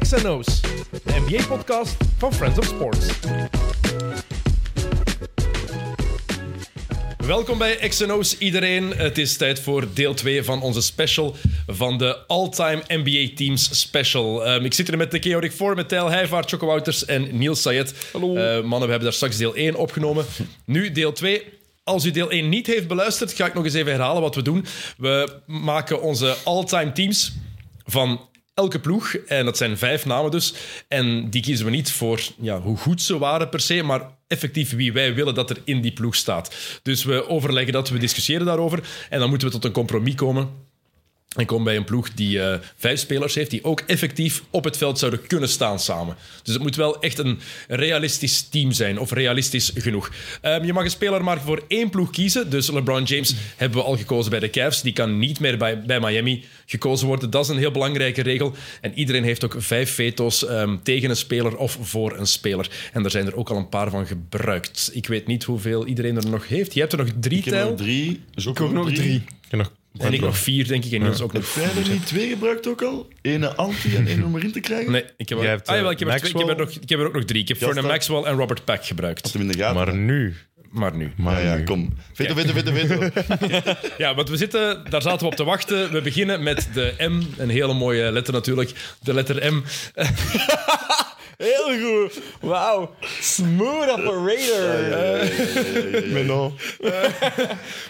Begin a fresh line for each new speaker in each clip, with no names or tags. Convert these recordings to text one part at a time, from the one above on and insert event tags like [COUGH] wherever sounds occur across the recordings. XNO's, de NBA-podcast van Friends of Sports. Welkom bij XNO's iedereen. Het is tijd voor deel 2 van onze special van de All-Time NBA Teams Special. Ehm, ik zit hier met de Keorik voor, met Tijl Heijvaart, Choco Wouters en Niels Sayed. Hallo. mannen, we hebben daar straks deel 1 opgenomen. Nu deel 2. Als u deel 1 niet heeft beluisterd, ga ik nog eens even herhalen wat we doen. We maken onze all-time teams van elke ploeg. En dat zijn vijf namen dus. En die kiezen we niet voor ja, hoe goed ze waren per se, maar effectief wie wij willen dat er in die ploeg staat. Dus we overleggen dat, we discussiëren daarover. En dan moeten we tot een compromis komen. En ik kom bij een ploeg die eh, vijf spelers heeft die ook effectief op het veld zouden kunnen staan samen. Dus het moet wel echt een realistisch team zijn, of realistisch genoeg. Ehm, je mag een speler maar voor één ploeg kiezen. Dus LeBron James hebben we al gekozen bij de Cavs. Die kan niet meer bij, bij Miami gekozen worden. Dat is een heel belangrijke regel. En iedereen heeft ook vijf veto's ehm, tegen een speler of voor een speler. En er zijn er ook al een paar van gebruikt. Ik weet niet hoeveel iedereen er nog heeft. Je hebt er nog drie,
Ik heb
Tijl.
nog drie. Zoek ook
Ik heb nog
En ik nog vier, denk ik. En Niels ook nog
Heb jij er niet [LAUGHS] twee gebruikt ook al? Ene anti en één om erin te krijgen?
Nee, ik heb, er-
Jij hebt,
ah, jawel, ik,
eh,
heb er twee- ik, heb er nog, ik heb er ook nog drie. Ik heb Vernon
staat-
Maxwell en Robert Pack gebruikt.
Had hem in de gaten.
Maar nu.
Maar nu.
ja,
Maar
ja,
nu.
kom. Veto, veto, veto, veto.
[LAUGHS] Ja, want we zitten, daar zaten we op te wachten. We beginnen met de M. Een hele mooie letter natuurlijk. De letter [LAUGHS] M.
Heel goed. Wauw. Smooth operator.
nou.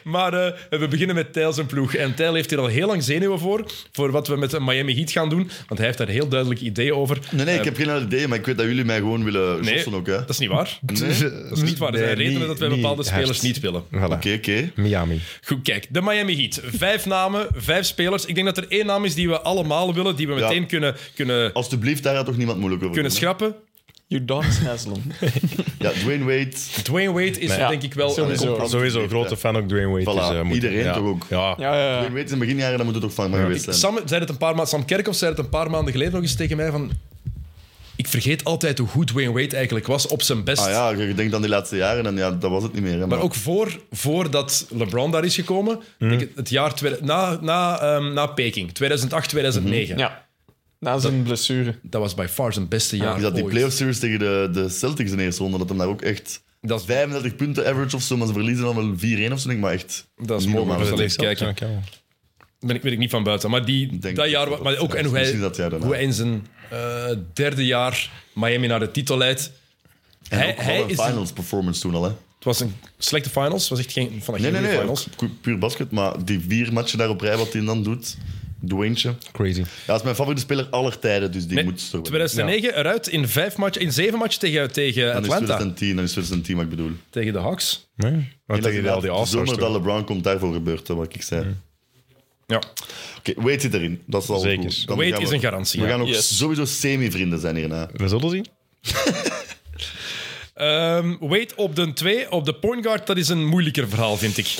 Maar eh, we beginnen met Tijl zijn ploeg. En Tijl heeft hier al heel lang zenuwen voor. Voor wat we met de Miami Heat gaan doen. Want hij heeft daar heel duidelijk ideeën over.
Nee, nee, ik heb geen idee, maar ik weet dat jullie mij gewoon willen
Nee,
jossen ook, hè.
dat is niet waar.
Nee?
Dat is niet waar. Er zijn
Nee,
redenen
niet-
dat wij
niet
bepaalde spelers
hard.
niet willen.
Voilà.
Oké, oké.
Miami.
Goed, kijk. De Miami Heat. Vijf namen, vijf spelers. Ik denk dat er één naam is die we allemaal willen. Die we
Ja.
meteen kunnen, kunnen
Alsjeblieft, daar gaat toch niemand moeilijk over
kunnen
doen,
schrappen.
Udonis Haslam.
hè? Ja, Dwayne Wade.
Dwayne Wade is
Ja,
denk ik wel...
sowieso.
een-
Compromis.
Sowieso grote fan ook Dwayne Wade.
Voilà,
eh, moet-
iedereen
ja.
toch ook?
Ja.
Ja, ja, ja.
Dwayne Wade is in de beginjaren, daar moet het toch van maar geweest zijn.
Sam, zei het een paar maanden, Sam Kerkhoff zei het een paar maanden geleden nog eens tegen mij van... Ik vergeet altijd hoe goed Dwayne Wade eigenlijk was op zijn best.
Ah ja, je denkt aan die laatste jaren en ja, dat was het niet meer. Hè,
Maar ook voor, voordat LeBron daar is gekomen,
Mhm.
denk ik het jaar twee- na, na, ehm, na Peking, 2008,
Mhm.
2009.
Ja. Na zijn blessure.
Dat was by far zijn beste jaar
Is dat die
ooit.
playoff series tegen de, de Celtics in de eerste ronde, dat hem daar ook echt
Dat is,
35 punten average of zo, maar ze verliezen dan wel 4-1 of zo, denk ik, maar echt.
dat is
niet
mogelijk.
normaal.
Dat is alleen kijken.
Ja, ja.
Ben ik, weet ik niet van buiten. Maar die,
Denk
dat
ik
jaar...
dat
Maar
het
ook,
is.
en hoe hij,
Misschien dat jaar daarna.
hoe hij in zijn eh, derde jaar Miami naar de titel leidt.
En
Hij-
ook wel
hij
een
is-
finals performance toen al, hè.
Het was een slechte finals. Het was echt geen, van
Nee,
geen
nee,
goede
nee.
finals.
ook pu- Puur basket, maar die vier matchen daar op rij, wat hij dan doet. Dwayne'tje.
Crazy.
Ja, dat is mijn favoriete speler aller tijden, dus die
Nee,
moet zo.
2009 eruit in, vijf match, in zeven matchen tegen, tegen
Dan is
Atlanta.
2010, dan is 2010 wat ik bedoel.
Tegen de Hawks.
Nee? Wat
Ik denk
tegen die- al die
dat de
All-Stars
zomer dat
toch?
LeBron komt, daarvoor gebeurt dat, wat ik zei.
Ja.
Oké, Wade zit erin. Dat is al
Zeker.
goed. Dan
Wade
gaan
is
we-
een garantie,
We
ja.
gaan ook
Yes.
sowieso semi-vrienden zijn hierna.
We zullen zien.
Ehm, Wade op de 2, op de point guard, dat is een moeilijker verhaal, vind ik.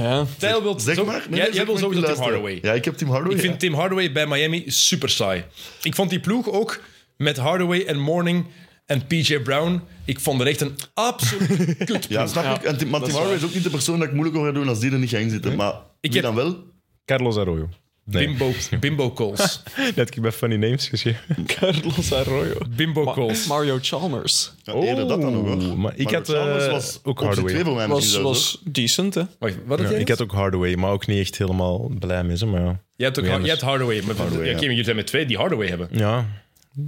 Ja.
Tijl wil
Zeg
zo-
maar. nee, nee,
jij
zeg
jij wil
maar,
sowieso Tim
luister.
Hardaway.
Ja, ik heb Tim Hardaway.
Ik
ja.
vind Tim Hardaway bij Miami super saai. Ik vond die ploeg ook met Hardaway en Morning en PJ Brown. Ik vond er echt een absoluut kut.
Ja, snap ik. En Tim, maar Tim
is
Hardaway is ook niet de persoon dat ik moeilijk over ga doen als die er niet gaat inzitten. Maar wie
heb-
dan wel?
Carlos Arroyo. Nee. [LAUGHS]
Bimbo, bimbo Calls.
Dat heb ik bij Funny Names geschreven.
Carlos Arroyo.
Bimbo Calls.
Mario Chalmers.
Ja, eerder dat dan nog, hoor.
maar ik
Mario
had, eh,
Chalmers was
ook
optie
Hardaway.
twee voor mij
Was,
misschien zelfs,
was decent, hè?
Wacht, wat heb
Ja,
jij?
ik had ook Hardaway, maar ook niet echt helemaal blij mee. ze, Maar ja.
Jij hebt ook
Ja,
Har-
dus-
jij hebt Hardaway. Maar ja,
ja.
oké, maar jullie zijn met twee die Hardaway hebben.
ja.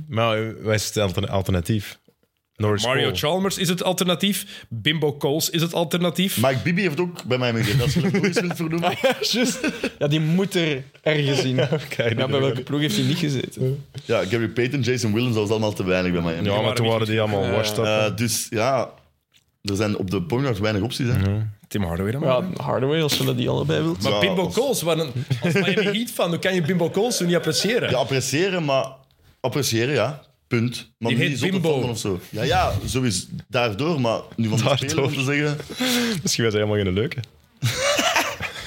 Maar eh, wij zijn het altern- alternatief. Norris
Mario
Cole.
Chalmers is het alternatief. Bimbo Coles is het alternatief.
hoor. Mike Bibi heeft ook bij mij meegedaan. Als je dat nog eens wilt verdoemen.
Just. [LAUGHS] Ja, die moet er ergens in.
Kijk,
Ja, bij welke ploeg heeft hij niet gezeten?
Ja, Gary Payton, Jason Williams, dat was allemaal te weinig bij mij.
Ja, maar
waren
toen
niet
waren die allemaal washed up.
Eh, dus ja, er zijn op de point guard weinig opties. Hè.
Tim Hardaway dan.
Ja, Hardaway, als je die allebei wilt.
maar
ja,
Bimbo
als-
Coles, waar een, als Miami Heat van, hoe kan je Bimbo Coles toen niet appreciëren?
Ja, appreciëren, maar appreciëren, ja. Punt. Maar
Die
niet
heet
zotte
Bimbo.
vallen of zo. Ja, ja, sowieso. Daardoor, maar nu van de
Daardoor.
speler om te zeggen.
Misschien was hij helemaal geen leuke.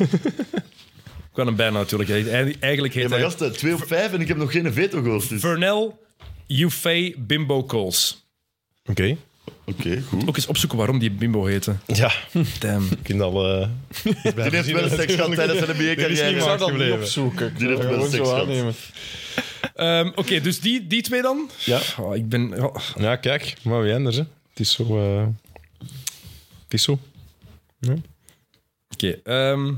Ik kan hem bijna natuurlijk. Hij- Eigenlijk
Ja,
heet
maar
hij
gasten, 2 op 5 en ik heb nog geen veto gehoord. Dus... Oké,
Vernell Ufay Bimbo Coles.
Oké.
goed.
Ook eens opzoeken waarom die Bimbo heette.
Ja,
Damn.
ik vind al... eh, [LAUGHS]
Die heeft wel seks gehad tijdens zijn
niet
NBA-carrière.
waar.
Ik zou dat niet
gebleven.
opzoeken. Ik
Die
zou
heeft wel
gewoon
seks
zo
gehad.
aannemen.
Ehm, Oké, dus die, die twee dan?
Ja.
Oh, ik ben... oh,
Ja, kijk, maar wie anders, hè? Het is zo. eh, Het is zo.
Oké. ehm,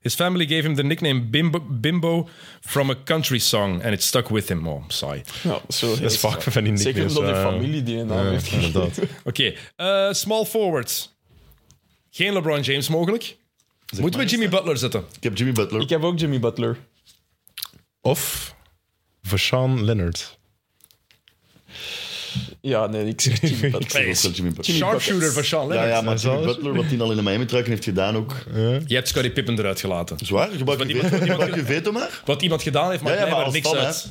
his family gave him the nickname Bimbo, Bimbo from a country song and it stuck with him. Oh, saai.
Ja, zo,
Dat is vaak van die
Zeker
nicknames,
omdat uw
eh,
familie die een naam
ja,
heeft gegeven.
inderdaad.
Oké, eh, small forward. Geen LeBron James mogelijk. Moeten we Jimmy Butler zetten?
Ik heb Jimmy Butler.
Ik heb ook Jimmy Butler.
Of Vashaan Leonard.
Ja, nee, ik zeg Jimmy Butler.
Ik heb ook wel Jimmy Butler.
Sharpshooter van Sean
Ja,
Leonard.
ja, maar
Zou
Jimmy
het?
Butler, wat hij al in de Miami truiken heeft gedaan ook.
Je hebt Scottie Pippen eruit gelaten.
Dus
Zwaar, gebruik je veto- gebruik je veto maar.
Wat iemand gedaan heeft,
Ja,
maakt
ja,
mij
maar
maar
als
niks
fan, hè.
uit.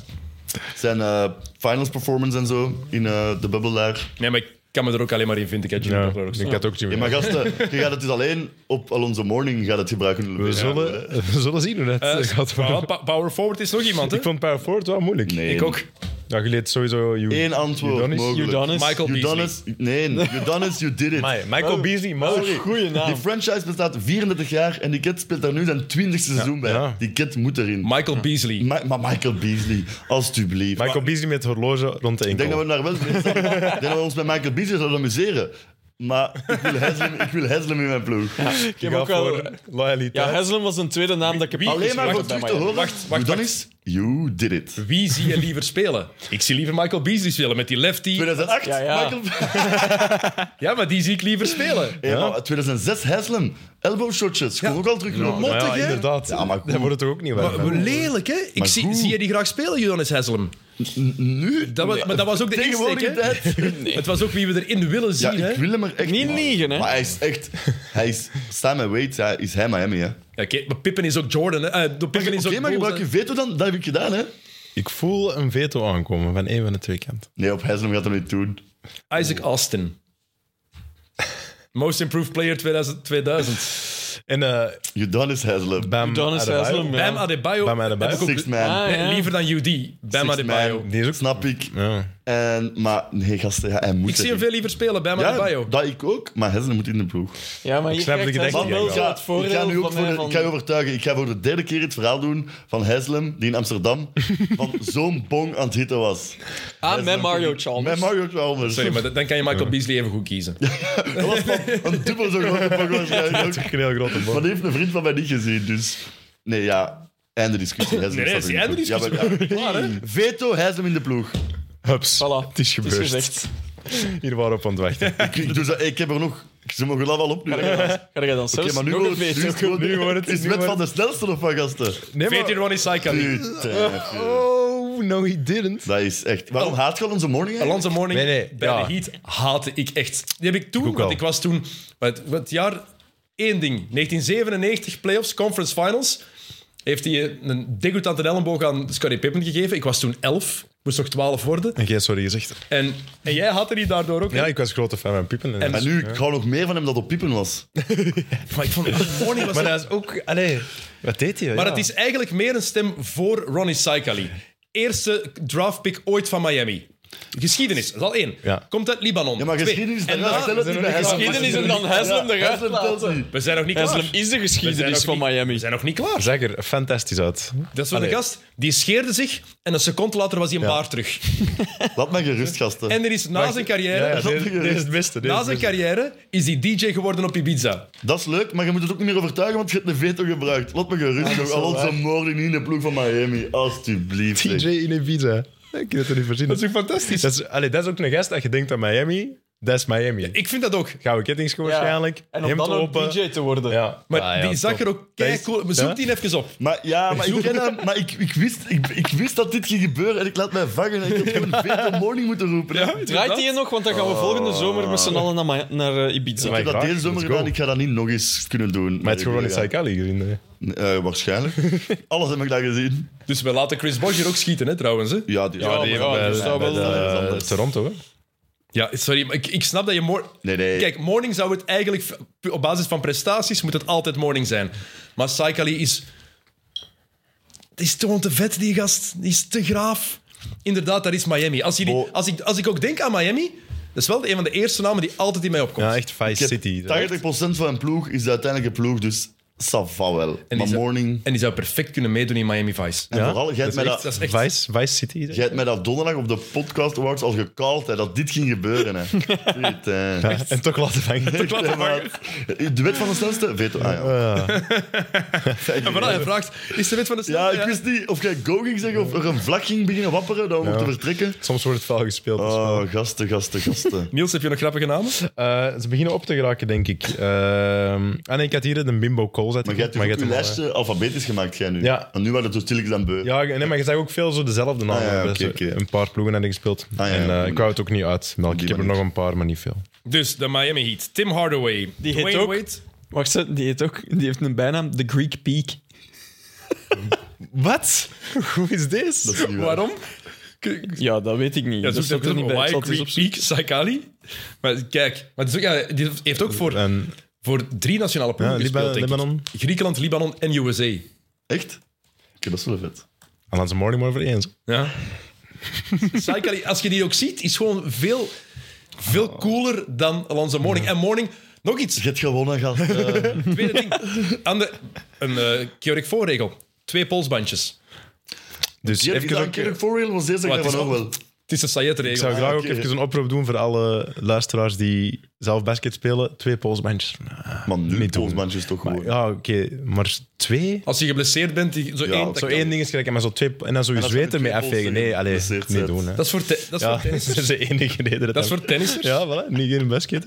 Zijn eh, finals performance en zo in eh, de bubbel daar.
Nee, maar ik kan me er ook alleen maar in vinden. Ik heb Jimmy
Ja,
Butler ook
ik
staan.
had ook Jimmy.
Ja, maar
[LAUGHS]
gasten, je gaat het dus alleen op Alonso Morning gaat het gebruiken.
we, zullen, we zullen zien hoe dat [LAUGHS]
Eh, maar
gaat worden.
wat, pa- power forward is nog iemand, hè?
Ik vond Power Forward wel moeilijk.
Nee.
Ik ook.
Ja, je leed sowieso... You,
Eén antwoord
Udonis?
mogelijk.
Udonis.
Michael Beasley.
Udonis. Nee, Udonis, you did it.
Amai, Michael
Oh,
Beasley,
Dat
mogelijk.
is een goede naam.
Die franchise bestaat 34 jaar en die kid speelt daar nu zijn 20e seizoen bij.
ja.
Die kid moet erin.
Michael Beasley.
Ma- maar Michael Beasley, alstublieft.
Michael Beasley met horloge rond de
Ik
enkel.
denk dat we daar wel ik denk dat we ons bij Michael Beasley zouden amuseren. Maar ik wil Haslem, ik wil Haslem in mijn ploeg.
ik heb ook wel... Ja,
loyaliteit.
Haslem was een tweede naam dat ik heb
Wie-
Alleen maar voor
opgeschreven
terug te
bij Miami.
horen.
Wacht, wacht,
Udonis, you did it.
Wie zie je liever spelen? Ik zie liever Michael Beasley spelen met die lefty.
2008,
Ja, ja.
Michael... [LAUGHS]
Ja, maar die zie ik liever spelen.
Ja, maar 2006, Haslem. Elbow shotjes. Kom ook al terug naar
Maar
Mottig,
ja,
hè?
inderdaad.
Ja, maar goed.
Daar wordt het toch ook niet waar.
Maar Lelijk, hè? Ik
Maar
zie,
goed.
zie je die graag spelen, Jonas Heslam?
Nu?
Dat was, maar dat was ook de insteek,
Tegenwoordige
hè?
tijd.
Het was ook wie we erin willen
Ja,
zien, hè?
ik wil hem er echt...
Niet
Maar-
liegen, hè?
Maar hij is echt... Hij is... Sam en Wade ja, is hij Miami, hè?
Ja, Oké, maar Pippen is ook Jordan, hè? Eh, Pippen
Oké,
is ook
maar
Bulls,
gebruik
hè.
je veto dan? Dat heb ik gedaan, hè?
Ik voel een veto aankomen van één van de twee kanten.
Nee, op Haslem gaat hem niet doen.
Isaac Austin. Most Improved Player 2000. 2000.
En eh
Udonis Haslem.
Bam
Udonis
Adebayo.
Haslem, ja.
Bam Adebayo.
Bam Adebayo.
heb ik ook-
Sixth man.
Ah,
Nee,
ja.
Liever dan UD. Bam
Sixth
Adebayo.
man.
Die is ook...
Snap ik.
Ja.
En, maar nee, gasten, ja, hij moet
Ik zie hem
erin.
veel liever spelen, Bam
Ja,
Adebayo.
dat ik ook, maar Haslem moet in de ploeg.
Ja, maar je
snap dat
krijgt
je
Haslem
denkt,
wel
ja,
zo het
ik ga nu
voordeel
ook voor
eh,
van
de-
mij
ik ga je
van...
overtuigen. Ik ga voor de derde keer het verhaal doen van Haslem, die in
[LAUGHS]
Amsterdam van zo'n bong aan het hitten was.
Ah, met Mario Chalmers.
Met Mario Chalmers.
Sorry, maar dan kan je Michael Beasley even goed kiezen.
Dat was van een dubbel zo
[LAUGHS]
grote bong waarschijnlijk ook.
Een heel grote
Maar
bal.
die heeft een vriend van mij niet gezien, dus... Nee, ja, einde
[LAUGHS]
discussie. Haslem
Nee,
staat
dat is
in
die einde
ploeg.
discussie.
Ja, maar [LAUGHS] ja.
Klaar, hè?
Veto, Haslem in de ploeg.
Hups.
Voilà.
Het is
Het is
gebeurd.
gezegd.
Hier waren we op aan het wachten.
Ik, ik, doe dat- ik heb er nog... Ze mogen dat wel op nu. hè.
Ga jij dan zelfs
Oké, maar nu
nog
wordt
een
het- dus nu is
veto?
het
Nu
gewoon- [LAUGHS]
wordt het-
is
nu
met
wordt
van de snelste of van gasten.
Nee, maar-
14 is Saikali.
Oh, no he didn't.
Dat is echt... Waarom haat je al onze morning eigenlijk?
Alonso Morning
Nee, nee,
bij
ja.
de Heat haatte ik echt. Die heb ik toen,
ook
want
wel.
ik was toen... Wat, wat jaar... één ding. 1997 playoffs, conference finals. Heeft hij een degoutante elleboog aan Scottie Pippen gegeven. Ik was toen 11. Moest nog 12 worden.
En jij sorry gezegd.
En, en jij haatte die daardoor ook. hè?
Ja, ik was grote fan van Pippen. En,
En nu, ik hou nog meer van hem dat op piepen was.
Maar
[LAUGHS]
ik vond Morning was...
Maar
Maar,
dat is ook... Allee, wat deed hij?
maar
ja.
het is eigenlijk meer een stem voor Ronnie Saikali. Eerste draftpick ooit van Miami. Geschiedenis, dat is al één.
Ja.
Komt uit Libanon.
Ja, maar
Twee.
geschiedenis...
En
daarna
daarna-
stellen het niet bij Haslem.
Geschiedenis en dan Haslem
Ja,
eruit
Haslem telt
laten.
niet.
We zijn nog niet
Haslem
klaar.
is de
We zijn
geschiedenis
nog
van
niet- We
Miami.
zijn nog niet klaar.
Zag er fantastisch uit.
Dat is wel een
Allee.
gast. Die scheerde zich en een seconde later was hij een baard terug.
Laat mij gerust, gasten.
En er is na zijn carrière...
Ja, ja,
dat
dit,
is
dit is het beste. dit
Na
is
zijn
het
carrière is hij DJ geworden op Ibiza.
Dat is leuk, maar je moet het ook niet meer overtuigen, want je hebt een veto gebruikt. Laat me gerust, nog. Alonso Morning niet in de ploeg van Miami. Alsjeblieft. [LAUGHS]
beste.
zeg.
TJ in Ibiza. Ik heb het er niet voorzien.
toch fantastisch?
Dat is, allee, dat is ook een gast dat je denkt aan Miami. Dat is Miami.
Ik vind dat ook.
Gouden kettingschoen waarschijnlijk.
En om
Hemd
dan ook
open.
DJ te worden.
Ja.
Maar
Ah, ja,
die zag
top.
er ook
Dat is-
keicool... Maar
Ja?
Zoek die even op.
Maar ja, maar, ik, ken hem, maar ik, ik, wist, ik, ik wist dat dit ging gebeuren en ik laat mij vangen. En ik heb gewoon veto Morning moeten roepen.
Ja,
ik
Draait hij nog? Want dan gaan we
Oh.
volgende zomer met z'n allen naar, Ma- naar eh, Ibiza.
Maar
heb dat
graag,
deze zomer
let's
gedaan,
go.
ik ga dat niet nog eens kunnen doen.
Maar het is gewoon
ik
in
wil-
Saikali gezien. hè.
Nee, eh, waarschijnlijk. [LAUGHS] Alles heb ik daar gezien.
Dus we laten Chris Bosh hier ook schieten, hè, trouwens. Hè?
Ja, die,
Ja,
die-
maar ja,
bij-
dus dat
bij
wel, eh,
dat is
de-
anders.
Toronto, hè?
Ja, sorry, maar ik, ik snap dat je... Mor-
Nee, nee.
Kijk, Morning zou het eigenlijk... v- Op basis van prestaties moet het altijd Morning zijn. Maar Saikali is... Het is gewoon te vet, die gast. Die is te graaf. Inderdaad, dat is Miami. Als, je die-
Oh.
als, ik, als ik ook denk aan Miami... Dat is wel een van de eerste namen die altijd in mij opkomt.
Ja, echt Vice
Ik heb
City.
80% van een ploeg is de uiteindelijke ploeg, dus Sava wel.
die
Maar
zou-
morning...
En die zou perfect kunnen meedoen in Miami Vice.
En
Ja,
vooral, jij hebt mij
echt-
dat...
dat is echt-
Vice, Vice City. is het?
Jij hebt mij dat donderdag op de podcast awards al gecallt, hè, dat dit ging gebeuren.
[LAUGHS]
Hè. Shit, hè.
Ja, en toch
[LAUGHS]
laten vangen.
Klaar,
Ja,
maar-
maar- De wet van de snelste? Veto. Ah, ja.
En vooral, hij vraagt, is de wet van de
ja,
snelheid?
ik wist niet of jij go ging zeggen of er een vlak ging beginnen wapperen dat we mochten vertrekken.
Soms wordt het vuil gespeeld. dus-
Oh, gasten, gasten, gasten.
Niels, heb je nog grappige namen?
Eh, ze beginnen op te geraken, denk ik. Ehm, ah nee, ik had hier een bimbo calls uit.
Maar jij hebt
je
toch ook
hebt
uw
hem al,
lijstje alfabetisch gemaakt, jij nu?
Ja.
En nu waren het zo stilletjes dan beu.
eh. Ja, nee, maar je zag ook veel zo dezelfde namen.
Ah, ja,
Dus,
oké,
eh,
oké. Ah,
Een paar ploegen hadden gespeeld.
ja,
en
ja,
eh, ik
goed.
wou het ook niet uit. Melk.
die
Ik heb er nog
manier.
een paar, maar niet veel.
Dus de Miami Heat. Tim Hardaway.
Die heet
Dwayne
ook-
Wade.
Wacht, ze- die heeft ook die heeft een bijnaam, The Greek Peak.
Wat? Hoe is
Dat
dit?
is niet waar.
Waarom?
Ja, dat weet ik niet.
Ja,
Dus
zoek
dat staat
er
er niet bij. Ik zal
Why
het eens
Greek
opzoeken.
Peak, Saikali. Maar kijk, maar het is ook, ja, die heeft ook voor,
En,
voor drie nationale ploegen
Ja,
gespeeld,
Liba-
denk ik.
Libanon.
Griekenland, Libanon en USA.
Echt? Oké, dat is wel vet.
en dan zijn morning over eens.
[LAUGHS]
Ja. Saikali, als je die ook ziet, is gewoon veel,
Oh.
veel cooler dan Alonso Morning. En Morning, nog iets.
Je hebt gewonnen, [LAUGHS] gast. eh.
Tweede
[LAUGHS]
ding. Ander, een eh Keurig voorregel. Twee polsbandjes.
Dus
Je hebt
even
gedaan
ook,
Kerk Voorreal, want deze
Wat
gaan
is
van ook
dat?
wel.
Het is een Sayed-regel.
ik zou graag ook
oké.
even een oproep doen voor alle luisteraars die zelf basket spelen. Twee polsbandjes.
Man, nu
Niet doen.
polsbandjes toch gewoon.
Ja, oké. Maar twee?
Als je geblesseerd bent, die, zo
Ja,
één...
Zo
Dat,
één ding is gelijk, maar zo twee... En dan zo je
dan zou je
zweten mee
twee
afvegen.
polsen
Nee, allee,
geblesseerd
niet
zijn.
doen. Hè.
is voor, te- dat is voor
Ja, [LAUGHS] dat
tennissers.
is de enige reden. Dat
Dat is voor tennissers.
Ja, voilà. Niet geen basket.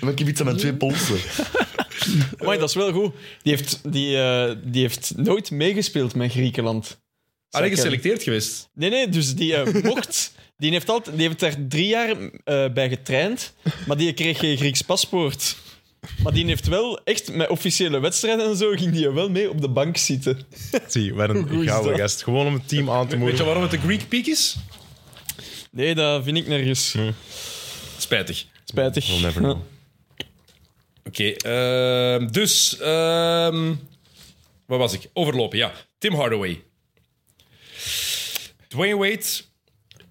Maar ik heb iets aan mijn twee polsen.
Amai, dat is wel goed. Die heeft, die, eh, die heeft nooit meegespeeld met Griekenland.
Alleen geselecteerd geweest.
Nee, nee, dus die [LAUGHS] eh, mocht. Die heeft, altijd, die heeft daar drie jaar eh, bij getraind, maar die kreeg geen Grieks paspoort. Maar die heeft wel echt met officiële wedstrijden en zo, ging die wel mee op de bank zitten.
[LAUGHS] Zie, wat
Hoe
een
is
gouden
dat?
gast. Gewoon om het team aan te
Weet je
moedigen.
waarom het de Greek Peak is?
Nee, dat vind ik nergens.
Spijtig.
Spijtig.
We'll never
[LAUGHS]
know.
Oké, ehm, dus... ehm waar was ik? Overlopen, ja. Tim Hardaway. Dwayne Wade,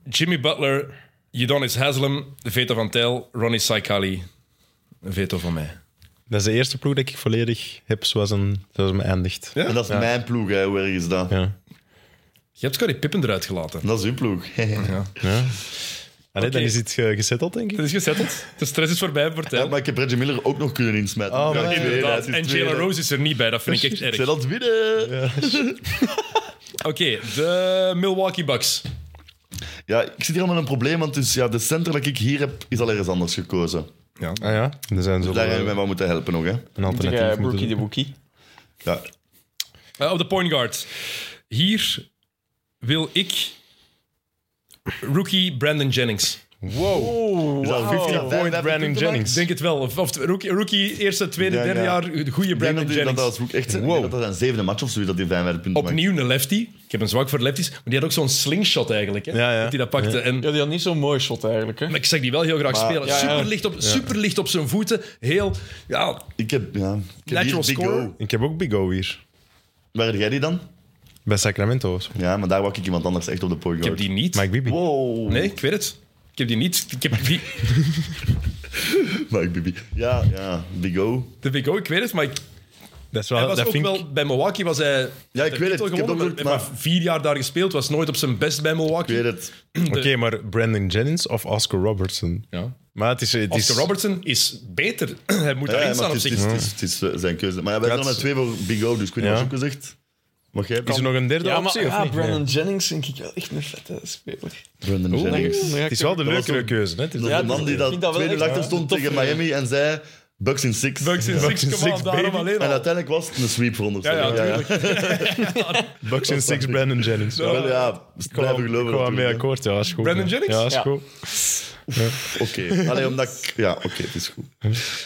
Jimmy Butler, Udonis Haslem, Veto van Tel, Ronnie Saikali. Een veto van mij.
Dat is de eerste ploeg dat ik volledig heb zoals, een, zoals me eindigt.
Ja?
En dat is mijn ploeg, hè. hoe erg is dat?
Ja.
Je hebt Scottie Pippen eruit gelaten.
Dat is uw ploeg. [LAUGHS]
Allee, dan is het ge- gezetteld, denk ik.
Het is gezetteld. De stress is voorbij voor
Ja,
Tel.
maar ik heb Reggie Miller ook nog kunnen insmijten.
Oh,
Ja,
man.
tweede,
Inderdaad.
het is
En
tweede.
Jalen Rose is er niet bij, dat vind ik
[LAUGHS]
echt
Zij
erg.
dat winnen. Ja.
Oké, de Milwaukee Bucks.
ik zit hier met een probleem, want dus, ja, de center dat ik hier heb, is al ergens anders gekozen.
Ah ja, er zijn zo
Daar gaan we
een
mij wel moeten helpen nog, hè.
alternatief.
Ja,
moeten
Brookie eh, de
doen.
Wookie.
Ja.
Eh, op de point guard. Hier wil ik rookie Brandon Jennings.
Is dat 15
Point
Brandon
Brandon
Ik
Jennings.
denk het wel. Of, of rookie, rookie eerste, tweede,
Ja,
derde
ja.
jaar, de goede
Ik denk
Brandon
dat, die- dat
Jennings.
dat ook echt... ik denk dat dat een zevende match of zo is dat die 5 punten maakt.
Opnieuw een lefty. Ik heb een zwak voor lefties, maar die had ook zo'n slingshot eigenlijk. Hè,
Ja, ja.
Dat hij dat pakte. En,
Ja, die had niet zo'n mooi shot eigenlijk. Hè?
maar ik zag die wel heel graag spelen.
ja, ja.
Super, licht op, super licht op zijn voeten. Heel, ja,
Ik heb, ja... Ik heb
Natural
hier Big
scorer.
O.
Ik heb ook Big O hier.
Waar heb jij die dan?
Bij Sacramento. zo.
Ja, maar daar wak ik iemand anders echt op de point
ik heb
guard.
die niet.
Mike Bibby.
Wow. [LAUGHS]
Nee, ik weet het. Ik heb die niet. Ik heb die,
Mike Bibby. Ja, ja. Big O.
de Big O, ik weet het, maar ik,
Dat is wel...
hij was
dat
ook
vind ik-
wel... Bij Milwaukee was hij...
Ja, ik
de
weet het.
titel
Ik heb
gewonnen,
dat ook-
maar, maar vier jaar daar gespeeld, was nooit op zijn best bij
Ik
Milwaukee.
weet het.
Oké, maar Brandon Jennings of Oscar Robertson?
Ja.
Maar het is... Het
Oscar
is
Robertson is beter. [CLEARS THROAT] hij moet
Ja,
daarin
maar
staan op
het is,
zich.
het, is, het, is, het is, eh, zijn keuze. Maar ja, wij
Ja,
zijn al met
het
twee voor Big O, dus ik weet niet wat
Ja.
je ook gezegd. Mag jij
is er nog een derde
Ja, maar
optie, of
ja,
niet?
Brandon
Nee.
Jennings vind ik wel echt een vette speler.
Brandon Jennings.
Het is wel de
Dat was
leukere
ook-
keuze, hè? Het is
Dat
wel-
is de man die
ik
dat
vind dat wel
2-0
echt,
achter stond
ja.
tegen Miami en zei Bucks in six.
Bucks in six,
in
come on,
six,
daarom
baby.
alleen
En
al.
uiteindelijk was het een sweep voor ons.
Ja, ja, tuurlijk.
Bucks in six, Brandon Jennings.
Ja, wel, ja,
Ik
blijven geloven.
kwam mee
natuurlijk,
akkoord, ja, is goed.
Brandon Jennings?
Ja, is
Ja.
goed.
hè. Oké, alleen omdat ik... Ja, oké, het is goed.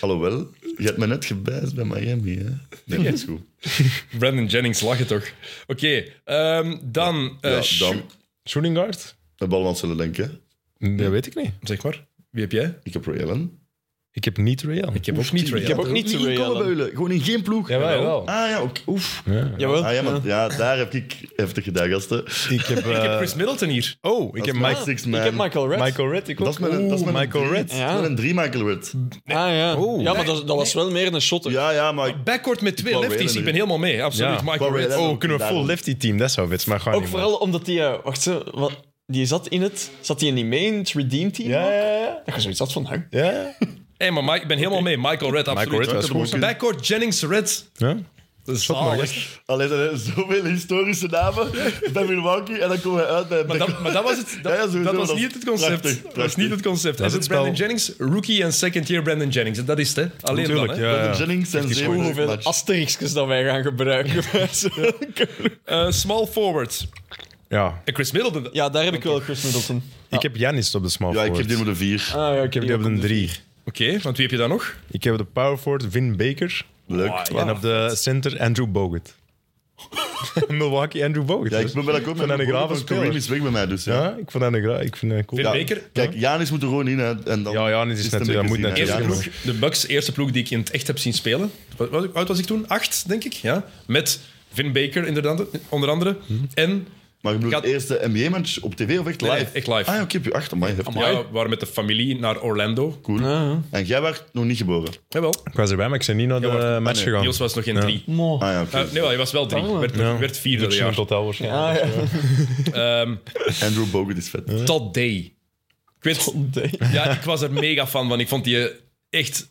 Alhoewel, je hebt me net gebijst bij Miami, hè. Nee, dat is goed.
Brandon Jennings lachen toch. Oké, ehm, dan... eh,
Ja,
Shu-
dan
Shooting guard?
de balans zullen denken.
Dat weet ik niet.
Zeg maar, wie heb jij?
Ik heb Ray Allen.
Ik heb niet Real.
Ik heb ook niet
Ik heb
Real.
ook niet
Niet
inkomen
Ray Allen.
bij Eulen. Gewoon in geen ploeg.
Jawel, jawel.
Ah ja, ook. Oef.
Ja.
Jawel.
Ah, ja, maar, ja, daar heb ik heftig gedaan, gasten.
Ik heb,
Ik heb
eh,
Chris Middleton hier.
oh, ik heb
mijn-
Mike,
Six
ik
man.
heb Michael Red.
Michael Red. Ik ook.
Dat is met een, dat is
Oeh,
met een
Michael
drie.
Red.
Dat is met een drie Michael Red.
Ah, ja.
Oh.
ja, maar dat, dat was wel meer een shotter.
Ja, ja, maar...
Backcourt met twee
wou
lefties.
Whalen
Ik ben
nu.
helemaal mee, absoluut.
Ja.
Michael
Wou
Red.
Whalen.
Oh, kunnen we full
Daarom.
lefty team? Dat zou wits, maar gewoon
Ook vooral omdat die... eh, wacht, hè, wat, die zat in het... Zat die niet mee in het Redeem Team?
Ja,
ook?
ja, ja.
Dat je zoiets had van hem.
ja.
Hey, maar Mike, ik ben helemaal mee. Michael Red, absoluut.
Michael Red was goed.
Backcourt, Jennings, Red.
ja.
Dat is zalig.
Alleen er zijn zoveel historische namen bij Milwaukee en dan komen we uit bij...
Maar dat, maar dat was het. Dat,
Ja, ja, sowieso,
dat was
dat is
niet het concept.
prachtig,
Dat was
prachtig.
niet het concept. Hij
is
zit
het
Brandon
spel.
Jennings, rookie en second year Brandon Jennings. Dat is het, hè? Alleen
Tuurlijk,
dan, hè?
ja.
Robin Jennings en zeven
Hoeveel
match.
asterixjes dat wij gaan gebruiken.
Eh, small forward.
Ja.
En Chris Middleton.
ja, daar heb ik wel Chris Middleton.
Ik heb Janis op de small
Ja, ik heb
forward.
die met de vier.
Ah, ja,
Ik heb die op de drie.
Oké, want wie heb je dan nog?
Ik heb op de power forward Vin Baker.
Leuk.
Wow.
En op de center Andrew Bogut. [LAUGHS] Milwaukee Andrew Bogut.
Ja, ik
Dus
ben wel akkoord
Ik
met
vind dat een grave
want Kareem
speler.
is weg bij mij, dus ja.
Ja, ik vond dat een gra- Ik vind dat cool.
Vin
Ja,
Baker?
Kijk, Janis moet er gewoon in. Hè, en dan
Ja, Giannis is
het een
natuurlijk- dat
beetje zien, hè.
moet natuurlijk.
Eerste
Ja,
ploeg, de Bucks, eerste ploeg die ik in het echt heb zien spelen. Wat, wat, hoe oud was ik toen? Acht, denk ik. Ja. Met Vin Baker, inderdaad, onder andere.
Mhm.
En
Maar je bedoelt
Gaat-
het eerste NBA-match op tv of echt live?
Nee, echt live.
Ah ja, oké, op je achter. Amai, heftig.
ja, we waren met de familie naar Orlando.
Cool. En jij werd nog niet geboren?
Jawel.
Ik was erbij, maar ik ben niet naar de
wacht.
eh, match
Ah, nee.
gegaan.
Niels was nog geen
Ja.
drie.
Mo.
Ah ja, oké.
Eh, nee, wel, hij was wel drie. Werd,
Ja.
werd vierde dat
Duction
jaar.
totaal waarschijnlijk.
Ah, [LAUGHS] ja.
Ehm,
Andrew Bogut is vet.
Todd Day. Ik weet, ja, ik was er mega fan van. Ik vond die eh, echt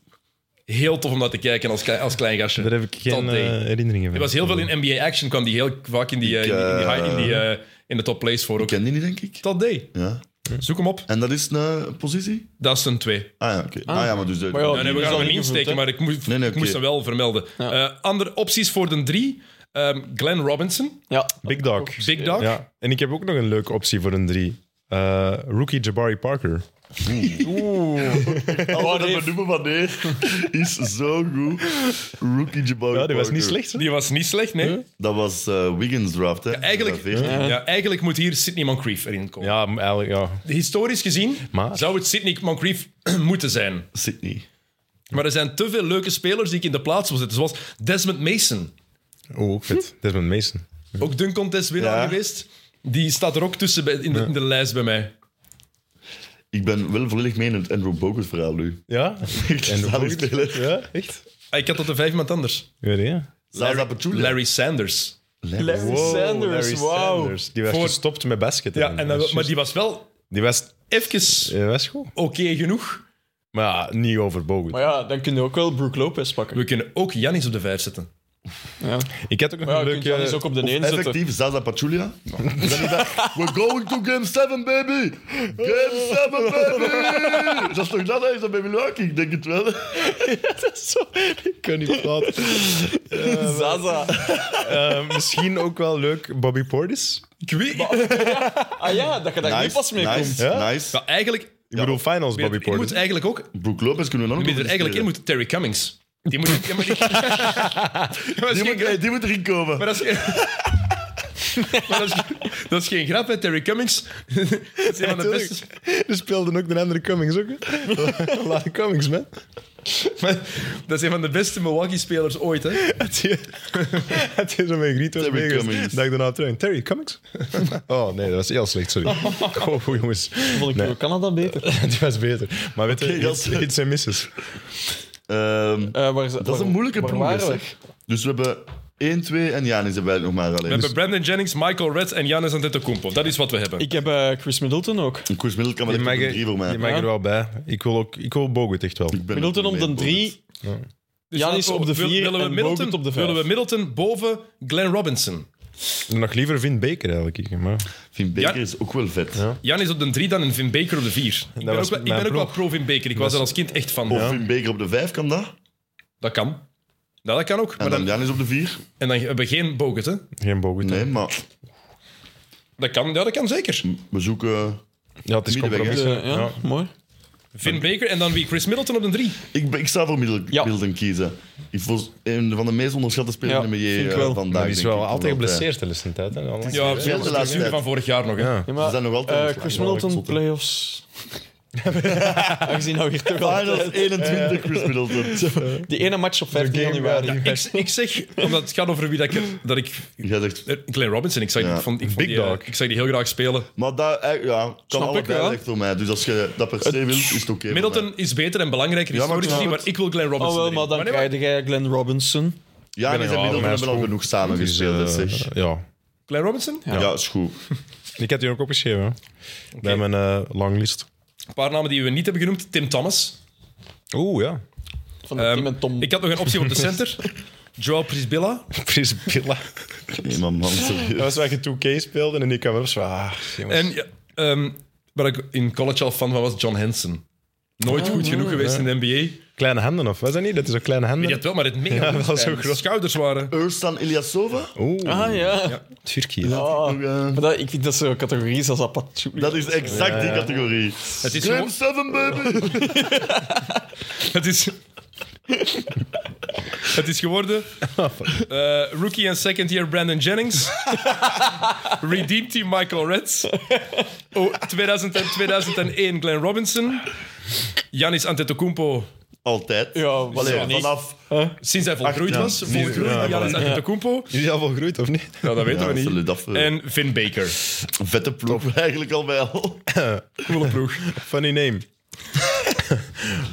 heel tof om naar te kijken als, klei- als klein gastje.
Daar heb ik geen
Todd Day.
eh, herinneringen van.
Er was heel veel in NBA action, kwam die heel vaak in, die, eh,
Ik,
in, die, in, die, high- in, die,
eh,
eh, in de top plays voor ook.
Ik ken die niet, denk ik.
Todd Day.
Ja.
Zoek hem op.
En dat is een eh, positie?
Dat is een twee.
Ah ja, oké. Ah ja, maar dus... eh,
Maar ja,
Dan
die
hebben we
gaan
gaan
we
niet
niet
insteken,
hè?
maar ik moest,
Nee, nee,
ik
oké.
moest hem wel vermelden. Eh, andere opties voor de drie. Ehm, Glenn Robinson,
Ja.
Big Dog.
Big Dog.
Ja. En ik heb ook nog een leuke optie voor een drie. Eh, rookie Jabari Parker.
Wat
Wat
dat benoemen van neer is zo goed. Rookie Jabari
Ja, die was niet
Parker.
slecht. hè?
Die was niet slecht, nee.
Dat was eh, Wiggins draft, hè?
Eigenlijk,
Dat was veertien.
ja, eigenlijk moet hier Sidney Moncrief erin komen.
Ja, maar eigenlijk, ja.
Historisch gezien
Maar-
zou het Sidney Moncrief [CLEARS THROAT] moeten zijn.
Sydney.
Maar er zijn te veel leuke spelers die ik in de plaats wil zetten. Zoals Desmond Mason.
Oeh, Oh, ook vet. Desmond Mason.
Ook dunk contest winnaar
Ja.
geweest. Die staat er ook tussen bij- in de, in de lijst bij mij.
Ik ben wel volledig mee in het Andrew Bogut verhaal nu. [LAUGHS]
Ja?
Echt een zalig speler.
Ja, echt?
Ah, Ik had dat de vijf iemand anders.
Ik weet het, ja.
Zaza Pachulia.
Larry Sanders.
Larry Sanders, wauw.
Die was
Voor-
gestopt met basket.
Ja, en dan- maar die was wel
die was,
even
die was goed.
oké genoeg.
Maar ja, niet over Bogut.
Maar ja, dan kun je ook wel Brooke Lopez pakken.
We kunnen ook Janis op de vijf zetten.
Ja.
Ik had ook nog
Maar ja,
een
kun je Giannis
leuke...
ook op de
Of
neen zetten.
effectief Zaza Pachulia. [LAUGHS] Is dat niet dat? We're going to game 7, baby! Game 7, baby! Dat is toch dat? hè? Is dat bij Milwaukee? Ik denk het wel.
Ik kan niet praten.
Zaza.
Eh, misschien ook wel leuk Bobby Portis.
Ik weet-
Ah ja, dat je daar niet pas mee komt.
nice,
Ja?
nice.
Maar eigenlijk,
Ik bedoel, finals Bobby
je moet
Portis.
eigenlijk ook...
Brook Lopez kunnen we dan ook
Wie
nog
er eigenlijk in
investeren.
moet, Terry Cummings. Die moet... Ja, maar die- Ja, maar dat is
Die
geen
moet,
grap.
die moet erin komen.
Maar dat is geen- [LAUGHS] Maar dat is, dat is geen grap, hè. Terry Cummings. [LAUGHS] dat is een van de beste...
[LAUGHS] Er speelde ook de andere Cummings ook. hè? Laat Cummings, man.
[LAUGHS] Dat is een van de beste Milwaukee-spelers ooit, hè.
Dus-
Had je, had je zo met Grieto
Terry
meegegaan?
Cummings.
Dat ik daarna train. Terry Cummings? [LAUGHS] Oh nee, dat was heel slecht, sorry. Oh jongens.
Vond ik
Nee.
Canada beter.
[LAUGHS] Die was beter. Maar weet je,
Oké, dat
hits,
is-
hits en misses.
Ehm,
Eh, waar is,
dat is een moeilijke
waar
ploeg.
waren we?
zeg. Dus we hebben 1, 2 en Janis hebben wij nog maar alleen.
We hebben Brandon Jennings, Michael Redd en Giannis Antetokounmpo. Dat is wat we hebben.
Ik heb eh, Chris Middleton ook.
Een koers middel kan wel
Die
echt
mag,
op een drie voor mij.
je mag er wel bij. Ik wil, ook, ik wil Bogut echt wel.
Ik ben
Middleton
het
op
wel
de
mee,
3.
Dus
Giannis
laten we-
op de
wil-
vier
willen
en
we Middleton,
Bogut op de vijf.
Willen we Middleton boven Glenn Robinson?
Nog liever Vin Baker eigenlijk. ik, Maar
Boris. Finn Baker
Ja.
is ook wel vet.
Janis op de 3, dan een Vin Baker op de 4. Ik ben,
was
ook wel, ik
mijn
ben ook wel
ploeg.
pro Vin Baker. Ik was er als kind echt van.
Of Finn Baker op de 5 kan dat.
Dat kan. Ja, dat kan ook.
En
Maar
dan
dan,
Janis op de 4.
en dan hebben we geen Bogut, hè?
geen Bogut.
Nee, maar
Dat kan, ja, dat kan zeker.
we zoeken...
Ja, het is
Middenweg,
compromis.
Eh, ja,
Ja.
mooi.
Vin Baker en dan wie? Chris Middleton op de 3.
Ik, ben- ik sta voor Middel-
Ja.
Middleton kiezen. Ik was een van de meest onderschatte spelers
Ja,
in de NBA
vind ik
eh,
wel.
vandaag.
Maar die is
denk
wel
ik,
altijd
omdat, eh,
geblesseerd de laatste tijd. hè. Al lang.
Ja,
de laatste
blessure
tijd.
van vorig jaar nog. Hè.
Ja.
Ja,
Ze
maar,
zijn nog
eh,
altijd...
Chris
Ja,
Middleton,
zotte.
playoffs. [LAUGHS] Aangezien nou hier toch
Finals
al...
21 Chris
[LAUGHS]
Middleton.
Die ene match op 15
game
januari.
waar-
Ik, ik zeg, omdat het gaat over wie dat ik... Dat ik
Jij zegt...
eh, Glenn Robinson, ik zag,
Ja.
ik vond, ik vond
Big
die, eh,
dog.
Ik zag die heel graag spelen.
Maar dat eh, ja, kan
ik,
allebei
ja.
echt voor mij. Dus als je dat per se wilt, is het oké. voor mij.
Middleton is beter en belangrijker
Ja, maar
historisch
het-
gezien, maar ik wil Glenn
Oh
Robinson
wel,
erin.
maar dan
nee,
krijg je Glenn Robinson.
Ja,
ben
en
er al,
Middleton
maar
hebben al
school-
genoeg samen
Dus,
gespeeld, dat
eh,
zeg.
ja.
Glenn Robinson?
ja.
Ja, is goed.
Ik heb die ook opgeschreven. hè. Bij mijn eh, longlist.
Een paar namen die we niet hebben genoemd. Tim Thomas.
Oeh, [LAUGHS] ja.
Van het
Ehm,
team en Tom.
Ik had nog een optie op de center.
[LAUGHS]
Joao Prisbilla.
Fris Pilla.
Nee, maar man, serieus.
Dat was waar je 2K speelde en ik kwam erop zo, ah, jongens.
En ja, ehm, waar ik in college al fan van was, John Henson. Nooit
Oh,
goed genoeg geweest in de NBA.
Kleine handen, of was dat niet? Dat is ook kleine handen.
Die had wel, maar het mega
dat was
zijn
ook groot.
schouders waren.
Ersan Ilyasova?
Oeh,
Ah ja.
Turkije.
Ah.
Nog, eh,
Maar dat, ik vind dat zo'n categorie is als Apache.
Dat is exact die categorie.
Het is,
Game
gewoon,
7, baby!
het is, het is
[LAUGHS]
geworden eh, rookie en second year Brandon Jennings. [LAUGHS] Redeem team Michael Reds. Oh, 2000 en 2001 Glenn Robinson. Janis Antetokounmpo
Altijd.
Ja,
Allee,
zo niet.
vanaf...
sinds hij volgroeid
Ach, ja.
was. Volgroeid
Ja, voilà.
Giannis Antetokounmpo.
Is die al volgroeid, of niet?
Nou, dat weten
Ja,
we niet.
zullen dat, eh,
En Vin Baker.
vette ploeg eigenlijk al bij al.
Coole ploeg.
Funny
[LAUGHS]
name.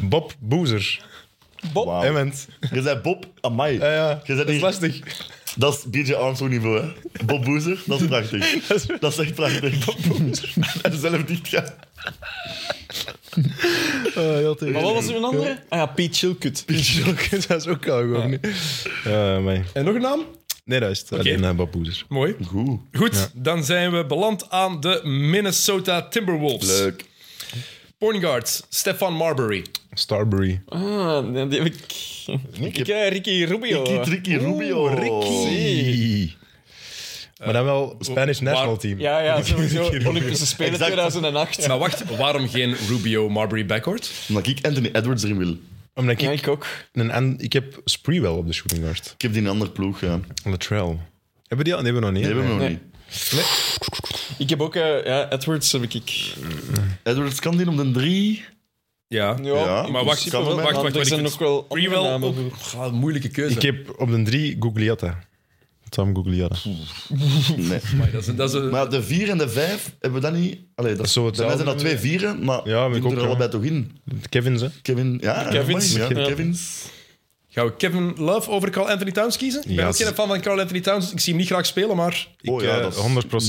Bob Boezer.
Bob.
Wauw.
Ement.
Je zei Bob, amai.
Ja, ja.
Je
Dat
zei
is
niet,
lastig.
dat is DJ Armstrong niveau, hè. Bob Boozer, dat is prachtig. Dat is echt prachtig. Bob Boozer. [LAUGHS] En zelf niet gaan. Eh,
Maar wat was er een andere? Ah ja, Pete Chilcutt.
[LAUGHS] dat is ook al gewoon niet. Eh, maar-
En nog een naam?
Nee, dat is het. alleen eh, Bob Boezer.
Mooi.
Goed.
Goed, dan zijn we beland aan de Minnesota Timberwolves.
Leuk.
Point guards, Stefan Marbury.
Starbury.
Ah, nee, die heb ik...
Ik heb
Ik heb Ricky Rubio.
Ricky, Ricky Rubio.
Zie. Eh, Maar dan wel Spanish national
waar-
team.
Ja, ja, sowieso. Olympische Spelen
Exact.
[LAUGHS]
2008.
Maar wacht, waarom geen Rubio-Marbury backcourt?
Omdat ik Anthony Edwards erin wil.
Omdat ik,
Ja, ik ook.
een, en, ik heb Spreewell op de shooting guard.
Ik heb die een andere ploeg, ja. Die
Latrell. Hebben die al? Nee, hebben we nog niet.
hebben we nog
Nee.
niet.
Ik heb ook... eh, ja, Edwards heb ik.
Edwards kan die om de drie.
Ja.
Ja,
Ja, Dus
in
Maar wacht,
principe
kan
wacht, wacht,
wel,
wel,
wacht.
want
wacht,
Er zijn
ik-
ook wel andere
Sprewell
namen
ook-
voor.
Goh, moeilijke keuze.
Ik heb op de drie Gugliotta. Tom Gugliotta.
Nee.
Amai, dat is, een- dat is een-
Maar de vier en de vijf hebben we dat niet. Allee, dat,
is
bij
zo
mij
hetzelfde.
zijn dat twee vieren, maar
Ja, maar
die
ik ook,
moeten er
ja.
allebei toch in.
Kevin, ze.
Kevin, ja,
Kevins,
ja.
ja.
Kevins.
Gaan we Kevin Love over Carl Anthony Towns kiezen? Ik ben
Ja,
ook geen
ze-
fan van Carl Anthony Towns. Ik zie hem niet graag spelen, maar...
Oh
Ik,
ja,
eh,
dat is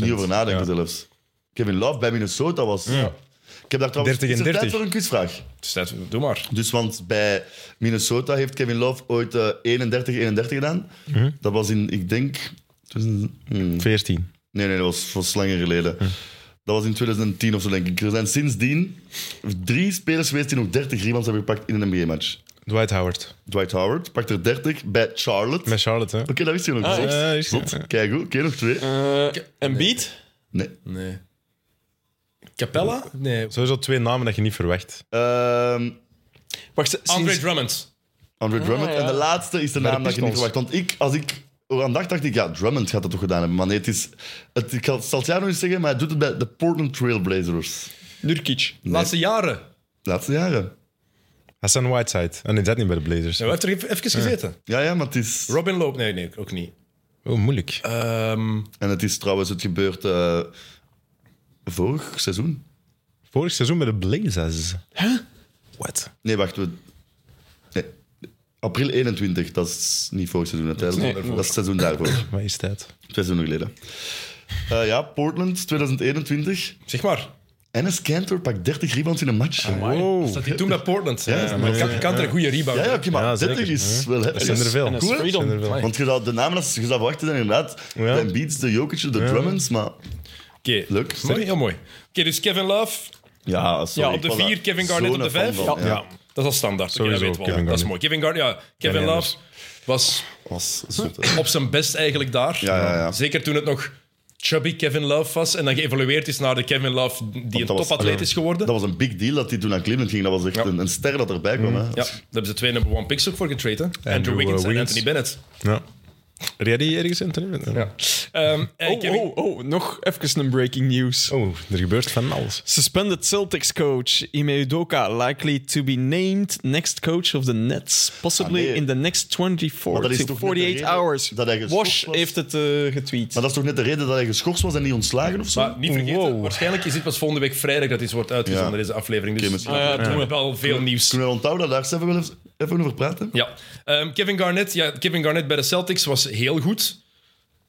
100%.
niet over nadenken
Ja.
zelfs. Kevin Love bij Minnesota was... Ik heb daar trouwens...
30 en
is het
30?
tijd voor een quizvraag?
Het is tijd, doe maar.
Dus want bij Minnesota heeft Kevin Love ooit 31-31 gedaan.
Mhm.
Dat was in, ik denk... 2000 hmm.
14.
Nee, nee, dat was, was langer geleden.
Mhm.
Dat was in 2010 of zo, denk ik. Er zijn sindsdien drie spelers geweest die nog 30 rebounds hebben gepakt in een NBA-match.
Dwight Howard.
Dwight Howard pakt er 30 bij Charlotte.
Met Charlotte, hè?
Oké, dat wist je nog.
Ah,
Klopt.
Eh, is-
Klopt. Kijk goed. Oké, nog twee.
Eh, en Beat?
Nee.
Nee. Capella? Nee.
Sowieso twee namen dat je niet verwacht.
Ehm,
Wacht, sinds-
Andre Drummond.
Andre Drummond.
Ah, ja.
En de laatste is de naam dat je niet
Pistons.
verwacht. Want ik, als ik aan dacht, dacht ik, ja, Drummond gaat dat toch gedaan hebben. Maar nee, het is... Het, ik zal zal het jou nog eens zeggen, maar hij doet het bij de Portland Trailblazers.
Nurkic.
Laatste jaren.
De laatste jaren.
Hassan Whiteside. En nee, dat niet bij de Blazers.
Nou, hij heeft er even- even gezeten.
Ja, ja, maar het is...
Robin Loop? Nee, nee, ook niet.
Oh, moeilijk.
Ehm,
En het is trouwens, het gebeurt eh, vorig seizoen.
Vorig seizoen bij de Blazers. Huh? What?
Nee, wacht. We... Nee. April 21, dat is niet vorig seizoen uiteindelijk.
Nee.
dat is het seizoen daarvoor.
Wat is dat?
Twee seizoenen geleden. Eh, ja, Portland 2021.
zeg maar.
Enes Kanter pakt 30 rebounds in een match.
Ah, Wow.
Dat hij toen naar Portland. Ja,
Ja,
maar kan, kan er een goede rebound.
Ja, ja, oké, maar
Ja,
30
zeker.
is wel heftig.
zijn er veel.
En
Goed,
een
hè? Zijn er
Freedom.
veel.
Want je zou de namen, als je zou verwachten, zijn inderdaad
Ja.
de Beats, de Jokic, de Drummonds, maar
Oké,
leuk.
Mooi, heel mooi. Oké, dus Kevin Love.
ja, sorry,
Ja, op de
ik was
vier,
daar
Kevin Garnett
zo'n
op de
fan
vijf.
van,
Ja.
ja.
Dat is al standaard. Oké,
Sowieso,
dat weten we al.
Kevin
Dat is
Garnett.
mooi. Kevin Garnett, ja. Kevin
Geen
Love was
[LAUGHS]
Was zot, hè.
op zijn best eigenlijk daar.
Ja, ja, ja.
Zeker toen het nog chubby Kevin Love was. En dan geëvolueerd is naar de Kevin Love die een
dat was-
topatleet is geworden.
Dat was een big deal dat hij toen naar Cleveland ging. Dat was echt
Ja.
een, een ster dat
Mm.
erbij kwam. Hè. uh,
Ja, daar hebben ze twee number one picks ook voor getraind. hè. Andrew,
Andrew,
Wiggins en
eh, Wiggins.
Anthony Bennett.
Ja. Rijd je ergens in het toernooi?
Ja. Ehm, en ik
Oh,
heb-
oh, oh, nog even een breaking news.
Oh, er gebeurt van alles.
Suspended Celtics coach Ime Udoka likely to be named next coach of the Nets, possibly
Ah, nee.
in the next 24
Maar dat is
to
toch niet de
48
reden
hours.
dat hij geschorst
Wash
was?
heeft het eh, getweet.
Maar dat is toch net de reden dat hij geschorst was en niet ontslagen of zo?
Maar niet vergeten,
Wow.
waarschijnlijk is dit pas volgende week vrijdag dat dit wordt uitgezonden,
Ja.
deze aflevering. Dus
Oké, misschien-
eh, er wordt wel veel nieuws.
Kunnen we onthouden dat daar even, wel eens- even over praten?
Ja. Ehm, Kevin, Garnett, ja, Kevin Garnett bij de Celtics was heel goed.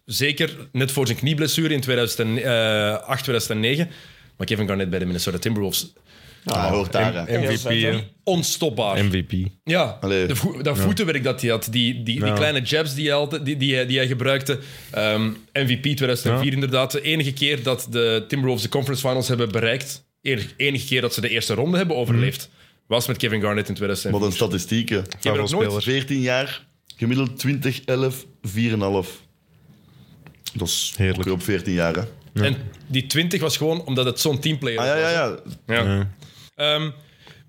Zeker net voor zijn knieblessure in eh, 2008, 2009. Maar Kevin Garnett bij de Minnesota Timberwolves,
Ah, hoort daar. hè.
MVP, hè.
onstopbaar.
MVP.
ja,
Allee.
de vo- dat voetenwerk dat hij had, die, die, die
Ja.
kleine jabs die hij, altijd, die, die, hij- die hij gebruikte. Ehm, MVP 2004
Ja.
inderdaad. De enige keer dat de Timberwolves de conference finals hebben bereikt, eer- enige keer dat ze de eerste ronde
Mhm.
hebben overleefd, was met Kevin Garnett in 2004.
Wat een statistieken.
Ik heb er nog nooit-
Speler.
14 jaar, gemiddeld 20, 11, 4,5. Dat is
Heerlijk.
ook op 14 jaar, hè?
En die 20 was gewoon omdat het zo'n teamplayer
Ah,
was.
ja, ja, ja.
Ja. Ehm,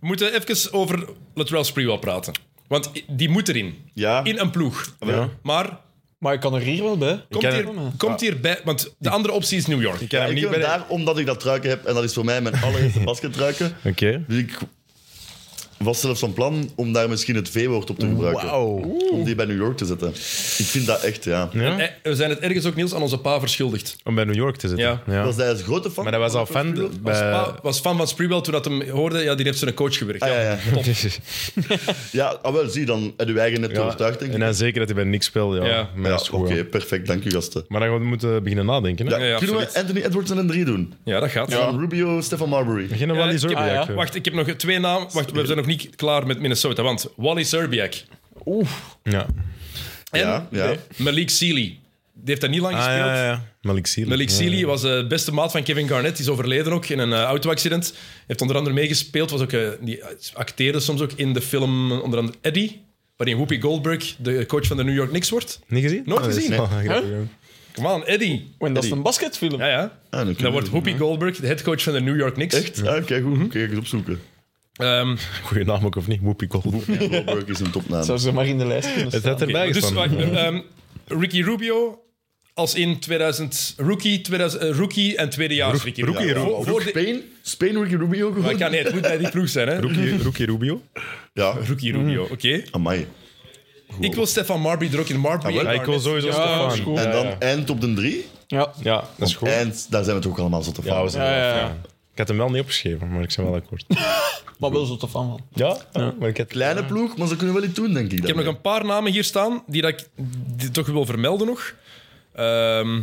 we moeten even over Latrell Sprewell praten. Want i- die moet erin.
Ja.
In een ploeg.
Ja.
Maar
Maar ik kan er hier wel bij.
komt
ken
hier,
hem.
komt hier bij... Want de andere optie is New York.
Ik ken hem
ik
Ah, niet
heb
bij...
hem
de-
daar omdat ik dat truiken heb en dat is voor
[LAUGHS]
mij mijn allereerste basketruiken.
Oké.
Dus ik was zelfs van plan om daar misschien het V-woord op te gebruiken.
Wauw.
Om die bij New York te zetten. Ik vind dat echt, ja.
Ja?
Eh, We zijn het ergens ook, Niels, aan onze pa verschuldigd.
Om bij New York te zitten.
Ja.
Was hij als grote fan?
Maar dat was al fan de-
Eh.
Ons
bij...
pa was fan van Sprewell toen dat hem hoorde... Ja, die heeft zijn coach gewerkt.
Ah, ja, ja.
top.
Ja, ah, wel, zie, dan heb je eigen net
[LAUGHS] Ja,
overtuigd, denk ik.
en dan zeker dat hij bij niks speelt. Ja,
Ja.
Maar
Ja,
dat is
oké,
goed, ja.
perfect. Dank u, gasten.
Maar dan gaan we moeten beginnen nadenken. Hè?
Ja,
Ja, ja,
kunnen we
absoluut.
Anthony Edwards en een 3 doen?
Ja, dat gaat.
Dan Rubio, Stefan Marbury.
Beginnen we
Eh,
al die
ik heb-
Zorbiak,
ah, ja.
hè.
Wacht, ik heb nog twee namen. Wacht, we zijn nog niet klaar met Minnesota. Want Wally Serbiak
Ja.
en
Ja, ja.
Malik Sealy. Die heeft dat niet lang
Ah,
gespeeld.
ja, ja. Malik Sealy.
Malik
eh,
Sealy was de beste maat van Kevin Garnett. Die is overleden ook in een eh, auto-accident. Heeft onder andere meegespeeld. Was ook, eh, die acteerde soms ook in de film eh, onder andere Eddie. Waarin Whoopi Goldberg de coach van de New York Knicks wordt.
Niet gezien?
Nooit
Ah, dat is
gezien.
wel grappig, ja.
Come on, Eddie.
En dat is een basketfilm.
Ja, ja.
dan Ah, kunnen
Dan
we
wordt
doen,
Whoopi Goldberg de headcoach van de New York Knicks.
Echt? Ah, Oké, goed. Kijk eens opzoeken.
Ehm,
Goeie naam ook, of niet? Whoopi Goldberg.
Goldberg is een topnaam.
Zou ze maar in de lijst kunnen
Het
staan.
had erbij
dus
gestaan.
wacht, ehm, Ricky Rubio als in 2000 rookie, 2000, eh, rookie en tweedejaars Ricky Rubio.
rookie,
Voor-
rookie.
voor de-
Spain? Spain, Ricky Rubio
Maar
gewoon?
ik kan- nee, het moet bij die ploeg zijn, hè?
Rookie, rookie Rubio.
Ja,
Rookie Rubio,
Mhm.
oké.
amai.
Ik wil Stefan Marbury er ook in. Marbury
Ah, wel?
Ja, ik wil sowieso
dat is
Stefan.
goed.
En dan eind op de 3.
Ja.
Ja, dat is goed.
En daar zijn we toch allemaal zot
Ja, we
van.
zijn wel-
Ja, ja, ja.
ja. Ik had hem wel niet opgeschreven, maar ik ben wel akkoord.
Maar wel zo te fan van.
Ja? Maar ik had...
Kleine ploeg, maar ze kunnen wel iets doen, denk ik.
Ik heb nog een paar namen hier staan die dat ik die toch wil vermelden nog. Ehm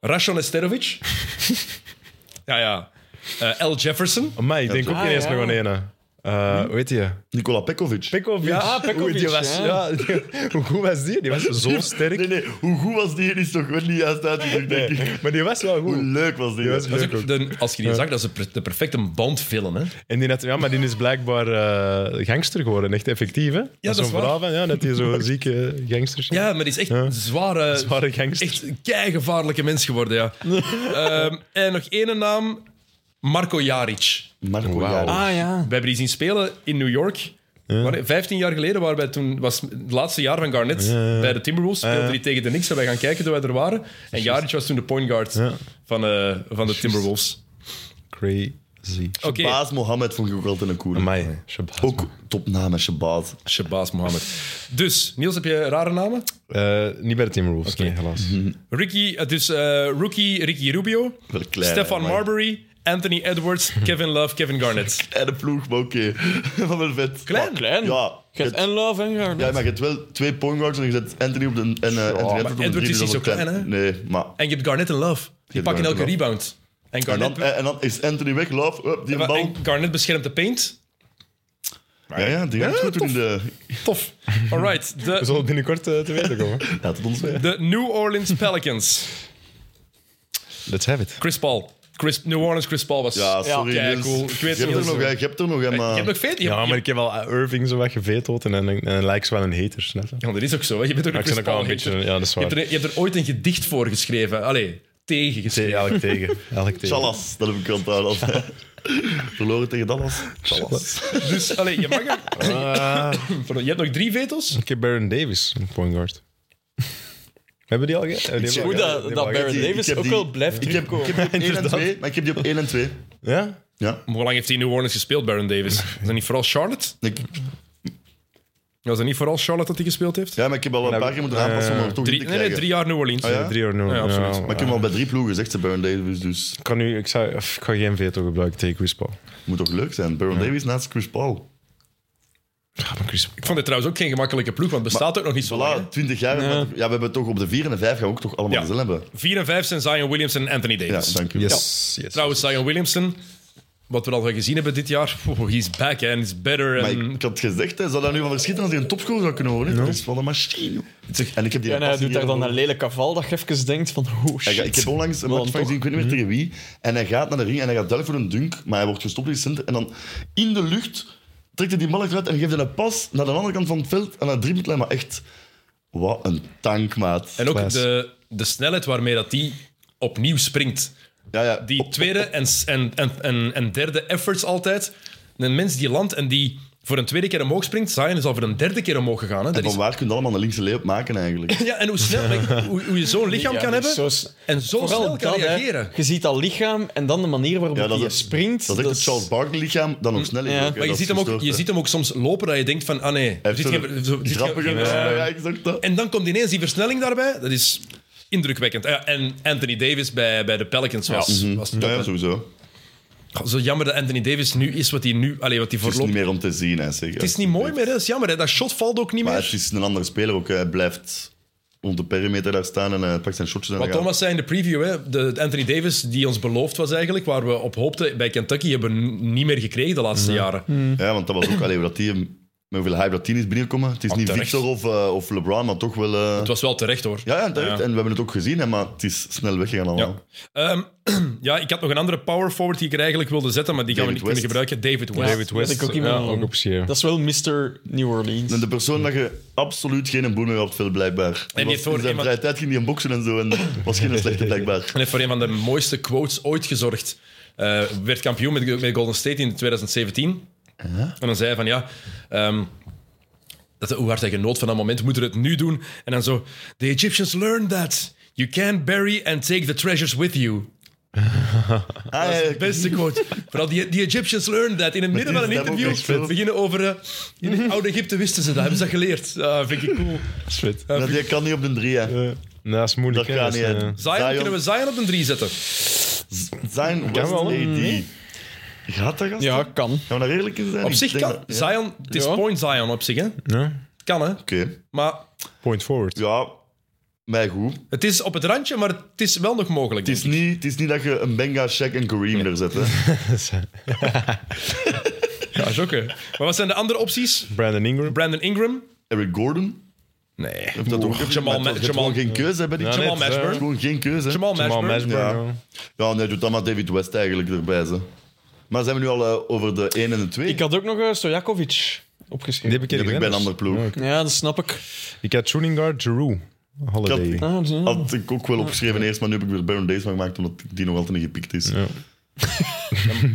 Rashon Esterovic. ja, ja. Eh, L. Jefferson.
Amai, ik denk ook
Ah,
ineens
ja.
nog aan ene. Eh, Hoe heet je?
Nicola Pekovic.
Pekovic.
Ja, ah, Pekovic,
Oei, die was,
ja.
ja. die- hoe goed was die? Die was [LAUGHS] zo sterk.
Nee, nee, hoe goed was die? Die is toch gewoon niet juist uitgedrukt, denk ik.
Maar die was wel
Hoe
goed.
leuk was die?
Die was
Dat is
leuk
ook
ook.
de, als je die zag, dat is de per- de perfecte bandfilm. Hè?
En die had, ja, maar die is blijkbaar eh, gangster geworden. Echt effectief, hè?
dat is
zo'n
waar.
verhaal van, ja, dat die zo zieke gangsters zijn.
Ja, maar die is echt een zware,
Zware gangster.
Echt een keigevaarlijke mens geworden, ja. Ehm, en nog één naam. Marco Jaric.
Marco
Wauw.
Jaren.
Ah ja.
We hebben die zien spelen in New York. Waar- 15 jaar geleden waren wij toen, was het laatste jaar van Garnett bij de Timberwolves. Speelde die tegen de Knicks en wij gaan kijken toen wij er waren. En Jaric was toen de point guard van, eh, van de Timberwolves.
Crazy.
Oké,
Baas Mohammed vond ik ook altijd een coole.
Amai, Shabazz.
Ook topnaam, Shabazz.
Shabazz Mohammed. Dus, Niels, heb je rare namen?
Eh, niet bij de Timberwolves, nee, helaas.
Ricky, het is eh, rookie Ricky Rubio,
Wel klein,
Stefan
amai.
Marbury, Anthony Edwards, Kevin Love, Kevin Garnett.
En de ploeg, maar oké. [LAUGHS] Wat wel vet.
Klein.
Klein.
Ja.
Je hebt
het-
en Love en
Ja,
Garnett.
maar je hebt wel twee point guards en je zet Anthony op de... En, eh Anthony Edwards op de
Edwards
drie,
is niet
dus dat
zo
wordt
klein, hè?
Nee, maar...
En je hebt Garnett en Love. Die
hebt
pakken
Garnett
elke
en
rebound. En
En
Garnett,
dan, en dan is Anthony weg, love, up, die
en
bal.
Garnett beschermt de paint.
Ja, ja, die gaat het goed doen eh. in de...
Tof. All right. De,
We zullen binnenkort eh, te weten komen.
[LAUGHS] Laat het ons weten.
De New Orleans Pelicans.
Let's have it.
Chris Paul. Chris, New Orleans Chris Paul was...
Ja,
Ik
sorry.
Ja,
Niels.
cool. Ik weet
Je
het
hebt er
niet,
nog, hè, je hebt er nog, eh, hè, maar...
heb nog veel...
Ja,
je,
maar ik heb wel eh, Irving zo wat geveteld en, en, en Likes wel een hater. Snap je?
Ja, dat is ook zo. Hè. Je bent ook een
Maar ik
Chris
ben
Paul
ook al een beetje...
hater.
Ja, dat is
je, hebt
waar.
er, je hebt er ooit een gedicht voor geschreven. Allee, tegen
Tegen,
geschreven.
Elk tegen. Elk tegen.
Chalas, dat heb ik onthouden.
[LAUGHS]
als- Verloren tegen Dallas. Chalas.
Dus, allee, je mag... er-
[LAUGHS] Ah,
Pardon, Je hebt nog drie veto's?
ik heb Baron Davis, een point guard. [LAUGHS] Hebben die al ge- eh, die hebben al
Goed
ge-
dat,
die hebben
dat
al
Baron
ge-
die- ik
Davis
heb
ook
die-
wel blijft
Ik heb, ik
terugkomen.
heb die op 1 en
Inderdaad.
2, maar ik heb die op 1 en 2.
Ja?
Ja.
Maar Hoe lang heeft hij in New Orleans gespeeld, Baron Davis? Is dat niet vooral Charlotte?
Ik,
Was dat niet vooral Charlotte dat hij gespeeld heeft?
ja, maar ik heb
Nou,
al een paar keer moeten aanpassen om er toch in
eh, Drie,
te
nee, nee,
krijgen. Ah,
drie eh. jaar New Orleans.
ja?
Drie of nul.
Ja, absoluut.
Maar ik heb hem al bij drie ploegen gezegd, de Baron Davis, dus
Ik, kan nu, ik, zou, of, ik ga geen veto gebruiken tegen Chris Paul.
het moet toch leuk zijn. Baron Davis naast Chris Paul.
Ja, maar Chris Paul.
Ik vond dit trouwens ook geen gemakkelijke ploeg, want het bestaat ook nog niet zo lang. hè.
Voilà, 20 jaar. Ja, we hebben toch op de 4 en de 5 gaan we ook toch allemaal
Ja.
dezelfde hebben.
Vier en vijf zijn Zion Williams en Anthony
Ja,
Davis.
dank u.
Yes. yes.
trouwens, Zion Williamson, wat we al gezien hebben dit jaar, oh, he's back hè, and he's better.
Maar
En,
ik, ik had gezegd, hij zou daar nu van verschieten als hij een topscore zou kunnen worden. Dat is wel een machine. joh. En ik heb die
En hij
passing
doet daar
hier
dan
ook.
een lelijk kaval dat je even denkt van, oh
Hij gaat- Ik heb
shit. Mhm.
onlangs een
Maar
match
dan
van gezien, ik weet niet meer tegen wie. En hij gaat naar de ring en hij gaat duidelijk voor een dunk, maar hij wordt gestopt in het centrum. En dan in de lucht trekt hij die bal eruit en geeft hij een pas naar de andere kant van het veld aan een driepuntlijn. Maar echt, wat een tankmaat.
en ook
Klaas.
de, de snelheid waarmee dat die opnieuw springt.
ja, ja.
Die tweede en, en, en, en, en derde efforts altijd. Een mens die landt en die voor een tweede keer omhoog springt, Zion is al voor een derde keer omhoog gegaan. Hè. Dat
Van
is-
waar kun je allemaal een linkse layup maken eigenlijk?
[LAUGHS] ja, en hoe snel, maar hoe, hoe je zo'n lichaam
Ja,
kan
die is
hebben
zo s-
en zo snel
Vooral
kan
dat, hè.
reageren.
Je ziet dat lichaam en dan de manier waarop
Ja, dat
hij
is-
springt.
Dat is echt het Charles Barkley lichaam, dan nog sneller.
Ja.
ook, hè.
Mm, Maar je
Dat is
ziet, hem ook,
gestoord,
je
hè.
ziet hem ook soms lopen dat je denkt van, ah nee. er
Hij
zit
heeft
geen- zo- zit
zo'n
geen-
grappige... Ja, ja, ik zag dat.
En dan komt ineens die versnelling daarbij. Dat is indrukwekkend. Ah ja, En Anthony Davis bij, bij de Pelicans was, was top.
Ja, Mhm. ja, sowieso.
Goh, Zo jammer dat Anthony Davis nu is wat hij nu... Allee, wat hij
Het is niet
voorloopt.
meer om te zien, hè, zeg.
Het is niet mooi meer, hè. dat is jammer. Hè. Dat shot valt ook niet
Maar
meer.
het is een andere speler ook. hè. Hij blijft rond de perimeter daar staan en hij pakt zijn shotjes en
Wat
dan gaat-
Thomas zei in de preview, hè, de de Anthony Davis die ons beloofd was eigenlijk, waar we op hoopten bij Kentucky, hebben we n- niet meer gekregen de laatste
Mhm.
jaren.
Mhm.
Ja, want dat was ook... Allee, dat die, met hoeveel hype dat die is binnengekomen. Het is niet
Oh, terecht.
Victor of, eh, of LeBron, maar toch wel... eh,
Het was wel terecht hoor.
Ja, ja, terecht. En we hebben het ook gezien, hè, maar het is snel weggegaan allemaal.
Ja. Ehm, [CLEARS THROAT] ja, ik had nog een andere power forward die ik er eigenlijk wilde zetten, maar die gaan we
David
niet kunnen gebruiken. David West.
David West.
Dat ik ook
ja,
iemand-
ook op zeer.
Dat is wel Mr. New Orleans.
En de persoon dat je absoluut geen boel meer had, veel blijkbaar.
heeft
En was, in
voor
zijn
iemand-
vrije tijd ging hij een boksen en zo en was
[LAUGHS]
geen slechte blijkbaar.
En heeft voor een van de mooiste quotes ooit gezorgd. Eh, werd kampioen met, met Golden State in 2017. En dan zei hij van ja. ehm, dat, hoe hard hij genoot van dat moment, moeten we het nu doen? En dan zo. The Egyptians learned that. You can bury and take the treasures with you.
Ah, ja, ja,
Beste quote. Vooral die, die Egyptians learned that. In het midden
die
van een
is dat ook echt
interview
vet.
beginnen over. eh, in het oude Egypte wisten ze dat, hebben ze dat geleerd. Ah, vind ik cool.
Sweet.
dat- die kan niet op de drie, hè.
Eh, nou, dat is moeilijk.
Dat
hè.
gaat niet,
is,
Zion,
hè.
eh,
Zion.
kunnen we Zion op een 3 zetten?
Zijn West
wel, hè.
AD. Gaat dat, gast?
Ja,
Gaan
kan.
we daar eerlijk in zijn?
Op
Ik
zich
denk
kan.
dat- ja.
Zion, het is
Ja.
point Zion op zich, hè?
ja.
Kan, hè?
Oké.
Maar
Point forward.
Ja, mij goed.
Het is op het randje, maar het is wel nog mogelijk.
Het is, niet, het is niet dat je een Benga, Shaq en Kareem er zet. Hè.
Ja, is ook, hè. Maar wat zijn de andere opties?
Brandon Ingram.
Brandon Ingram?
Eric Gordon.
Nee.
Heeft dat ook
Oeh,
even-
Jamal,
maar toch,
Ma-
je hebt
Jamal,
gewoon geen keuze hebben. Die
Ja,
Jamal
net, hè.
Mashburn.
Gewoon geen keuze. hè.
Jamal
Jamal
Mashburn.
Mashburn.
Ja.
ja.
Ja, nee, doet dan maar David West eigenlijk erbij. Ze. Maar zijn we nu al eh, over de 1 en de 2?
Ik had ook nog eh, Stojakovic
Die
opgeschreven.
heb ik,
Die heb ik bij een andere ploeg.
Ja, dat snap ik.
Ik had shooting guard Giroux. Holiday.
Ik
Ah, ja.
Had ik ook wel opgeschreven eerst, maar nu heb ik weer Baron Days van gemaakt omdat die nog altijd niet gepikt is.
Ja.
[LAUGHS]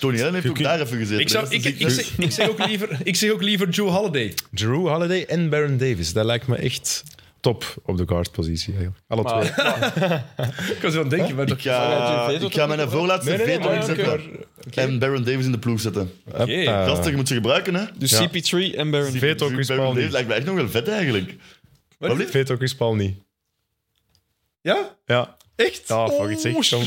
Tony Allen heeft ook daar even gezeten.
Ik, zou,
hè.
ik,
Dat
ik,
is
ik
echt-
zeg, ik, zeg ook liever, ik zeg ook liever Joe Holiday.
Drew Holiday en Baron Davis. Dat lijkt me echt top op de guardpositie. eigenlijk. Alle twee.
Maar,
Ik was aan het denken, maar...
ik ga,
Zou jij je veto
ik ga mijn voorlaatste
Nee, nee, nee,
veto
maar-
inzetten. En Baron Davis in de ploeg zetten.
Ah. Hoppa.
Gasten, je moet ze gebruiken, hè?
dus
Ja.
CP3 en Baron.
Veto Chris
Baron
Paul
Davis
niet.
lijkt me echt nog wel vet eigenlijk. Wat lief?
Veto Chris Paul niet.
Ja?
Ja.
Echt?
Ja, fuck it, zeg. Zo.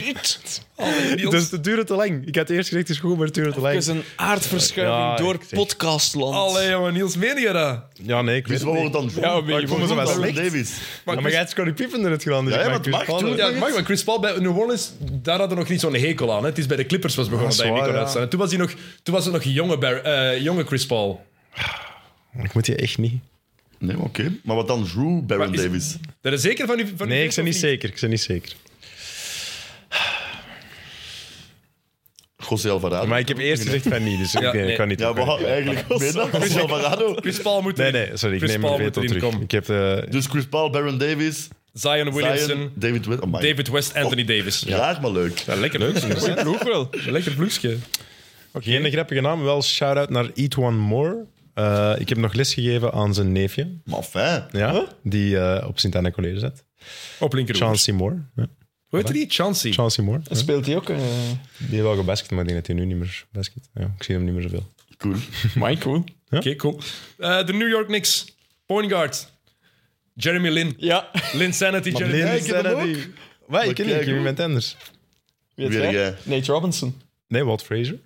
Dus het duurde te lang. Ik had eerst gezegd, het is goed, maar het duurde te
Er
lang.
is een aardverschuiving
Ja,
door
ik zeg-
podcastland.
Allee, jongen, Niels, meen je dat?
Ja, nee, ik
Dus
wist
wat
het
wordt
niet.
dan?
Ja, maar je
ik vond
moet
het wel
hem
Baron
slecht.
Davis.
Ja, maar jij hebt Scottie Pippen in het gedaan. Dus
Ja,
ik
ja,
maak
maar het mag,
Chris Paul
tuurlijk.
erin.
Ja, dat mag, maar Chris Paul bij New Orleans, daar hadden we nog niet zo'n hekel aan. Hè. Het is bij de Clippers was begonnen
Ah,
dat je niet
zwaar,
kon
ja.
uitstaan. En Toen was, hij nog, toen was het nog jonge, Bar- eh, jonge Chris Paul.
Ik moet je echt niet.
Nee, maar oké. Maar wat dan Drew Baron
Maar is-
Davis?
Daar is zeker van... u- van
Nee,
u-
ik ben niet zeker. Ik ben niet zeker.
José Alvarado.
Maar ik heb eerst gezegd van niet, dus ik
Ja,
nee,
nee.
ik kan niet.
ja,
ik kan
we
niet.
hadden eigenlijk meer dan José Alvarado.
Chris Paul moet
Nee,
erin.
nee, sorry. Ik
Chris
neem
Paul
mijn
moet
veto
erin
terug.
komen.
Ik heb eh, de...
Dus Chris Paul, Baron Davis,
Zion Williamson,
Zion, David Witt. Oh my.
David West, Anthony Davis. Ja.
Raar, maar leuk.
lekker ploegje.
Ook wel.
Lekker ploegje.
Geen grappige naam, wel shout-out naar Eat One More. Eh, ik heb nog les gegeven aan zijn neefje,
Maar fijn.
ja, die eh, op Sint-Anne College zat.
Op linkeroever.
Chauncey Moore. Ja.
Hoe heet die? Chansey.
Chauncey Moore.
En
ja.
speelt hij ook? eh
Die heeft wel gebasket, maar ik denk dat hij nu niet meer basket. Ja, ik zie hem niet meer zoveel.
Cool.
Michael.
Oké, cool. Eh, de New York Knicks. Point guard. Jeremy Lin.
Ja. [LAUGHS]
Lin Sanity. Jeremy
Lin-
Lin.
ik heb hem ook.
Wat? Ik ken
kijk,
niet, ik ken
hoe-
iemand anders.
Weet
Weer
jij?
jij.
Nate Robinson.
Nee, Walt Frazier.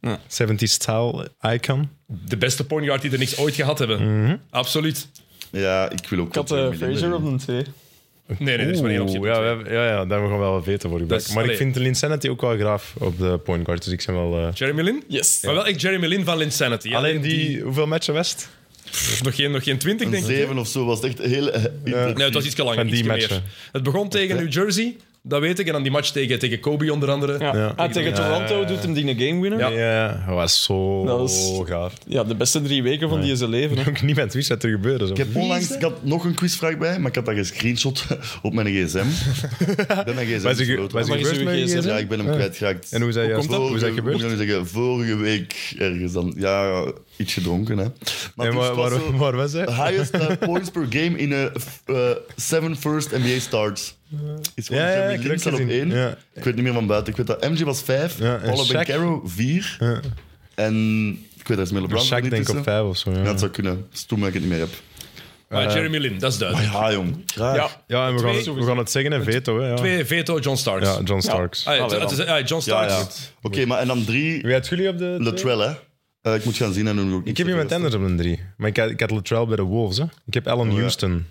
Ja.
70s style icon.
De beste point guard die de Knicks ooit gehad hebben.
Mhm.
Absoluut.
Ja, ik wil ook...
Ik had eh, Fraser op een 2.
Nee, nee, er is maar één optie.
Oeh, ja, we hebben- ja, ja, daar hebben we gewoon wel veto voor gebruikt.
is-
maar
allee.
ik vind de Linsanity ook wel graaf op de point guard, dus ik zijn wel... eh,
Jeremy Lin?
Yes.
Maar wel echt Jeremy Lin van Linsanity. hè.
Alleen die, hoeveel matchen West?
Pff, Nog geen, nog geen 20, denk ik.
Zeven of zo was het echt heel... eh, intensief.
Nou,
Nee, het was iets langer.
Van die
ietsje
matchen.
meer. Het begon tegen New Jersey, dat weet ik. En dan die match tegen, tegen Kobe onder andere.
Ja.
Ja.
Ah, tegen Toronto doet hem die een game winner.
Ja.
Ja.
Ja, dat was zo
Dat was-
[LAUGHS] gaaf.
de beste drie weken van die zijn leven. hè.
Ook niemand wist wat er gebeurde. Zo.
Ik heb onlangs... Ik had nog een quizvraag bij, maar ik had dat gescreenshot [LAUGHS] op mijn gsm. Ik ben mijn gsm
Wat is er ge-
gesloten.
wat is er
Maar is
gebeurd
uw
met je
gsm?
gsm?
Ja, ik ben hem kwijtgeraakt.
En hoe is dat juist-
Vorige-
hoe is dat gebeurd?
moet ik nog eens zeggen, vorige week ergens dan. Ja, iets gedronken, hè. Maar
En
toen
waar,
was
waar,
zo-
waar was hij? [LAUGHS]
highest [LAUGHS] uh, points per game in eh, f- eh, seven first NBA starts. Is gewoon
Ja, ja,
Jeremy
ik heb
Lin
ook
staat op
gezien.
één.
Ja.
Ik weet niet meer van buiten. Ik weet dat MJ was vijf,
Ja, en
Paolo
Shaq-
Bencaro vier. En ik weet dat is Miller Brown er
Shaq
niet
denk ik op
tussen.
vijf of zo.
Ja,
Ja,
dat zou kunnen. Dat is toen dat ik het niet meer heb.
Maar Jeremy Lin, dat is duidelijk.
Ja, jong. Graag.
Ja.
ja en we
Twee-
gaan, we gaan het zeggen, en veto. Hè, ja.
Twee veto, John Starks.
ja, John Starks.
Ah, ja,
Allee,
het is-
dan.
ah, John
Ja,
Starks.
ja. Oké, maar en dan drie,
Wie had jullie op de... twee?
Latrell, hè. Eh, ik moet gaan zien en doen we ook
Ik heb iemand anders op een drie. Maar ik had, ik had Latrell bij de Wolves. Hè. Ik heb
Oh,
Allen Houston.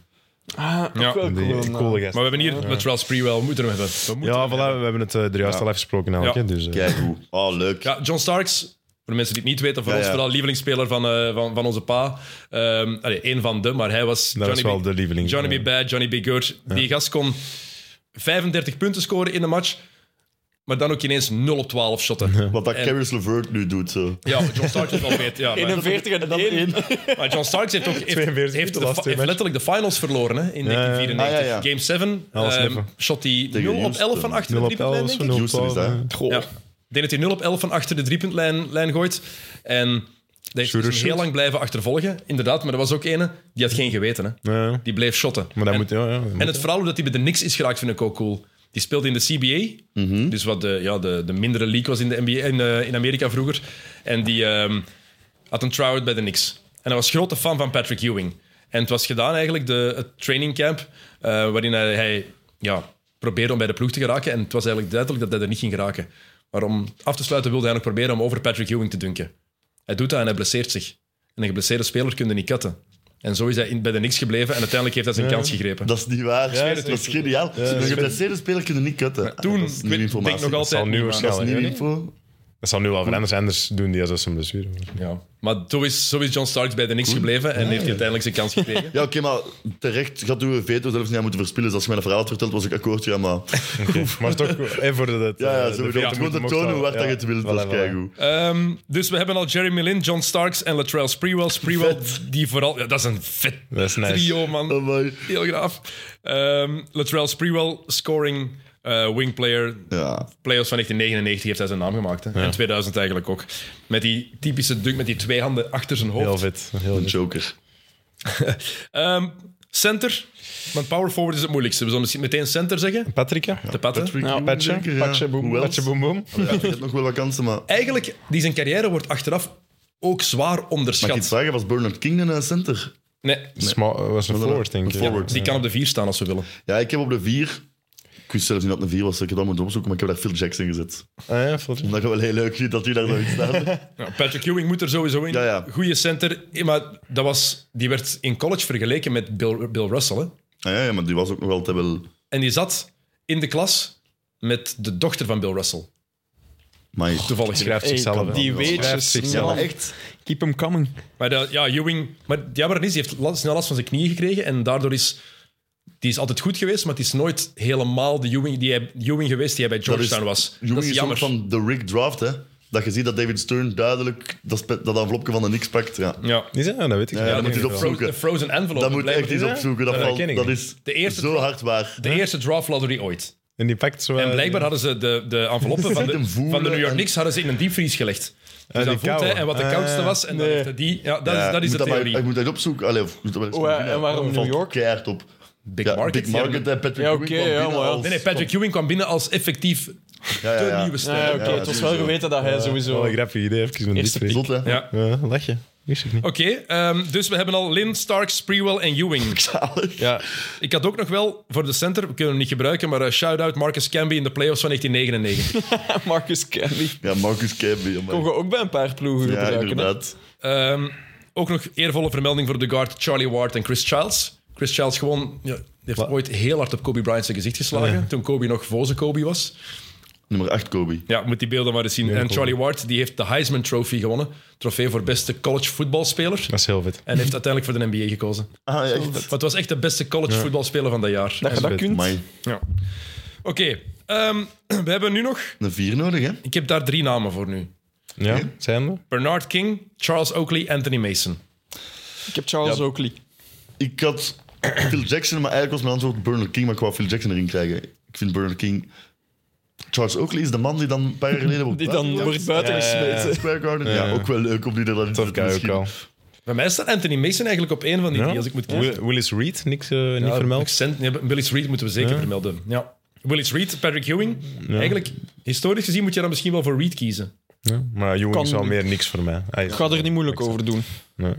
Ah, ook
Ja.
wel cool.
Die coole
man.
gast.
eh, Maar we hebben hier Latrell Sprewell, we moeten hem hebben. We moeten
Ja,
hem
voilà, we hebben het eh, er juist al afgesproken namelijk.
Ja.
hè, Dus, eh.
Kijk hoe. Oh, leuk.
Ja, John Starks, voor de mensen die het niet weten, voor
Ja,
ons
ja.
vooral lievelingsspeler van, eh, van, van onze pa. Ehm allee, één van de, maar hij was
Dat is
Johnny
wel
B-
de lieveling.
Johnny
Ja.
B. Bad, Johnny B. Good. Die gast kon 35 punten scoren in de match, maar dan ook ineens 0 op 12 shotten.
Wat dat
En-
Caris LeVert nu doet, zo.
Ja, John Starks is wel beter. Ja, maar,
41 en dan 1.
maar John Starks heeft, ook, heeft,
42
heeft,
de
de
laatste
fi- heeft
match.
letterlijk de finals verloren hè, in 1994.
Ah, ja, ja.
Game 7
Alles
ehm,
neffen.
shot hij
Tegen
0 op 11 van
Houston.
achter de
0 op 11
driepuntlijn,
of
denk
zo,
ik.
0
Houston
op
is
12.
dat, hè.
Ja. Ik denk dat hij 0 op 11 van achter de driepuntlijn lijn gooit. En dat heeft
Shooter
hem heel
shoot.
lang blijven achtervolgen. Inderdaad, maar er was ook ene die had geen geweten. Hè.
Ja. Ja.
Die bleef shotten.
Maar dat
en,
moet... Ja, ja, dat moet.
en het verhaal hoe dat hij bij de Knicks is geraakt, vind ik ook cool. Die speelde in de CBA, dus wat de, ja, de, de mindere league was in, de NBA, in, eh, in Amerika vroeger. En die ehm, had een try-out bij de Knicks. En hij was grote fan van Patrick Ewing. En het was gedaan eigenlijk, de, het training camp, eh, waarin hij, hij, ja, probeerde om bij de ploeg te geraken. En het was eigenlijk duidelijk dat hij er niet ging geraken. Maar om af te sluiten wilde hij nog proberen om over Patrick Ewing te dunken. Hij doet dat en hij blesseert zich. En een geblesseerde speler kun je niet katten. En zo is hij in, bij de Knicks gebleven en uiteindelijk heeft hij zijn kans gegrepen.
Dat is niet waar. dat is geniaal. Een geblesseerde speler kunnen niet cutten.
Toen,
dat is
ik weet-
nieuwe
denk
informatie.
nog
Dat zal
altijd.
nu
niet, maar-
waarschijnlijk-
dat is nieuwe
Ja,
info.
Dat zal nu wel veranderen, anders doen die als een blessure.
Ja. Maar zo is, zo is John Starks bij de niks gebleven en heeft hij uiteindelijk zijn kans gekregen.
Ja, oké, maar terecht gaat uw veto zelfs niet aan moeten verspillen. Dus als je mij een verhaal had verteld, was ik akkoord. Ja,
[LAUGHS]
maar...
Maar toch, eh, voor dat...
Ja, ja,
eh,
zo
de
bedoel ik.
veto
Gewoon de
moet
toon
mocht
hoe hard
wel.
dat je het
Ja,
wilt. Dat is
voilà, Eh. voilà.
keigoed.
Ehm, dus we hebben al Jeremy Lin, John Starks en Latrell Sprewell. Sprewell, die vooral... Ja, dat is een vet
Dat is nice.
trio, man.
Oh, my.
Heel graaf. Ehm, Latrell Sprewell, scoring eh, wing player.
Ja.
Playoffs van 1999 heeft hij zijn naam gemaakt. Hè. En 2000 eigenlijk ook. Met die typische dunk met die twee handen achter zijn hoofd.
Heel vet. Heel
Een
vet.
joker.
[LAUGHS] Ehm, center. Want power forward is het moeilijkste. We zullen misschien meteen center zeggen.
Patrika?
De patten.
Ewing,
Patje.
denk ik, ja.
Patje, Nou, boom.
Hoe else?
Patje, boom, boom.
Ja, ik heb nog wel wat kansen, maar...
Eigenlijk, die zijn carrière wordt achteraf ook zwaar
Mag ik iets
onderschat.
vragen? Was Bernard King een eh, center?
Nee,
Sma- was een forward, denk ik.
forward.
die kan op de vier staan als we willen.
Ja, ik heb op de vier... Ik wist zelfs niet dat het een vier was, ik heb dat moeten opzoeken, maar ik heb daar Phil Jackson gezet.
Ah, ja, forward.
Omdat ik wel heel leuk vind dat hij daar zo in
[LAUGHS]
staat. Ah,
Ja, Patrick Ewing moet er sowieso in.
Ja, ja.
Goeie center. Eh, Maar dat was, die werd in college vergeleken met Bill, Bill Russell. Hè?
Ah, ja, ja, maar die was ook nog altijd wel...
En die zat in de klas met de dochter van Bill Russell.
Maar
Toevallig.
Schrijft zichzelf. hè.
die weetjes.
Schrijft
man.
zichzelf.
echt.
Keep him coming.
Maar dat- ja, Ewing... Maar die is, die heeft last, snel last van zijn knieën gekregen. En daardoor is... Die is altijd goed geweest, maar het is nooit helemaal de Ewing, die hij, Ewing geweest die hij bij Georgetown was.
Jong
dat
is
is
ook
jammer.
van de Rick Draft, hè. Dat je ziet dat David Stern duidelijk dat, spe- dat envelopje van de niks pakt. Ja.
Ja.
Is dat? Dat weet ik
Ja,
niet.
dat moet je
Fro-
opzoeken.
de Frozen Envelope.
Dat moet je
blijkbaar.
echt eens
hè?
opzoeken. Dat,
Dat
valt-
ken ik
dat
niet.
is
De eerste
zo hard waar.
De eerste draft lottery ooit.
En die pakt zo...
En blijkbaar hadden ze de, de enveloppen van de,
Zitten voelen
van de New York
en-
Knicks hadden ze in een diepvries gelegd. Dus
die
dat voelt
koude.
hij en wat de
Ah,
koudste was. En dan
nee.
heeft hij die. Ja, dat is, dat is
ik
de
moet maar-
theorie.
ik moet dat opzoeken. Allee, of, ik moet dat wel eens
Oh, ja,
gaan doen,
en
hè.
waarom
Dat
New
valt
York?
keihard op.
Big
Ja,
Market.
Big Market en Patrick
Ja,
Ewing
oké,
kwam
ja,
binnen
maar ja.
als-
Nee, nee, Patrick Ewing kwam binnen als effectief
Ja, ja,
de
ja.
nieuwe ster.
Ja, oké.
Ja,
het was wel
sowieso.
geweten dat hij sowieso...
Wel een grappig idee, even met
Eerste
die
Zot,
twee.
hè?
Ja.
Ja, lach je. Wist ik niet.
Oké, ehm, dus we hebben al Lynn, Stark, Sprewell en
[LAUGHS]
Ewing.
Zalig.
Ja. Ik had ook nog wel voor de center, we kunnen hem niet gebruiken, maar eh, shout-out Marcus Camby in de playoffs van 1999.
Marcus Camby.
Ja, Marcus Camby. amai.
Kon je ook bij een paar ploegen
Ja,
gebruiken. hè?
inderdaad.
Ehm, ook nog eervolle vermelding voor de guard Charlie Ward en Chris Childs. Chris Childs gewoon, ja, die heeft ooit heel hard op Kobe Bryant zijn gezicht geslagen, toen Kobe nog voze Kobe was.
Nummer 8, Kobe.
Ja, moet die beelden maar eens zien. en
cool.
Charlie Ward die heeft de Heisman Trophy gewonnen, trofee voor beste college voetbalspeler.
Dat is heel vet.
En heeft uiteindelijk voor de NBA gekozen.
Ah, ja, echt.
Want het was echt de beste college voetbalspeler van dat jaar.
Dat je dat
Vet.
kunt.
Amai.
Ja. Oké, ehm, [CLEARS THROAT] we hebben nu nog...
Een 4 nodig, hè?
Ik heb daar drie namen voor nu.
Ja, zijn we?
Bernard King, Charles Oakley, Anthony Mason.
Ik heb Charles
Ja.
Oakley.
Ik had [CLEARS THROAT] Phil Jackson, maar eigenlijk was mijn antwoord Bernard King, maar ik wou Phil Jackson erin krijgen. Ik vind Bernard King... Charles Oakley is de man die dan een paar jaar geleden wordt
[LAUGHS] Die dan wordt buiten gesmeten.
Square Garden. Ja, ook wel leuk om die er dan in te
Tof guy ook al.
Bij mij staat Anthony Mason eigenlijk op één van die
Ja?
drie, als ik moet kiezen.
Will- Willis Reed, niks eh, niet
Ja,
vermeld.
Ah, accent- nee, Willis Reed moeten we zeker vermelden. Ja. Willis Reed, Patrick Ewing. Eigenlijk, historisch gezien moet je dan misschien wel voor Reed kiezen.
Ja, maar Ewing is
Kan-
al meer niks voor mij. Hij is-
Ik ga er niet moeilijk over doen.
Nee.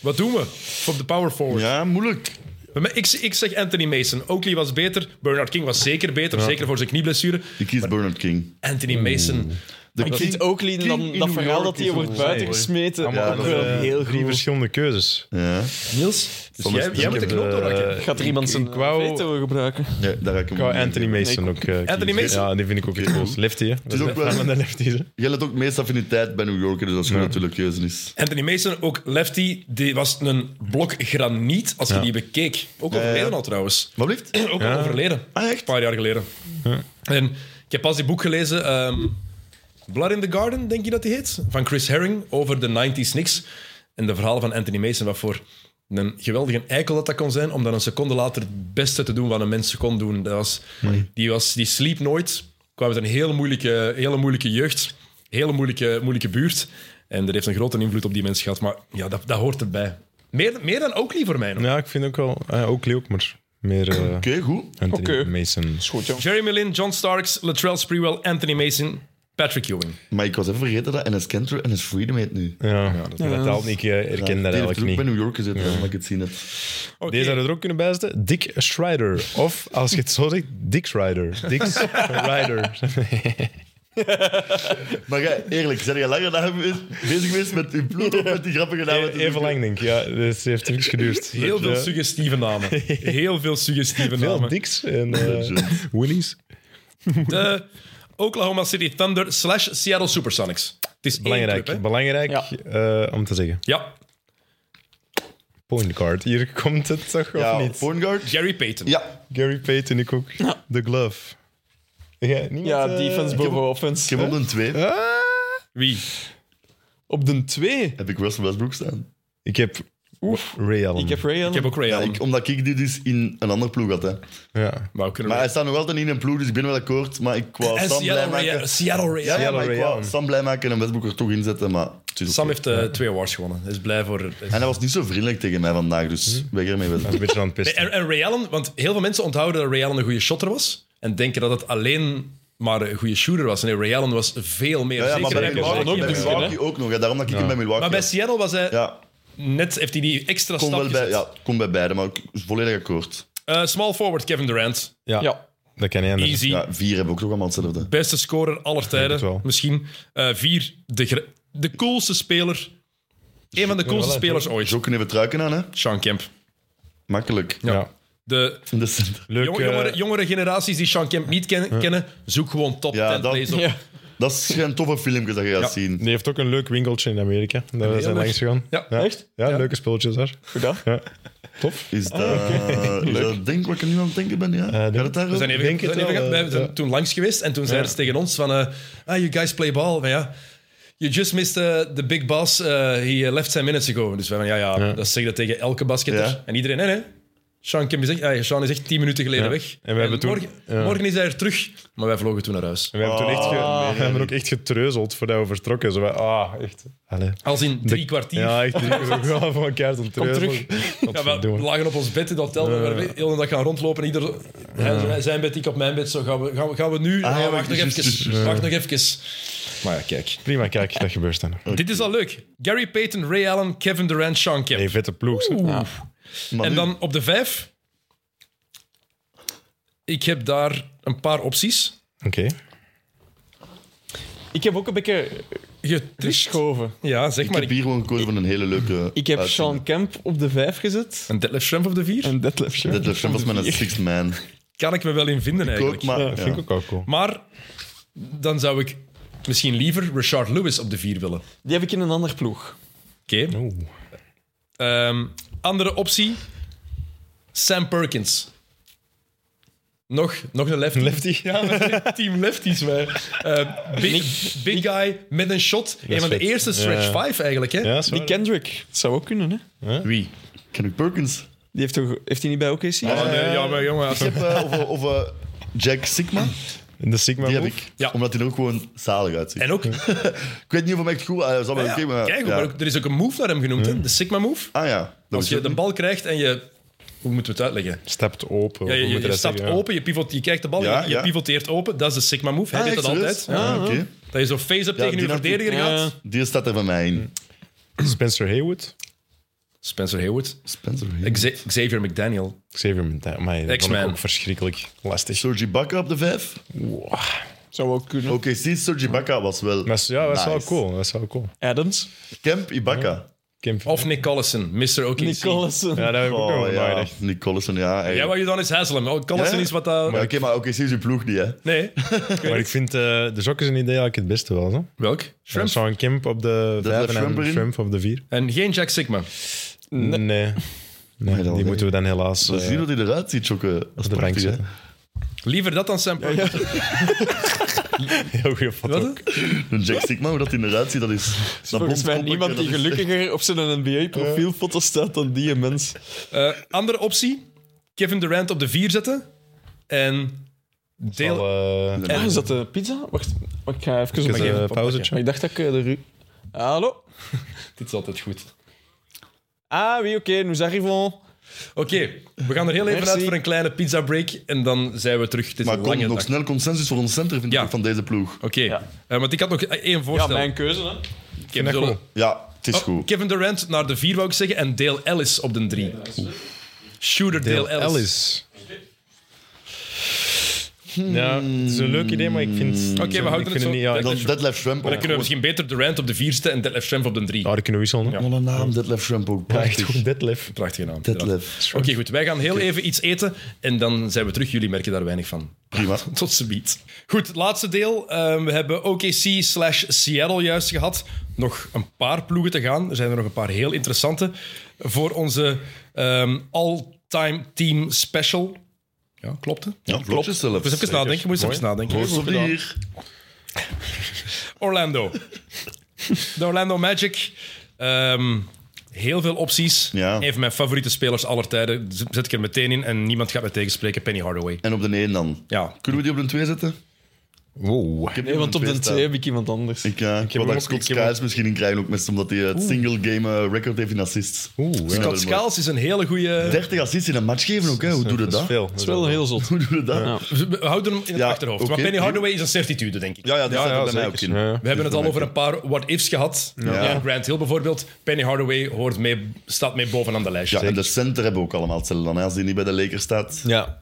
Wat doen we op de power forward?
Ja, moeilijk.
Bij mij- Ik, ik zeg Anthony Mason. Oakley was beter. Bernard King was zeker beter. Zeker voor zijn knieblessure.
Ik kies Bernard King.
Hmm.
Anthony Mason.
De
Ik
King-
vind Oakley,
King
dan,
in
dat
New
verhaal
York
dat hij
is
wordt
een-
buiten gesmeten,
Allemaal
ook
dat
andere-
wel
eh,
heel
drie
goed.
verschillende keuzes.
Ja,
Niels, dus
Soms
jij, jij moet de
Ik
knop
heb,
doorhakken.
eh,
Gaat er iemand
ik-
zijn
Ik wou,
veto gebruiken?
ja, daar ga ik hem
ik wou
in.
Anthony Mason ook eh,
Anthony
kiezen.
Mason?
Ja, die vind ik ook het coolst. Lefty, hè. Het
is ook wel-
van de lefties, hè.
Jij let ook meest affiniteit bij New Yorker, dus dat is gewoon natuurlijk keuze is.
Anthony Mason, ook lefty, die was een blok graniet als je die bekeek. Ook overleden al trouwens.
Wat blijft?
Ook al overleden.
Ah,
Een
echt?
paar jaar geleden. En ik heb pas die boek gelezen, ehm, Blood in the Garden, denk je dat die heet? Van Chris Herring over de 90s niks. En de verhalen van Anthony Mason, wat voor een geweldige eikel dat dat kon zijn, om dan een seconde later het beste te doen wat een mens kon doen. Dat was, die, was, die sliep nooit, kwam uit een hele moeilijke, hele moeilijke jeugd, hele moeilijke, moeilijke buurt. En dat heeft een grote invloed op die mens gehad, maar ja, dat, dat hoort erbij. Meer, meer dan Oakley voor mij nog.
Ja, ik vind ook wel... eh, Oakley ook, maar meer eh,
Oké, goed.
Anthony
Oké.
Mason.
Is goed, joh.
Jeremy Lin, John Starks, Latrell Sprewell, Anthony Mason, Patrick Ewing.
Maar ik was even vergeten dat NS Kentra NS Freedom heet nu.
Ja, dat taalt niet. Ik eh,
Ja,
herken dat
die heeft
eigenlijk
er ook bij
niet.
New York gezeten, maar ik het zien net.
Oké.
Deze zouden er ook kunnen bijzetten. Dick Schrider. Of, als je het zo zegt, Dick Schrider. Dick Schrider.
Maar jij, eerlijk, zijn jij langer dan bezig geweest met uw ploeg of met die grappige namen? te
Even
zoeken?
lang, denk ik. Ja, dus heeft niks geduurd.
Heel veel
Ja.
suggestieve namen.
[LAUGHS]
Heel veel suggestieve
Veel
namen.
Dicks en eh,
Legend.
Willies.
[LAUGHS] De Oklahoma City Thunder slash Seattle Supersonics. Het is
Belangrijk,
Één club, hè?
belangrijk
Ja.
eh, om te zeggen.
Ja,
Point guard. Hier komt het toch
Ja,
of niet?
point guard?
Jerry Payton.
Ja.
Gary Payton, ik ook. The Glove. Ja, niemand,
Ja,
eh,
defense boven
Ik
offense.
heb op een 2.
Ah.
Wie?
Op de 2.
Heb ik Russell Westbrook staan?
Ik heb Ray Allen.
Ik heb Ray
Ik heb
Allen.
ook Ray
Ja,
Allen.
ik, omdat ik dit dus in een andere ploeg had. Hè.
Ja.
Maar we kunnen
Maar hij staat nog altijd niet in een ploeg, dus ik ben wel akkoord. Maar ik wou
en
Sam blij
Seattle Ray,
maken.
Seattle Ray
Ja,
Allen.
ja, maar ik wou
Allen.
Sam blij maken en Westbrook er toch inzetten. Maar het is
Sam
oké.
heeft eh, twee awards gewonnen. Hij is blij voor...
En hij was niet zo vriendelijk tegen mij vandaag, dus weg ermee
Een
Westbrook.
beetje aan het pesten.
En, en Ray Allen, want heel veel mensen onthouden dat Ray Allen een goede shotter was. En denken dat het alleen maar een goede shooter was. Nee, Ray Allen was veel meer.
Ja, ja, maar
zeker
bij
en
Milwaukee
Milwaukee,
ook
bij
misschien,
misschien, hè?
Milwaukee ook nog. Hè. Daarom dat ik hem bij Milwaukee
Maar bij
had.
Seattle was hij
Ja,
net, heeft hij die extra
kon
stap
wel bij,
gezet.
ja, kon bij beide, maar ik volledig akkoord.
Eh, small forward Kevin Durant.
Ja.
Ja.
Dat kan niet anders.
Easy.
Ja, vier hebben we ook nog allemaal hetzelfde.
Beste scorer aller tijden.
het wel.
Misschien. Eh, vier. De, gr- de coolste speler. Een van de coolste
wel,
spelers ooit.
Zo kunnen we truiken aan, hè?
Sean Kemp.
Makkelijk.
Ja.
De
In de center.
Leuk.
jong-
eh,
jongere, jongere generaties die Sean Kemp niet ken- kennen, zoek gewoon top
Ja,
10
dat-
plays op.
Ja.
Dat is een toffe filmpje dat je gaat
Ja.
zien.
die heeft ook een leuk winkeltje in Amerika. Daar we zijn
leuk.
langs gegaan.
Ja.
Echt?
Ja, leuke spulletjes daar.
Goed dan.
Ja.
Is
Ah. [LAUGHS]
dat, is dat denk wat ik nu aan het denken ben? Ja? gaat het daarover?
Eh, We zijn, even,
Denk
we
het
zijn, even-
wel,
we
eh,
zijn
ja.
toen langs geweest en toen zeiden ze tegen ons van... eh, ah, you guys play ball. Maar ja, you just missed eh, the big boss. eh, he eh, left 10 minutes ago. Dus wij van, ja, ja, dat zeg je dat tegen elke basketter.
Ja.
En iedereen, nee, nee. Sean, Kim is echt, ah, Sean is echt tien minuten geleden
Ja.
weg.
En we hebben toen-
morgen,
ja.
morgen is hij er terug, maar wij vlogen toen naar huis.
En we hebben, toen echt ge-
Ah.
we hebben ook echt getreuzeld voordat we vertrokken. Zo van, ah, echt. Allee.
Als in drie kwartier.
Ja, echt. drie keer zo, Ja, van elkaar tot
Kom terug.
treuzelen. Wat
Ja, we
verdomme.
lagen op ons bed in het hotel. We waren de hele dag gaan rondlopen. En ieder, hij zo- zijn bed, ik op mijn bed. Zo gaan we, gaan we, gaan we nu.
Ah,
Ah,
ja,
wacht nog
juist,
[LAUGHS]
even.
juist.
Wacht nog even. Maar ja, kijk.
Prima, kijk, dat gebeurt dan nog.
Dit is al leuk. Gary Payton, Ray Allen, Kevin Durant, Sean Kemp.
Nee, vette ploeg. zeg. Ja.
Maar
En
nu-
dan op de vijf. Ik heb daar een paar opties.
Oké.
Ik heb ook een beetje
Getricht.
geschoven.
Ja, zeg
Ik
maar.
heb hier gewoon gekozen voor een hele leuke...
Ik heb
uitzending.
Sean Kemp op de vijf gezet.
Een Detlef Schrempf op de vier.
En Detlef Schrempf.
Dit was met een sixth man.
Kan ik me wel in vinden
Ik ook,
eigenlijk.
maar...
Dat vind ik ook wel cool.
Maar dan zou ik misschien liever Richard Lewis op de vier willen. Oké.
Die heb ik in een ander ploeg.
Oeh.
Ehm, andere optie: Sam Perkins. Nog, nog een lefty.
Lefty.
Team lefties, wij. Eh, big, big guy met een shot. Een van de
vet.
eerste stretch
Ja.
five eigenlijk. Hè?
Ja, zo.
[LAUGHS] Die Kendrick. Dat zou ook kunnen, hè?
Wie?
Kendrick Perkins.
Die heeft, toch, heeft hij niet bij OKC?
Oh, nee, ja, maar jongen.
Ik heb... eh, of eh, of eh, Jack Sigma.
De Sigma
Die heb
Wolf.
ik.
Ah, Ja.
Omdat hij er ook gewoon zalig uitziet.
En ook,
Ik weet niet of hem echt goed... ah, Hij zal wel oké, maar...
kijk,
ja.
maar ook- er is ook een move naar hem genoemd, hè? de Sigma move.
Ah ja. Dat
Als
was
je
ook
de
niet.
bal krijgt en je. Hoe moeten we het uitleggen?
Stapt open.
Ja,
of
je
hoe
je,
moet je
je
dat
stapt
zeggen? Ja.
open, je, pivot, je kijkt de bal,
Ja,
je, je
ja.
pivoteert open. Dat is de Sigma move. Hij
Ah,
deed dat
echt serieus?
altijd.
Ah, oké.
Dat je zo face-up tegen
die
je
had ik-
verdediger
Ja.
gaat.
Die staat er bij mij in.
Spencer Haywood.
Spencer Hayward.
Spencer Haywood.
Xa- Xavier McDaniel.
Xavier Mentai. Maar dat vond ik
X-Man.
ook verschrikkelijk lastig.
Sergi Bakka op de vijf.
Zou ook kunnen.
Oké, zie, Sergi Bakka was wel...
Maar ja, dat is wel
nice.
cool. Dat is wel cool.
Adams.
Kemp Ibaka.
Kim-
Of Nick Collison, Mr. OKC.
Nicholson.
Ja, daar heb ik ook nog
Oh
over
ja,
nagedacht.
Nick Collison, ja. eigenlijk.
Ja, wat je dan is Haslam. Oh, Collison
Ja?
is wat dat...
Maar oké, maar oké, zie je ploeg niet, hè.
Nee.
Maar ik vind eh, de sok is een idee eigenlijk het beste wel. Zo.
Welk?
En
Shrimp.
Sean Kemp op de
de
vijf en
Shrimp
dan
erin?
Shrimp op de vier.
En geen Jack Sigma.
Nee. nee.
dan
die
nee.
moeten we dan helaas
Zo
eh,
zie je dat hij eruit ziet, Jokke. Dat is
op de bank
prachtig, hè.
zetten.
Liever dat dan Sam Perkins.
[LAUGHS] Heel goede foto.
Wat?
Een Jack Stigma, hoe dat hij eruit ziet, dat is... dat
[LAUGHS] Volgens
blond koppeltje,
mij niemand die
dat is echt-
gelukkiger op zijn NBA-profielfoto staat dan die mens.
Eh, andere optie. Kevin Durant op de vier zetten. En... Deel...
Al, eh,
Ah, is dat de pizza? Wacht, ik ga even op
even
mijn
een eh,
gegeven
pauzetje.
Maar ik dacht dat ik eh, de ru... Hallo?
eh, Dit is altijd goed.
Ah, oui, oké, nous arrivons.
Oké, we gaan er heel even
Merci.
uit voor een kleine pizza break. En dan zijn we terug. Het is
Maar
een
kom,
lange
nog
dag. Oké.
snel consensus voor ons center, vind
Ja.
ik, van deze ploeg.
Eh, want ik had nog één
Ja,
voorstel.
mijn keuze, hè.
Ik heb
dat
zullen-
goed.
Ja, het is
Oh,
goed.
Kevin Durant naar de 4 wou ik zeggen en Dale Ellis op de 3. Shooter Dale,
Dale
Ellis.
Ellis. Ja, het is een leuk idee, maar ik vind... Oké,
we houden het zo.
Niet, ja, ik-
Dan Detlef Shrimp.
Dan kunnen we misschien beter Durant op de 4 zetten en Detlef Schrempf op de 3.
Ja, Nou, die kunnen we wisselen. hè.
Wat een naam, Detlef Shrimp ook.
Ja, echt
Prachtig.
goed. Detlef.
Prachtige naam. inderdaad.
Detlef.
Oké, goed. Wij gaan heel even iets eten en dan zijn we terug. Jullie merken daar weinig van.
Prima.
Tot ziens. Goed, het laatste deel. Ehm, we hebben OKC slash Seattle juist gehad. Nog een paar ploegen te gaan. Er zijn er nog een paar heel interessante. Voor onze ehm, all-time team special. Ja, klopt hè?
Ja, klopt. zelf.
Moest even nadenken, moest even nadenken.
Proost op hier.
Orlando. De Orlando Magic. Ehm, heel veel opties.
Ja.
Een van mijn favoriete spelers aller tijden. Z- Zet ik er meteen in en niemand gaat me tegenspreken. Penny Hardaway.
En op de 1 dan.
Ja.
Kunnen we die op de 2 zetten? Ik
Wow.
heb
Nee,
die
want op de
staan.
twee heb ik iemand anders.
Ik, ja, ik
hem
wil daar
ook-
Scott
ik heb hem-
Skiles misschien in krijgen, ook met, omdat hij het single-game eh, record heeft in assists.
Oeh,
Vind
ja.
ik
Scott
wel mooi.
Skiles is een hele goede.
30 assists in een match geven ook, hè. hoe doe je dat?
veel.
Dat is wel heel
[LAUGHS]
zot.
Hoe doe je dat? Ja,
We houden hem in het
Ja,
achterhoofd.
oké.
Maar Penny Hardaway is een certitude, denk ik.
ja, dat staat er bij mij ook
zeker.
in.
Ja, ja.
We hebben het al over een paar what-ifs gehad.
Ja.
Grant Hill bijvoorbeeld. Penny Hardaway hoort mee, staat mee bovenaan de lijst.
Ja, en de center hebben we ook allemaal hetzelfde dan. hè. Als die niet bij de Lakers staat,
Ja,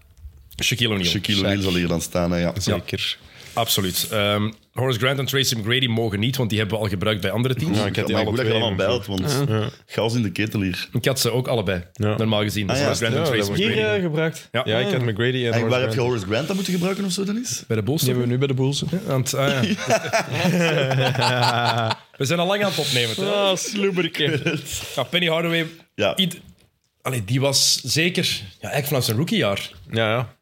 Shaquille O'Neal.
Shaquille O'Neal zal hier dan staan. hè, Ja.
zeker.
Absoluut. Ehm, Horace Grant en Tracy McGrady mogen niet, want die hebben we al gebruikt bij andere teams.
Ja, ik had die
maar
alle
goed dat je
twee
allemaal
in
bijt, want chaos in de ketel hier.
Ik had ze ook allebei,
Ja.
normaal gezien. Dus
Ah, ja.
Horace Grant
Ja,
en Tracy
dat was-
McGrady.
Hier eh, gebruikt.
Ja.
Ah, Ja, ik had McGrady en
En waar
Horace
heb je
Grant.
Horace Grant aan moeten gebruiken of zo,
[LAUGHS]
Dennis?
Bij de Bulls.
Die hebben we nu bij de Bulls. hè.
Aan het- ah, ja. We zijn al lang aan het opnemen. toch?
Ah, sloeberke.
Ja, Penny Hardaway,
Ja.
ied- Allee, die was zeker, ja, eigenlijk vanaf zijn rookiejaar.
Ja, ja.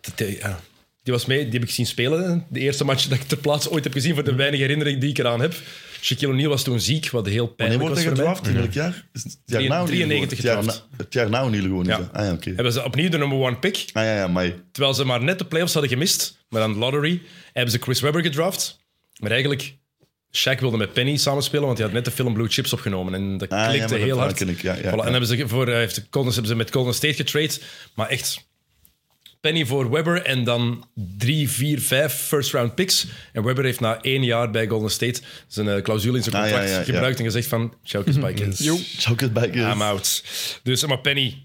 de- de- ja, Die was mee, die heb ik zien spelen. De eerste match dat ik ter plaatse ooit heb gezien,
Mm.
voor de weinige herinnering die ik eraan heb. Shaquille O'Neal was toen ziek, wat heel
Wanneer
pijnlijk
wordt
was
hij
voor mij.
gedraft? In welk jaar? Is het jaar na O'Neal
93
geworden? Het jaar
gedraft.
na- Het jaar na O'Neal gewoon is,
Ja.
hè? Ah ja, oké.
Hebben ze opnieuw de number one pick.
Ah ja, ja, maar...
Terwijl ze maar net de playoffs hadden gemist, maar aan de lottery, hebben ze Chris Webber gedraft. Maar eigenlijk, Shaq wilde met Penny samenspelen, want hij had net de film Blue Chips opgenomen. En dat
Ah, ja,
klikte
maar dat
heel hard.
ken ik, ja, ja,
Voilà,
ja.
En hebben ze, voor, hij heeft Golden, hebben ze met Golden State getrade. Maar echt, Penny voor Webber en dan drie, vier, vijf first round picks. En Webber heeft na één jaar bij Golden State zijn eh, clausule in zijn
Ah, ja,
contract
ja, ja.
gebruikt en gezegd van, ciao, kiss, bye, kids.
Chocolate Baker.
I'm out. Dus, maar Penny,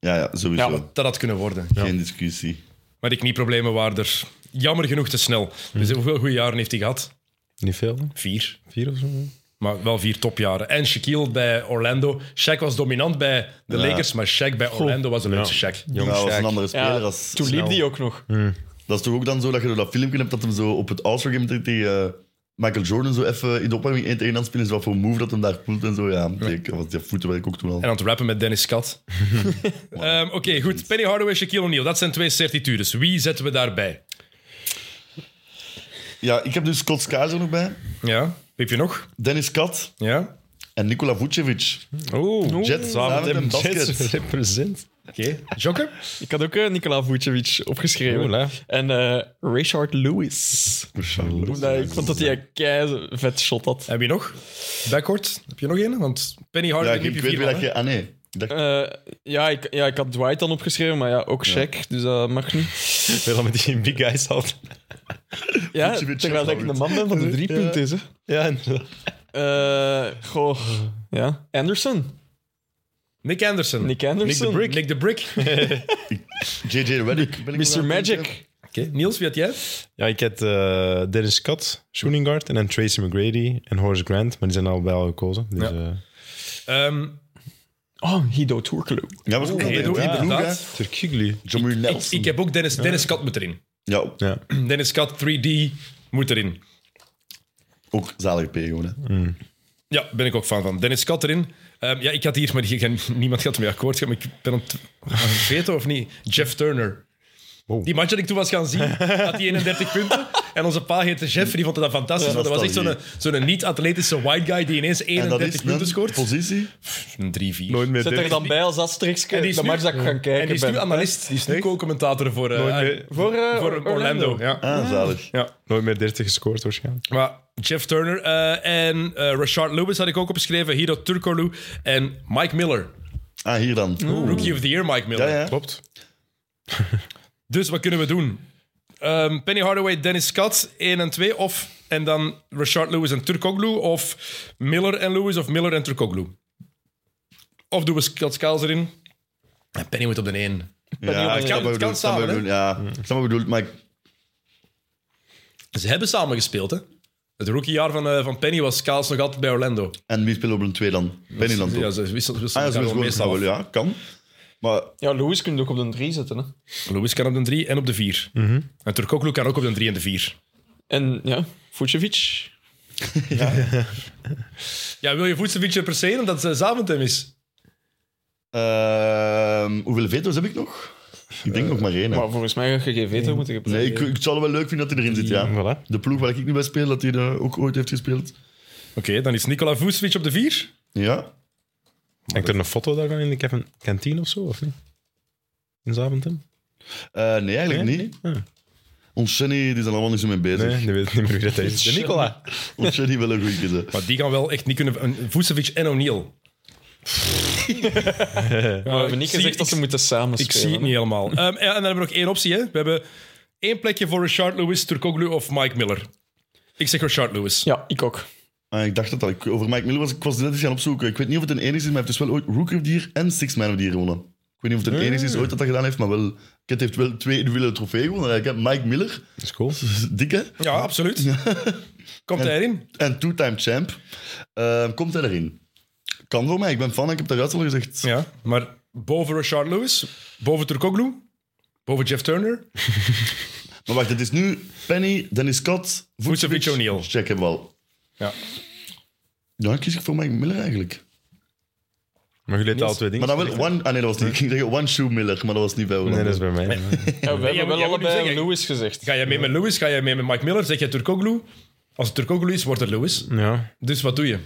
Ja, ja, sowieso.
Ja.
dat had kunnen worden.
Geen discussie.
Maar de knieproblemen waren er jammer genoeg te snel. Dus hoeveel goede jaren heeft hij gehad?
Niet veel, hè?
Vier.
vier of zo.
Maar wel vier topjaren. En Shaquille bij Orlando. Shaq was dominant bij de
Ja.
Lakers, maar Shaq bij Orlando was een leukste Shaq.
Ja,
Jong
Nou, dat was een
Shaq.
andere
Ja,
speler. Als,
toen liep die ook nog.
Dat is toch ook dan zo dat je door dat filmpje hebt dat hem zo op het All-Star Game tegen eh, Michael Jordan zo even in de opwarming 1 tegen 1 aan het spelen is. Wat voor move dat hem daar voelt en zo. Ja, ik was dat voetenwerk ook toen al.
En aan het rappen met Dennis [LAUGHS] Kat. Ehm, Oké, goed. Penny Hardaway, Shaquille O'Neal. Dat zijn twee certitudes. Wie zetten we daarbij?
Ja, ik heb dus Scott Skies er nog bij.
Ja. Wie Heb je nog?
Dennis Kat
Ja.
en Nikola Vucevic.
Oeh,
Jets samen met een
[LAUGHS]
basket.
Jets represent.
Oké. Jokke?
Ik had ook eh, Nikola Vucevic opgeschreven.
Cool, hè?
En eh Richard Lewis. Omdat ik vond dat hij een kei vet shot
[LAUGHS]
had.
Heb je nog? Backcourt? Heb je nog één? Want Penny
Ja,
Hardaway...
ik
heb je
weet
vier
weer
al,
dat
hè?
je... Ah nee. Ik dacht,
Eh, ja, ik, ja, ik had Dwight dan opgeschreven, maar ja, ook Shaq, dus dat mag niet.
Veel dan met die big guys had.
Ja,
Vucevic is
terwijl ik
favoriet.
een man ben van de drie punten is. Hè.
Ja, inderdaad.
Eh, goh, ja. Anderson.
Nick Anderson.
Nick Anderson.
Nick the Brick. Nick the Brick. [LAUGHS] Oké.
JJ Redick. ben ik nog aan
Mr.
het denken.
Magic.
Niels, wie had jij?
ja, ik had eh, Dennis Cut, shooting guard, en dan Tracy McGrady en Horace Grant, maar die zijn al bij al gekozen. Dus,
Ja.
eh,
Ehm,
Oh, Hido Turkoglu.
Ja, was ook
Nee,
al
ja.
inderdaad.
inderdaad.
Turkoglu.
Jamur
Ik,
Nelson.
ik heb ook Dennis, Dennis Kat moet erin. [CLEARS THROAT]
Ja,
Ja.
Dennis Kat 3D moet erin.
ook zalige periode.
Ja, ben ik ook fan van. Dennis Kat erin. Ehm, ja, ik had hier, maar die- geen- niemand gaat mee akkoord gaan. Maar ik ben het vergeten of niet. Jeff Turner.
Oh.
Wow.
Die match dat ik toen was gaan zien, had die 31 punten. En onze pa heette Jeff, die vond dat fantastisch. want dat was echt zo'n zo'n niet-atletische white guy die ineens
En dat
31
is
punten
een
scoort.
positie.
Een 3-4.
meer
Zet er dan bij als
En die
asterixje
is
de
nu-
match dat ik gaan kijken
en die is nu
ben.
analist. Die is nu
Echt?
co-commentator voor, eh,
Nooit meer-
Voor, eh,
voor Orlando. Ja.
Ah, zalig.
ja.
Nooit meer 30 gescoord waarschijnlijk.
Maar Jeff Turner eh, en eh, Rashard Lewis had ik ook opgeschreven. Hiro Turkoglu en Mike Miller.
Ah, hier dan.
Rookie of the Year Mike
Ja,
Miller.
ja.
Klopt.
Dus wat kunnen we doen? Ehm, Penny Hardaway, Dennis Scott, 1 en 2. Of, en dan Rashard Lewis en Turkoglu. Of Miller en Lewis of Miller en Turkoglu. Of doen we Scott Skiles erin. En Penny moet op de 1.
Ja,
Het
ik
kan-
snap wat
het
je
kan
bedoelt, ik snap wat je
samen,
bedoelt, ja. Ik snap wat je bedoelt, maar ik-
Ze hebben samen gespeeld, hè? Het rookiejaar van, eh, van Penny was Skiles nog altijd bij Orlando.
En wie speelt op een twee dan? Benny dan toch?
Ja, ze wisselen
ah, ja,
wisselen
zo
elkaar
is
wel
gewoon
meestal
wel,
af.
ja, kan. Maar
Ja, Lewis kun je ook op de drie zetten. Hè.
Lewis kan op de 3 en op de 4. En Turkoglu kan ook op de 3 en de 4.
En ja, Vucevic.
Ja, wil je Vucevic per se omdat het Zaventem is?
ehm, hoeveel veto's heb ik nog? Ik denk nog maar één. hè.
Maar volgens mij ga je geen veto moeten gebruiken.
nee, ik, ik zou het wel leuk vinden dat hij erin zit, ja.
Mm, Voilà.
De ploeg waar ik nu bij speel, dat hij er ook ooit heeft gespeeld.
Oké, dan is Nikola Vucevic op de 4.
Ja.
Hangt er een foto daarvan in de Kevin kantine of zo, of niet? In Zaventem?
Eh, nee, eigenlijk
Nee?
niet.
Ah.
Ons Shenny die is er allemaal niet zo mee bezig.
Nee, die weet niet meer wie dat is. De Nicola.
Ons Shenny wil een goeie zijn.
Maar die gaan wel echt niet kunnen... een- Vucevic en O'Neill.
[LAUGHS] We hebben niet
Ik zie-
gezegd dat
ik-
ze moeten samen
Ik zie het
spelen.
niet helemaal. Ehm, ja, en dan hebben we nog één optie. Hè. We hebben één plekje voor Richard Lewis, Turkoglu of Mike Miller. Ik zeg Richard Lewis.
Ja, ik ook.
Ah, ik dacht dat al. Ik, over Mike Miller was ik was net eens gaan opzoeken. Ik weet niet of het een enige is, maar hij heeft dus wel ooit Rookie of the Year en Six Man of the Year gewonnen. Ik weet niet of het een enige is ooit dat dat gedaan heeft, maar wel... Kent heeft wel twee individuele trofee gewonnen. Ik heb Mike Miller, [LAUGHS]
Dat is cool.
dikke,
Ja, absoluut. Komt hij erin?
en two-time champ. Eh, komt hij erin? Kan voor mij, ik ben fan, ik heb dat juist al gezegd.
Ja, maar boven Richard Lewis, boven Turkoglu, boven Jeff Turner,
Maar wacht, het is nu Penny, Dennis Scott,
Vucevic O'Neill.
Check hem wel.
Ja.
Dan kies ik voor Mike Miller eigenlijk.
Maar jullie al twee dingen.
Maar dan wel One... Ah nee, dat was niet. Ik ging zeggen One Shoe Miller, maar dat was niet bij
Nee,
Hollander.
dat is bij mij.
Ja, we
jij
hebben
moet-
wel
jij moet nu
allebei
zeggen-
Lewis gezegd.
Ga jij mee met Lewis? Ga jij mee met Mike Miller? Zeg jij Turkoglu? Als het Turkoglu is, wordt het Lewis.
[LAUGHS] Ja,
Dus wat doe je?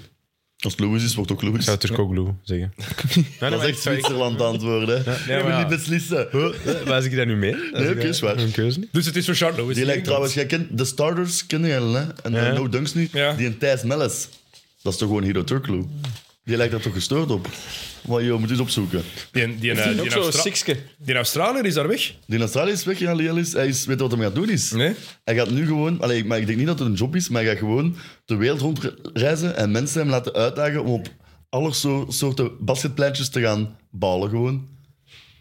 Als het Lewis is, wordt ook
ik
Lewis.
zou Turkoglu zeggen. Nee,
Dat is echt Zwitserland antwoorden. hè.
Nee,
Ik wil
maar ja.
niet beslissen.
Waar ik daar nu mee?
Nee, oké, is waar.
Een keuze niet.
Dus het is voor Charles Lewis.
Die lijkt
Inderdaad.
trouwens, jij kent de starters, kennen jij al, hè? En eh,
Ja.
No Dunks nu.
Ja.
Die en Thijs Melles. Dat is toch gewoon Hero Turkoglu? Die lijkt daar toch gestoord op? Maar joh, moet eens opzoeken.
Die, die, eh, die,
ook zo'n
Austra-
sikske.
die Australiër is daar weg.
Die in Australië is weggegaan, die is. Hij is, weet je wat hij gaat doen is?
Nee.
Hij gaat nu gewoon, allee, maar ik denk niet dat het een job is, maar hij gaat gewoon de wereld rondreizen en mensen hem laten uitdagen om op alle so- soorten basketpleintjes te gaan ballen gewoon.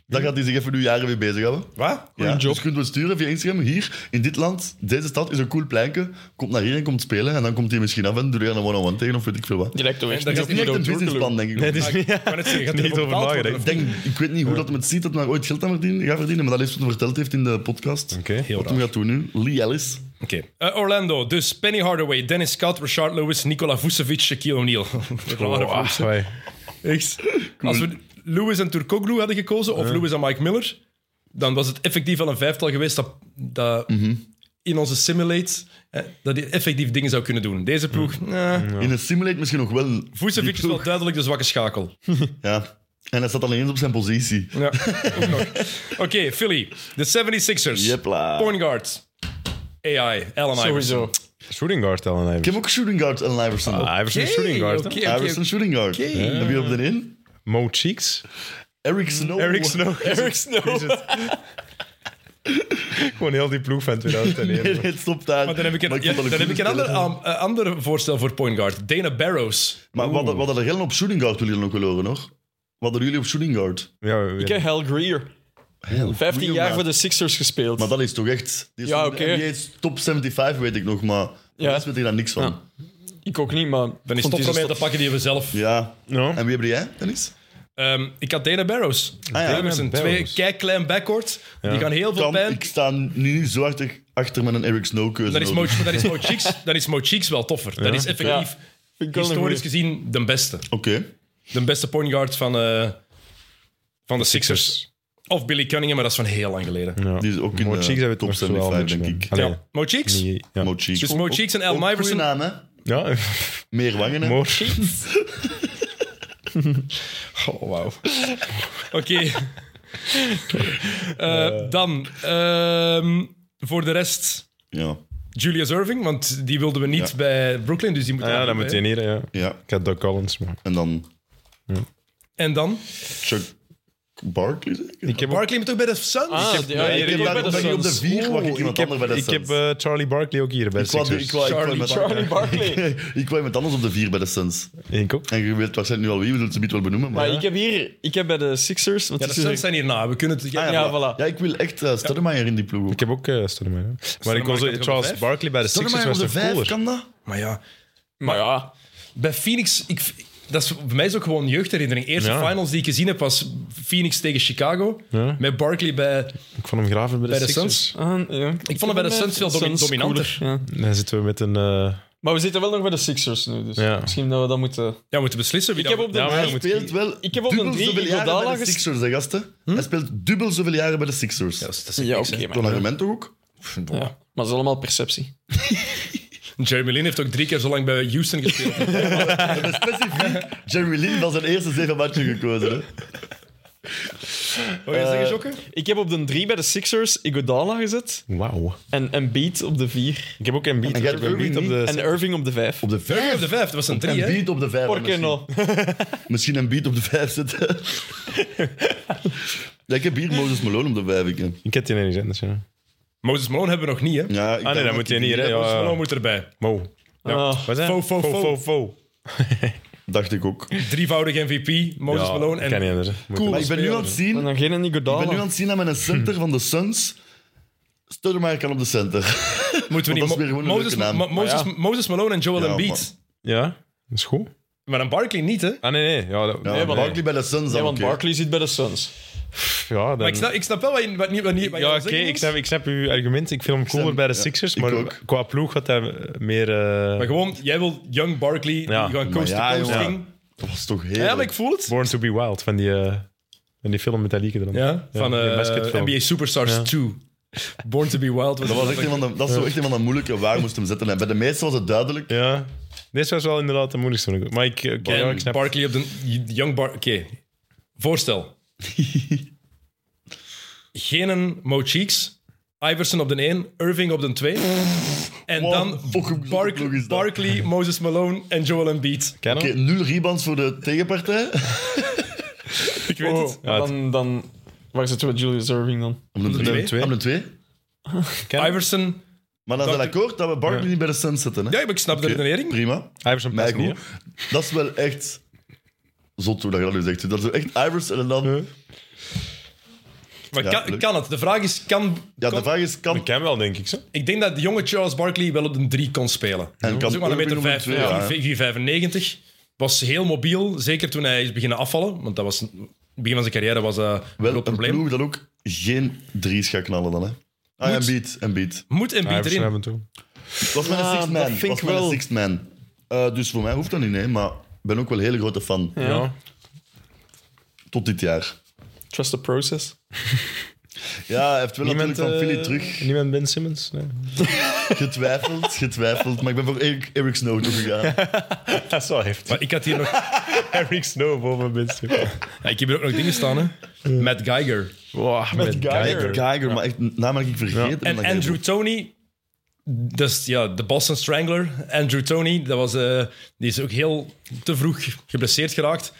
Daar gaat hij zich even nu jaren mee bezighouden. [LAUGHS]
Wat?
Ja, Dus je kunt we sturen via Instagram. Hier, in dit land, deze stad is een cool pleintje. Komt naar hier en komt spelen. En dan komt hij misschien af en doet hij een one-on-one tegen of weet ik veel wat.
Die lijkt toch echt
dat
niet
is
op
Niet echt
Hero
een
Turkoglu.
businessplan, denk ik.
Nee, dus niet.
Maar het zeggen, gaat
Niet
er
over
betaald worden?
nagedacht.
Ik denk, ik weet niet hoe dat hem het ziet dat hij ooit geld aan verdienen, gaat verdienen. Maar dat is wat hij verteld heeft in de podcast.
Oké.
Heel
Wat hij
raar.
gaat doen nu. Lee Ellis.
Oké. Eh, Orlando, dus Penny Hardaway, Dennis Scott, Richard Lewis, Nikola Vucevic, Shaquille O'Neal. [LAUGHS] Rare
Oh,
vondst, hè.
ah,
Echt. Als we Lewis en Turkoglu hadden gekozen, of Lewis en Mike Miller, dan was het effectief wel een vijftal geweest dat, dat in onze simulate hè, dat die effectief dingen zou kunnen doen. Deze ploeg, eh,
In een simulate misschien nog wel.
Vucevic is wel duidelijk de zwakke schakel.
Ja. En hij staat alleen eens op zijn positie.
Ja, [LAUGHS] ook nog. Oké, Philly, de 76ers.
Jepla.
Point guard. AI, Allen Iverson.
Sowieso.
Shooting guard, Allen
Ik
Iverson.
heb ook shooting guard en Iverson.
Ah, Iverson is shooting guard. hè?
Oké, oké,
Iverson shooting guard. Heb je op de in?
Mo Cheeks.
Eric Snow.
Eric
[LAUGHS]
Snow.
Eric Snow.
Gewoon heel die ploeg van 2001.
Nee, nee, stop daar.
Maar dan heb ik een,
Maar
ja,
vond dat
dan heb ik een
goede
ander, am-
speler.
eh, ander voorstel voor point guard. Dana Barrows.
Maar wat hadden- wat hadden jullie op shooting guard willen ook wel horen, nog? Wat hadden jullie op shooting guard?
Ja, we-
Ik heb Hal Greer. 15 jaar voor de Sixers gespeeld.
Maar dat is toch echt... Die is
Ja,
van de
oké.
NBA is top 75, weet ik nog, maar...
Ja.
Ja. weet ik daar niks van.
Ik ook niet, maar...
Dan is
Vond dus
het
die
op
zo
te pakken die we zelf.
Ja.
Ja.
En wie heb jij, Dennis?
Ehm, ik had Dana Barrows.
Ah, ja.
Iverson,
Dana
twee
Barrows.
kei-klein backcourt. Die gaan heel veel
Kan,
pijn.
ik sta nu niet zo hard achter met een Eric Snow keuze.
Dan is, Mo, dan, is Mo Cheeks, dan is Mo Cheeks wel toffer. Dat is effectief,
Ja. Vind ik wel een
historisch
goeie.
gezien, de beste.
Oké.
De beste point guard van, eh, van de Sixers. Of Billy Cunningham, maar dat is van heel lang geleden. Ja.
Die is ook in
Mo
de
Cheeks heb ik
top
nog zo wel
75,
een
denk
beetje
ik.
van. Allee,
Mo Cheeks?
niet- ja.
Mo Cheeks.
Dus Mo Cheeks en Al
Ook goeie
Iverson.
naam, hè?
Ja, [LAUGHS]
Meer wangen, hè?
Mo
Oh, wauw. Oké.
[LAUGHS]
Eh, dan, ehm, voor de rest,
Ja.
Julius Irving, want die wilden we niet
Ja.
bij Brooklyn, dus die moet
Ah,
er
ja,
niet
dan moet
bij.
je niet. hè, Ja.
ja.
Ik had Doc Collins, maar...
En dan
En dan?
Chuck Barkley, zeker?
Ik heb ook-
Barkley moet ook bij de Suns?
Ah, die- ja,
Ja,
hier
ik heb
hier bij
daar
de
ook op de
Suns.
vier wacht ik iemand
ik heb,
anders bij de
ik
Suns. dus-
heb eh, Charlie Barkley ook hier bij de
Ik wou-
Sixers.
ik wou- ik wou
Charlie
met-
Charlie
[LAUGHS]
Barkley.
[LAUGHS] Ik kwam iemand anders op de vier bij de Suns.
Ik ook.
En je weet waarschijnlijk nu al wie, we zullen ze niet wel benoemen. Maar,
Maar ik heb hier... Ik heb bij de Sixers... Want
Ja, de
die
Suns zijn
zijn-
hierna. We kunnen het...
Ah,
ja, voilà.
Ja, ik wil echt eh Stoudemire in die ploeg. ook.
Ik heb ook eh Stoudemire, hè. Maar ik kon
had ik
zo
op de
Charles
vijf.
Barkley bij de Sixers
Stoudemire op
was
de
toch
vijf, kan
cooler.
dat?
Maar ja,
Maar ja...
bij Phoenix... Ik, dat is, voor mij is ook gewoon jeugdherinnering. Eerste
Ja.
finals die ik gezien heb was Phoenix tegen Chicago.
Ja.
Met Barkley bij,
Ik vond hem graven bij de,
bij de
Sixers.
Suns.
Ah, ja. Ik,
vond hem bij de Suns
eh,
veel domi- dominanter.
cooler, ja.
Dan zitten we met een... eh,
Maar we zitten wel nog bij de Sixers nu, dus
Ja.
misschien dat we dat moeten...
Ja, we moeten beslissen wie
Ik
dat...
heb op de
Ja, maar
Hij
dan moet-
speelt wel
ik heb op
dubbel
een drie
zoveel jaren
Iguodala
bij de
ges- Hm?
Sixers, hè, gasten. Hij speelt dubbel zoveel jaren bij de Sixers.
Ja, dat
Zo'n
is- dat is
Ja,
niks,
oké,
hè.
maar...
argument toch ook?
Ja. Maar dat is allemaal perceptie.
Jeremy Lin heeft ook drie keer zo lang bij Houston gespeeld.
We hebben specifiek Jerry Lin van zijn eerste zeven matchen gekozen. Hè.
Wil
Eh,
je zeggen, Jokke?
Ik heb op de 3 bij de Sixers Iguodala gezet
Wauw.
en Embiid op de 4.
Ik heb ook Embiid. Ik
jij
heb
hebt
Embiid op
Irving
de...
En Irving op de 5.
Op de
Jeremy
vijf.
op de vijf, dat was een drie,
Een
hè?
beat op de vijf. hè,
Porke
misschien.
no.
Misschien een beat op de vijf
[LAUGHS]
zetten. ja, ik heb hier Moses Malone op de vijf. Ik, hè.
Ik heb die niet anders, ja.
Moses Malone hebben we nog niet, hè?
ja, ik
Ah nee, dat moet je niet, hè.
Moses Malone
Ja,
moet erbij.
Mo.
Ah.
Wat is
Fo, fo, fo.
fo.
Dacht ik ook.
Drievoudig MVP, Moses
Ja,
Malone
ik kan niet
en...
anders. hè. Moet
Maar
Cool.
ik ben nu aan het zien,
En dan geen
ik ben nu aan
Iguodala.
het zien dat met een
Hm.
center van de Suns. Stoudemire kan op de center.
Moeten we
Want dat is
niet...
weer
Mo-
gewoon een
Moses,
leuke naam. Ah,
Mo- Moses,
Maar
Moses Malone en Joel
Ja,
Embiid.
Ja, dat is goed.
Maar dan Barkley niet, hè?
Ah nee, nee. Ja, dat,
Ja,
nee,
maar-
Barkley bij de Suns
Ja,
dan
want
ook. hè.
Barkley zit bij de Suns.
ja, dan-
Maar ik snap, ik snap wel wat je, wat, niet- wat, niet- wat je
Ja,
wil
oké,
zeggen,
ik,
Niels.
snap, ik snap uw argument. Ik vind hem cooler
snap-
bij de
ja,
Sixers,
ik
maar
ook.
qua ploeg gaat hij meer... eh,
Maar gewoon, jij wil Young Barkley,
Ja,
die gewoon
maar
coast
ja,
to coast
jongen.
ging.
Dat was toch heel.
Ja, maar ik voel het.
Born to be Wild van die, eh, van die film met dat liedje erom.
Ja, van
die
eh,
basketfilm.
NBA Superstars
Ja.
2. Born to be Wild was
Dat was echt een van de, dat is zo echt een van de moeilijke waar moest hem zetten. En bij de meeste was het duidelijk.
Ja. Deze was wel inderdaad de moeilijkste. vond ik. Maar ik, oké,
Oh,
ja, ik
En
snap
Barkley op de... Young Bar... Oké.
[LAUGHS]
Voorstel. Genen Mo Cheeks. Iverson op de 1. Irving op de 2. En
Wow,
dan
fucking
Bark-
goed nog eens dat.
Barkley, Moses Malone en Joel Embiid.
Ken hem?
Oké, nul rebounds voor de tegenpartij.
Ik weet het.
Ja, het-
Oh, dan, dan... Waar zitten we met Julius Irving dan?
Om
de twee?
Om de twee.
Ken hem?
Iverson.
Maar dan
Dat-
zijn we akkoord dat we Barkley niet bij de Suns zetten. Hè?
Ja, maar ik snap de
Oké,
redenering.
Prima.
Iverson
Maar
past niet,
goed,
hè?
dat is wel echt zot hoe dat je dat nu zegt. Dat is echt Iverson en dan...
Maar
Ja,
kan,
leuk.
kan het? De vraag is, kan...
Ja, de
kan-
vraag is,
Ik
kan...
ken hem wel, denk ik. Zo.
Ik denk dat de jonge Charles Barkley wel op een 3 kon spelen.
En
Dat
kan
is ook maar een
Irving
meter
op een
vijf,
twee, ja, hè?
4,95. Was heel mobiel, zeker toen hij is beginnen afvallen. Want dat was, in het begin van zijn carrière was dat een
Wel
groot
een
probleem.
ploeg dat ook geen drie's gaat knallen dan, hè. Ah, en beat, en beat.
Moet en beat
Iverson
erin.
af en toe.
Was mijn
Ja,
sixth
dat
man.
vind
Was
ik
mijn
wel.
sixth man. Eh, dus voor mij hoeft dat niet, hè. Maar ik ben ook wel een hele grote fan.
Ja.
Ja.
Tot dit jaar.
Trust the process.
Ja, hij heeft wel natuurlijk van
eh,
Philly terug
Niemand Ben Simmons? Nee.
getwijfeld, getwijfeld. Maar ik ben voor Eric, Eric Snow toegegaan.
Dat is wel heftig.
Maar ik had hier nog...
[LAUGHS] Eric Snow boven Ben Simmons.
Ja, ik heb hier ook nog dingen staan, hè. Matt Geiger.
Wow, met
Geiger. Geiger, maar echt een naam heb ik vergeten.
En
Dan-
Andrew Tony... Dat is ja, de Boston Strangler. Andrew Tony, dat was, eh, die is ook heel te vroeg geblesseerd geraakt.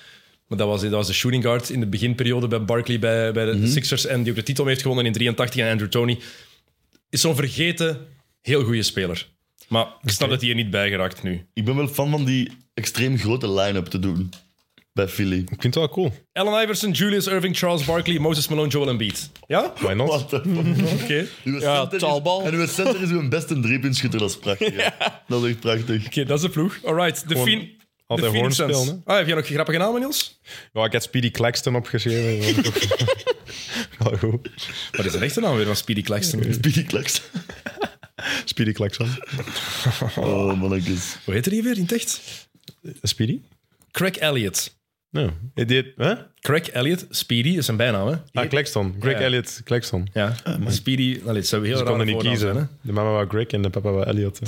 Maar dat was, dat was de shooting guard in de beginperiode bij Barkley, bij, bij de Sixers. En die ook de titel heeft gewonnen in 83. En Andrew Tony is zo'n vergeten, heel goede speler. Maar ik snap dat hij er niet bij geraakt nu.
Ik ben wel fan van die extreem grote line-up te doen. Bij Philly.
Ik vind het wel cool.
Allen Iverson, Julius Irving, Charles Barkley, Moses Malone, Joel Embiid. Ja?
Why not?
Wat de
Oké.
Uw
Ja,
center is-
taalbal.
En uw center is uw beste driepuntschutter. Dat is prachtig. hè. Dat is echt prachtig.
Oké, dat is de ploeg. All right. De, fin de
altijd
Phoenix
hoorn
Suns.
spelen,
Ah, heb jij nog grappige namen, Niels?
Ja, ik had Speedy Claxton opgeschreven. [LAUGHS] Wel goed.
Wat is de echte naam weer van Speedy Claxton?
Speedy Klaks.
Speedy Claxton.
Oh, mannetjes.
Hoe heet er die weer in het echt?
Speedy?
Craig Elliott.
Nou, hij deed... Hè?
Craig Elliott, Speedy is zijn bijnaam, hè?
Ah, Claxton. Greg
Ja.
Elliott Claxton.
Ja. Speedy, allee, het zou heel
Ah, Ze
raar
konden niet
voornaam
kiezen.
zijn, hè?
de mama was Greg en de papa was Elliot.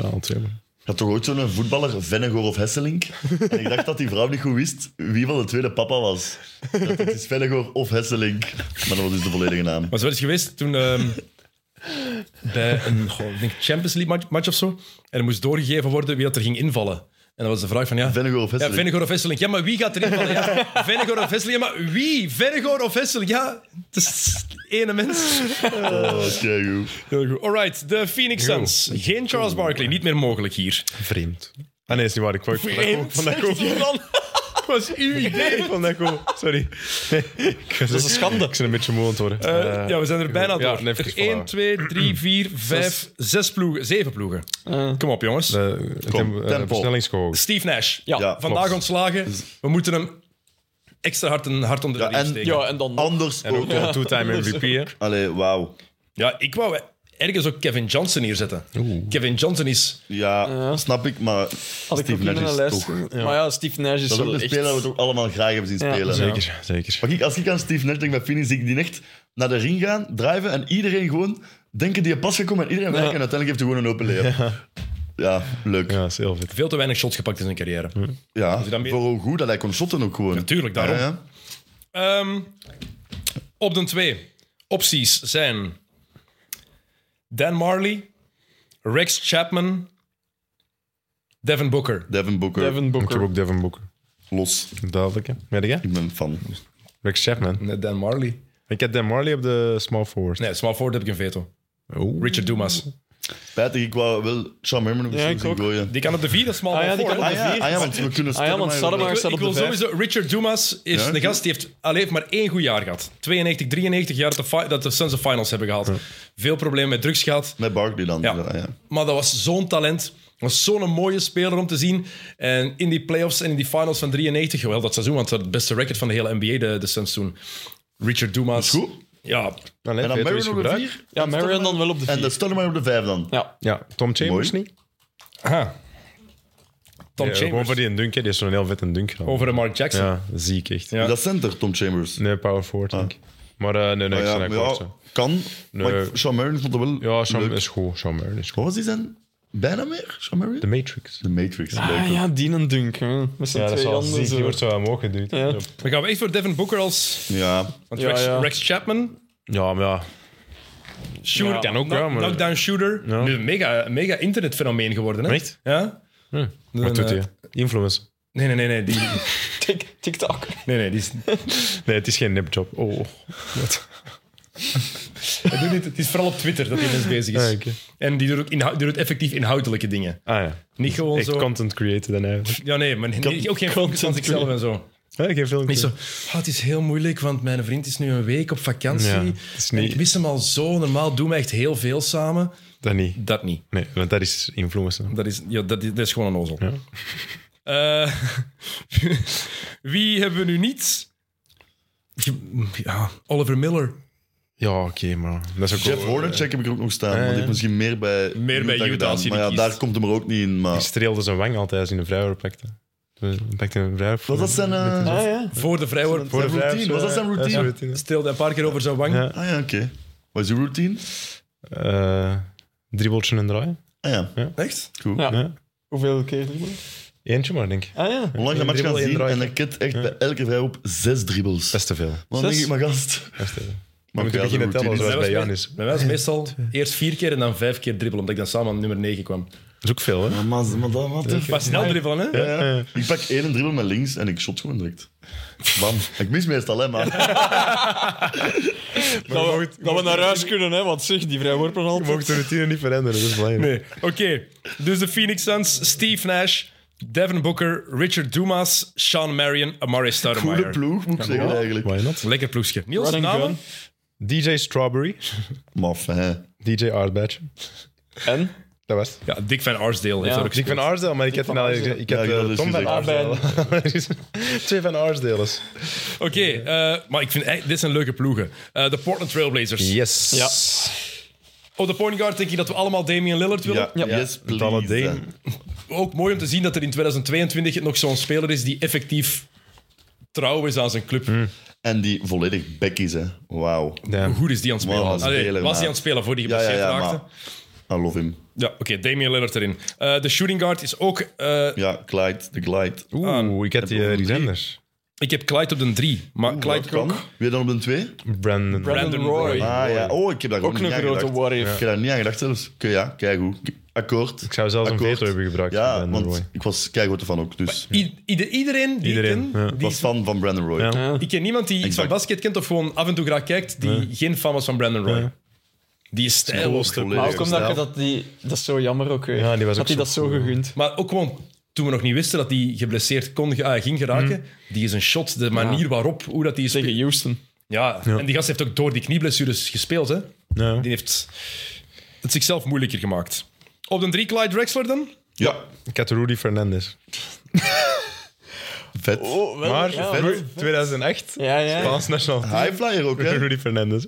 Ja, al twee.
Ik had toch ooit zo'n voetballer, Vennegoor of Hesselink. En ik dacht dat die vrouw niet goed wist wie van de tweede papa was. Ik dacht, Het is Vennegoor of Hesselink. Maar dat was dus de volledige naam.
Maar zo is geweest toen
[LAUGHS]
ehm, bij een goh, ik denk Champions League match, match of zo. En er moest doorgegeven worden wie dat er ging invallen. En dat was de vraag van ja.
Vennegoor
Ja,
of Hesselink.
Vennegoor of Hesselink. Ja, maar wie gaat er invallen?
[LAUGHS]
Ja, Vennegoor of Hesselink. Ja, maar wie? Vennegoor of Hesselink? Ja, het is ene mens.
Oh, keigoed.
Heel goed. All right, de Phoenix Suns. Geen Charles Barkley, niet meer mogelijk hier.
Vreemd. Ah nee, is niet waar. Ik vond
Vreemd.
Van dat cool. [LAUGHS]
was uw idee.
Ik vond dat cool. Sorry. [LAUGHS] dat
is een schande.
Ik ben een beetje moe aan het worden. Eh,
ja, we zijn er bijna
ja,
door.
even
er 1,
voilà.
2,
[CLEARS THROAT]
3, 4, 5, 6 ploegen. 7 ploegen. Kom op, jongens.
eh,
Kom,
het tem- eh,
tempo.
versnellingsgehoogd.
Steve Nash.
Ja.
Ja.
Vandaag
klopt.
ontslagen. We moeten hem extra hard, een, hard onder de
Ja,
riem
en-
steken. Ja.
Ja, en dan...
Anders
En ook
ook.
wel two-time MVP. hè.
Allee, wauw.
ik wou ergens ook Kevin Johnson hier zetten. Kevin Johnson is...
Ja, snap ik, maar
had ik ook
Steve
niet
Nash
naar
is
lijst.
toch...
Maar ja, Steve Nash is
Dat is ook
wel
een
echt...
speler dat we toch allemaal graag hebben zien
Ja.
spelen.
Zeker, zeker.
Maar kijk, als ik aan Steve Nash denk bij Phoenix, zie ik die echt naar de ring gaan, drijven en iedereen gewoon denken die je pas gekomen en iedereen werken en uiteindelijk heeft hij gewoon een open leer. Ja, leuk. Ja,
Ja, dat is heel vet.
Veel te weinig shots gepakt in zijn carrière. dan meer-
voor hoe goed dat hij kon shotten ook gewoon.
Natuurlijk, daarom.
Ja, ja.
Ehm, op de twee opties zijn Dan Marley, Rex Chapman, Devin Booker.
Devin Booker,
Devin
Ik heb
Booker.
ook Devin Booker.
los.
Duidelijk, hè. Weet je?
Ik ben fan.
Rex Chapman.
Nee, Dan Marley.
Ik heb Dan Marley op de small forward.
Nee, small forward heb ik een veto.
Oh.
Richard Dumas.
Spijtig, ik wou wel Sean Merman op de
Ja,
show
ik
zien
ook.
gooien.
Die kan op de vier, dat is small
Ah ja, die
forward.
kan op
Ah
de
ja,
vier.
ah ja, want we kunnen
Ah ja, want Stoudemire
Ik
staat
wil,
op
ik
de
wil
vijf.
sowieso... Richard Dumas is
Ja?
een gast die heeft, alleen heeft maar één goed jaar gehad. 92, 93 jaar dat de, fi- dat de Suns de finals hebben gehaald. Veel problemen met drugs gehad.
Met Barkley dan.
Ja.
Ja. Ja,
Maar dat was zo'n talent. Dat was zo'n mooie speler om te zien. En in die playoffs en in die finals van 93, wel dat seizoen, want ze hadden het beste record van de hele NBA, de, de Suns toen. Richard Dumas.
Goed.
Ja,
Allee,
En dan
Peter
Merman
is
op de
gebruikt.
vier
Ja, Marion dan wel op de
en de
vier.
Stoudemire op de vijf dan.
Ja.
Ja, Tom Chambers
Mooi.
niet.
Aha. Tom
Ja, gewoon
Chambers.
voor die een dunk, hè. die is zo'n heel vette dunk gedaan.
Over een Mark Jackson.
Ja, ziek echt.
Ja.
Dat center, Tom Chambers.
Nee, power forward, denk ik. Maar eh, nee, nee,
Maar
ik
Ah. Oh ja,
ben
maar ja,
akkoord. zo.
kan. Maar
Nee.
ik- Sean Marion vond het wel
Ja, Sean
leuk.
is goed. Sean Marion is goed.
Wat was die zijn? Bijna meer, Sean Marion?
The Matrix.
De Matrix. leuk,
Ah
hè.
ja, die een dunk. Hè. Met zijn
Ja, dat is
twee
wel
handen
ziek. Die
zo.
wordt zo omhoog geduwd.
Ja.
Ja,
Dan gaan we echt voor Devin Booker als...
ja.
Want
Ja,
Rex,
ja.
Rex Chapman,
maar ja.
shooter,
Ja, kan
ook,
knock-
ja, maar-
knockdown shooter.
Ja.
Nu een mega, mega internetfenomeen geworden. Hè?
Echt? Hm.
Ja.
Wat doet
eh,
hij? Influence.
Nee, nee, nee. nee, die, [LAUGHS]
Tik- TikTok.
nee, nee die is,
Nee, het is geen nipjob. Oh.
hij doet niet, het is vooral op Twitter dat hij dus bezig is.
Ah, oké.
En die doet, ook inhou- die doet effectief inhoudelijke dingen.
Ah ja.
Niet gewoon
Echt
zo...
content creator dan [LAUGHS] eigenlijk.
Ja, nee, maar nee, ook geen focus van
content
zichzelf en zo.
Ja, geen film.
Niet zo, "Ah, het is heel moeilijk, want mijn vriend is nu een week op vakantie.
Ja, het is
en
niet-
ik mis hem al zo. Normaal doen we echt heel veel samen.
Dat niet.
Dat niet.
Nee, want dat is influencer.
Dat is, ja, dat is, dat is gewoon een ozel. [LAUGHS] Eh, [LAUGHS] wie hebben we nu niet? Je- Ja, Oliver Miller.
Ja, oké, maar dat is ook
Jeff
wel-
Hornacek heb ik er ook nog staan. want
ja.
die heeft misschien meer bij
bij Utah
gedaan.
als hij die
Maar ja,
kiest.
daar komt hem er ook niet in.
Die
Maar...
streelde zijn wang altijd als hij een vrijwoord pakte. Dus Hij pakte een vrijwoord.
Was dat zijn, eh,
Ah [LAUGHS] ja.
Voor de vrijwoord.
zijn
vrijwoord,
routine? Was dat zijn
ja.
routine?
Ja, zijn routine.
Steelde een paar keer over zijn wang.
Ja.
Ah ja, oké. Wat is uw routine?
Eh, dribbeltje en draaien.
Ah ja,
Echt?
goed.
Ja.
Ja.
Hoeveel keer? die man?
Eentje maar, denk ik.
Ah ja.
Hoe lang je de match
Dribbel,
gaan
één
zien
draai.
en een kid echt bij elke vrijhoop zes dribbles.
Dat is te veel. Maar
Dan denk
Zes?
ik, maar gast.
Dat is te veel.
Maar
moeten
ja,
beginnen
zijn
tellen,
routine
Bij
zoals-
is-
mij was me-
bij Janis.
bij mij was het meestal eerst vier keer en dan vijf keer dribbelen, omdat ik dan samen aan nummer 9 kwam.
Dat is ook veel, hè?
Maar, maar, maar, dat- wat de
Pas snel dribbelen, hè?
Ja, ja. Ik pak één dribbel met links en ik shot gewoon direct. Bam. Ik mis meestal, hè, [LAUGHS] maar...
Dat we, dat we naar huis kunnen, hè? Want zeg, die vrijworpen
Je
altijd.
mag de routine niet veranderen, dat is belangrijk.
Nee. Oké, dus de Phoenix Suns, Steve Nash, Devin Booker, Richard Dumas, Sean Marion, Amari
Goede
Stoudemire.
ploeg, moet ik zeggen, eigenlijk.
Why not?
Lekker ploegje. Niels,
Running
namen?
DJ Strawberry.
Maf, hè.
DJ Artbatch.
En?
Dat was het.
Ja, Dick van Arsdale heeft
Ja.
er ook
Dus ik van Arsdale, maar ik had,
van
nou, ik,
Arsdale.
ik had
Ja, dus
eh,
dat is
Tom van
gezegd.
Ah,
Arsdale. [LAUGHS] Twee van Arsdales.
Oké, eh, maar ik vind eh, dit zijn leuke ploegen. Eh, De Portland Trailblazers.
Yes.
Ja.
Op de point guard denk ik dat we allemaal Damian Lillard willen.
Ja, yes, please.
Dalle Deen.
hè.
Ook mooi om te zien dat er in 2022 nog zo'n speler is die effectief trouw is aan zijn club.
En die volledig back is, hè. Wauw.
Hoe
Damn.
goed is die aan het spelen?
Wow, als
Allee, was
speler,
die
Ehm, maar-
aan het spelen voor die
Ja, ja,
geblesseerd
ja,
raakte?
maar... I love him.
Ja, oké, Damian Lillard erin. Eh, de shooting guard is ook... eh,
Ja, Clyde, de Clyde.
Oeh, ik had die uh, Alexander.
ik heb Clyde op de 3, maar Clyde
Kan.
ook.
Wie dan op een twee?
Brandon.
Brandon
Brandon Roy.
Roy.
Ah ja, oh, ik heb daar gewoon
Ook
niet
een
aan
grote
gedacht.
warrior.
Ik heb daar niet aan gedacht zelfs. Oké, ja, kijk hoe. Akkoord.
Ik zou zelfs een veto hebben gebruikt. van
Ja,
Brandon
want
Roy.
ik was keigoed ervan ook. Dus
I- ieder- iedereen die
Iedereen,
ik ken,
ja.
die
ik was fan van Brandon Roy.
Ja.
Ik ken niemand die iets van
Exact.
basket kent of gewoon af en toe graag kijkt die geen fan was van Brandon Roy.
Ja.
Die is stijl. ook.
Volledig
Maar ook omdat
snel.
je dat die... Dat is zo jammer ook weer.
Ja, die was
Had
ook
hij
zo
dat zo
goed.
gegund.
Maar ook gewoon toen we nog niet wisten dat hij geblesseerd kon, ge- ah, ging geraken.
Mm.
Die is een shot, de manier waarop, hoe dat hij is.
Tegen Houston.
Ja. en die gast heeft ook door die knieblessures gespeeld. Hè?
Ja.
Die heeft het zichzelf moeilijker gemaakt. Op de 3 Clyde Drexler dan?
Ja,
Ik had Rudy Fernandez.
vet.
Oh, wel.
Maar
ja,
Ru- 2008,
Ja, ja.
Spaans National Team.
High flyer ook, hè.
Rudy Fernandez.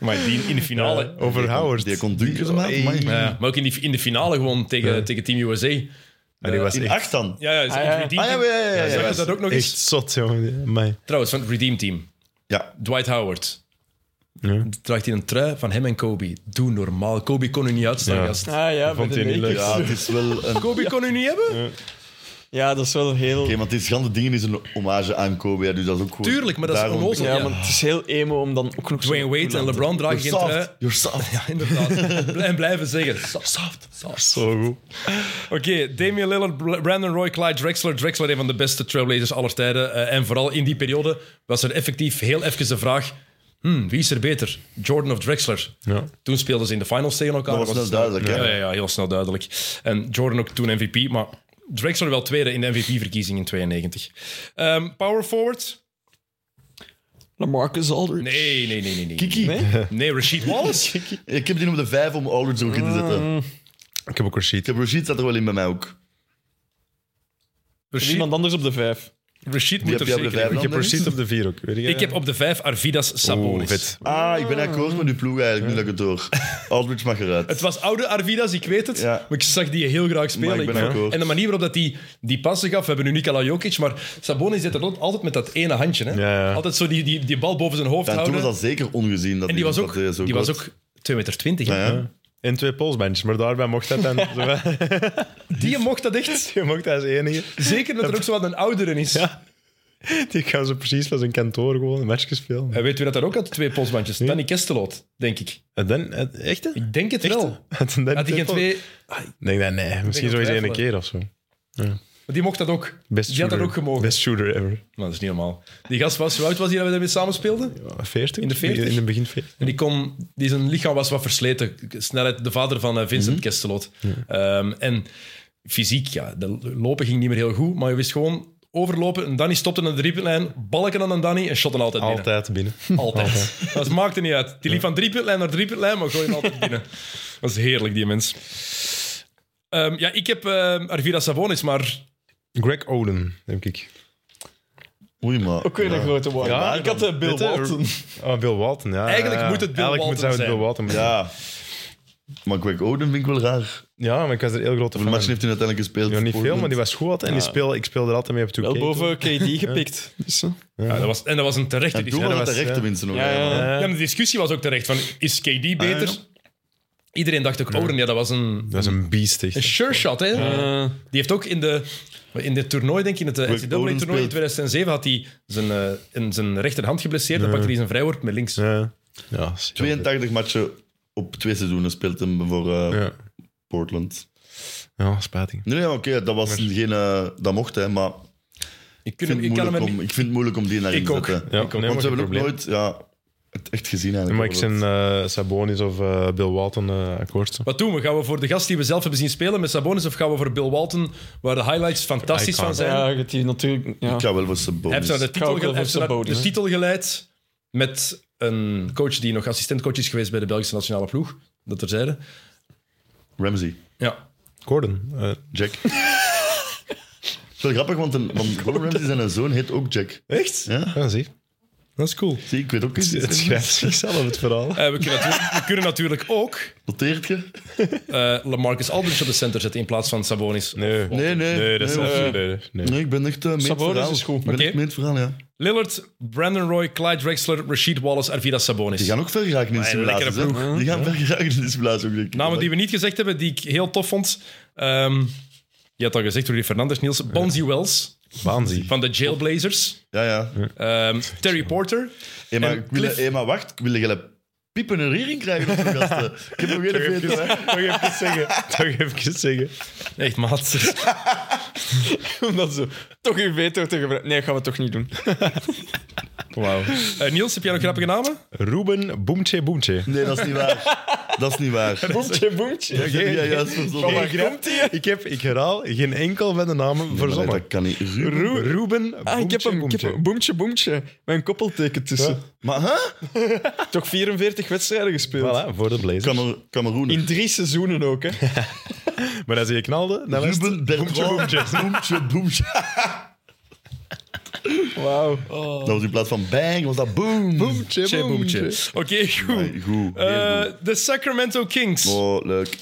Maar die in de finale.
Over [LAUGHS] Howard.
Die kon dunken, maken.
Hey.
man.
Ja, maar ook in, die, in de finale gewoon tegen, tegen Team USA.
Maar die was
In
echt,
acht dan.
Ja, ja, is
Ah, ja.
Redeem
Ah ja,
Team.
ja, ja, ja, ja.
Zag je dat ook nog eens?
echt zot, jongen. Amai.
Trouwens, van het Redeem Team.
Ja,
Dwight Howard.
Ja.
Draagt hij een trui van hem en Kobe. Doe normaal. Kobe kon u niet uitstaan,
Ja.
gast.
Ah ja,
vond
bij de
hij niet
Lakers.
ja, het is wel een... Oké,
Kobe kon u niet hebben?
Ja, dat is wel heel...
want dit schande dingen is een hommage aan Kobe, hè, dus dat is ook gewoon...
Tuurlijk, maar dat is
daarom-
onnozel.
Ja,
Ja.
maar het is heel emo om dan ook nog zo...
Dwayne Wade en LeBron dragen
You're
geen
soft,
trui. [LAUGHS]
you're soft.
Ja, inderdaad. en blijven zeggen. Soft, soft, soft.
Zo goed.
Oké, Damian Lillard, Bl- Brandon Roy, Clyde Drexler. Drexler, een van de beste trailblazers aller tijden. Eh, en vooral in die periode was er effectief heel even de vraag... hmm, wie is er beter? Jordan of Drexler?
Ja.
Toen speelden ze in de finals tegen elkaar.
Dat was
het
snel duidelijk,
Ja,
hè?
ja, ja, heel snel duidelijk. En Jordan ook toen MVP, maar Drexler wel tweede in de MVP-verkiezing in 92. Ehm, power forward?
LaMarcus Aldridge.
Nee, nee, nee, nee. nee.
Kiki,
Nee?
[LAUGHS] Nee, Rashid Wallace?
ik heb die op de vijf om Aldridge ook in te
Mm.
zetten.
Ik heb ook een sheet.
Ik heb Rashid staat er wel in bij mij ook.
Rashid-
Iemand anders op de vijf.
Rashid
Wie
moet
heb
er
jij op
zeker
de
in.
vijf
Ik heb
dan,
precies
Dennis?
op de vier ook. Weet jij?
Ik heb op de vijf Arvidas
Oeh,
Sabonis.
vet.
Ah, ik ben akkoord met uw ploeg eigenlijk, nu dat ik het
[LAUGHS]
hoor. Aldridge mag eruit.
Het was oude Arvidas, ik weet het.
Ja.
Maar ik zag die heel graag spelen.
Maar ik ben
vond-
akkoord.
en de manier waarop dat die, die passen gaf, we hebben nu Nikola Jokic, maar Sabonis zit er dan altijd met dat ene handje. Hè?
Ja, ja.
Altijd zo die, die, die bal boven zijn hoofd
en toen
houden.
was dat zeker ongezien. Dat
en die was
dat
ook,
hij zo
die was
kort-
ook 2,20 meter. twintig,
Ja, ja.
In twee polsbandjes, maar daarbij mocht
[LAUGHS]
dat dan. zo- [LAUGHS]
Die mocht dat echt.
Je mocht als enige.
Zeker dat er ook zo wat een oudere is.
Ja. Die gaan zo precies van zijn kantoor gewoon een matchje spelen.
En weet u dat daar ook had twee polsbandjes? Danny Kesteloot, denk ik.
En dan, eh, echt? hè?
Ik denk het
[LAUGHS]
wel.
Had hij
Had hij geen twee...
Ik denk dat nee, misschien
Ik
zo eens
twijfel.
één keer of zo.
Maar die mocht dat ook.
Best
die had dat
shooter.
ook gemogen.
Best shooter ever.
Maar dat is niet normaal. Die gast was, hoe oud was hij dat we daarmee samen speelden?
Ja, 40?
In de 40?
In het begin 40.
En die kon, die zijn lichaam was wat versleten. Snelheid, de vader van eh, Vincent Kesteloot. Ehm, en fysiek, ja, de lopen ging niet meer heel goed, maar je wist gewoon overlopen. En Danny stopte aan de driepuntlijn, balken aan een Danny en shotten altijd binnen.
Altijd binnen.
Altijd. [LAUGHS] Dat maakte niet uit. Die liep van driepuntlijn naar driepuntlijn, maar gooide altijd binnen. Dat is heerlijk, die mens. Ehm, ja, ik heb ehm Arvira Savonis, maar
Greg Oden, denk ik.
Oei, maar...
Ook weer een grote woord.
Ja,
ik had eh, Bill
Dit, hè,
Walton.
Oh, Bill Walton, ja.
Eigenlijk
ja,
moet het Bill
Eigenlijk
Walton
zou het
zijn.
Bill Walton moeten zijn.
Ja. Maar Greg Oden vind ik wel raar.
Ja, maar ik was er heel grote
Hoeveel
fan
matchen
van.
heeft hij uiteindelijk gespeeld?
Ja, niet veel, maar die
was...
was goed altijd. En die speel, ik speelde er altijd mee op 2K.
Wel boven KD gepikt. Dus, eh,
ja, dat was, en dat was een terechte
En toen
discussie.
was het
was-
de rechte
ja.
winsten nog.
Ja, ja.
hè, maar-
Ja, de discussie was ook terecht. Van, is KD beter?
ja.
Iedereen dacht ook, Oren, ja, dat was een,
Dat is een beest, echt.
een sure shot. Hè?
eh,
Die heeft ook in de, in de toernooi, denk ik, in het
Greg Oden
NCAA-toernooi in
speelt.
2007, had hij zijn, eh, in zijn rechterhand geblesseerd. Dan pakte hij zijn vrijwoord met links.
Ja. Ja, dat is jammer.
82 matchen op twee seizoenen speelt hem voor eh,
Ja.
Portland.
ja, spijtig.
Nee, nee, oké, dat was geen... eh, dat mocht, hè, maar...
Ik,
Ik
kun,
vind,
hem-
het
ik kan hem
moeilijk
er
om,
niet...
ik vind het moeilijk om die naar
Ik
in te
ook.
zetten.
Ja, nee, maar
Want ze
geen
hebben ook
probleem.
nooit ja, het echt gezien eigenlijk.
Maar ik zijn eh, Sabonis of eh, Bill Walton eh akkoord. zo.
Wat doen we? Gaan we voor de gast die we zelf hebben zien spelen met Sabonis of gaan we voor Bill Walton, waar de highlights fantastisch
Icon.
van zijn?
Ja, je hebt die natuurlijk... Ja.
Ik
eh,
[LAUGHS]
ga wel voor Sabonis.
Hij heeft ze naar de
Ik ga
titel,
ook
ge-
wel
hij heeft ze
voor
naar de
Sabonis,
titel geleid met een coach die nog assistentcoach is geweest bij de Belgische nationale ploeg. Dat terzijde.
Ramsey.
Ja.
Gordon. eh,
[LAUGHS]
Jack. Het is wel grappig, want, een, want
[LAUGHS]
Gordon Ramsay zijn zoon heet ook Jack.
echt?
Ja.
Ja, zie. Dat is cool.
Zie, ik weet
[LAUGHS]
ook niet.
[LAUGHS] Het schrijft zichzelf, het verhaal.
Eh, we, kunnen natuurlijk, we kunnen natuurlijk ook
Noteert je?
eh, Lamarcus Aldridge op de center zetten in plaats van Sabonis.
Nee.
Nee, nee.
Nee, dat is
nee,
absoluut... Nee, nee.
nee, ik ben echt eh, mee in het
Sabonis
verhaal.
is goed.
Ik ben
Oké.
echt mee in het verhaal, ja.
Lillard, Brandon Roy, Clyde Drexler, Rashid Wallace, Arvidas Sabonis.
Die gaan ook ver geraken in de
Maar een lekkere
simulaties. hè. Die gaan ver geraken in de simulaties ook, denk ik.
Namen Nou, die we niet gezegd hebben, die ik heel tof vond. Ehm, je had al gezegd, Rudy Fernandez, Niels. Bonzi Wells
Waanzin.
van de Jailblazers.
Ja, ja.
Ehm, Terry Porter.
Hé, maar,
En
ik wil,
Cliff-
hé, maar wacht, ik wil jullie piepen een rering krijgen op de
[LAUGHS]
gasten. Ik heb nog geen veto, hè.
Toch even zeggen. Toch even zeggen.
Echt maat.
Omdat ze toch uw veto te gebruiken. Nee, gaan we toch niet doen.
Wauw. Eh, Niels, heb jij nog grappige namen?
Ruben Boemtje Boemtje.
Nee, dat is niet waar. Dat is niet
[LAUGHS]
waar.
[LAUGHS] Boemtje, boemtje.
Dat heb jij juist verzonnen.
Waar komt die?
Ik heb, ik herhaal, geen enkel van de namen
Nee,
verzonnen.
dat kan niet. Ruben.
Ru- Ruben Boemtje
Ah, ik heb hem. Ik heb
Boemtje.
hem. Boemtje, boemtje. Met een koppelteken tussen.
Maar, hè?
Toch 44 wedstrijden gespeeld.
Voilà, voor de Blazers.
Kamer- Kameroen.
In drie seizoenen ook, hè.
Maar als je knalde, dan was het...
Ruben Bertrand. [LAUGHS] Boemtje, boemtje.
Wauw.
Oh. Dat was in plaats van bang, was dat boom.
Boemtje Boemtje.
Oké, goed.
Nee, goed.
Eh,
Heel goed.
de Sacramento Kings.
Oh, leuk.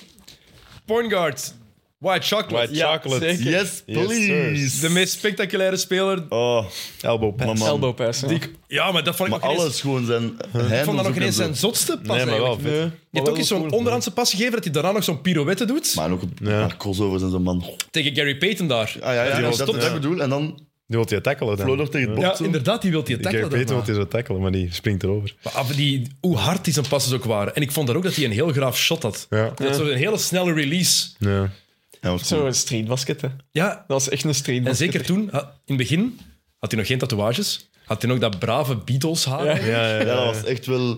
Point guard. White Chocolate.
White
Ja,
Chocolate.
zeker.
Yes, please.
De meest spectaculaire speler.
Oh,
Elbow pass.
maar man.
Elbow pass. Ja. eh,
Die, ja, maar dat vond ik
Maar
nog ineens-
alles gewoon zijn
Ik vond dat nog ineens zijn zotste pas.
Nee, maar wel
eigenlijk.
vet.
Nee.
Je hebt ook eens zo'n onderhandse pas gegeven dat hij daarna nog zo'n pirouette doet.
Maar ook een paar crossovers en zo'n man. Ah
tegen Gary Payton daar.
ja, ja,
die
dat,
was
dat,
top,
dat
ja.
bedoel. En dan
Die wil je tackelen dan.
Flodder tegen het bord.
Ja,
zo.
inderdaad, die wil die
Ik
tackelen.
heb weten
daarna.
wat hij zou tackelen, maar die springt erover.
Maar af- die, hoe hard die zijn passes ook waren. En ik vond daar ook dat hij een heel graaf shot had.
Ja.
Dat was een hele snelle release.
Ja.
Ja, was
Zo,
goed.
een streetbasket, hè.
Ja,
Dat is echt een
en
streetbasket.
zeker toen, ha- in het begin, had hij nog geen tatoeages. Had hij nog dat brave Beatles haar.
Ja.
Ja, ja,
[LAUGHS] Ja,
ja.
dat was echt wel...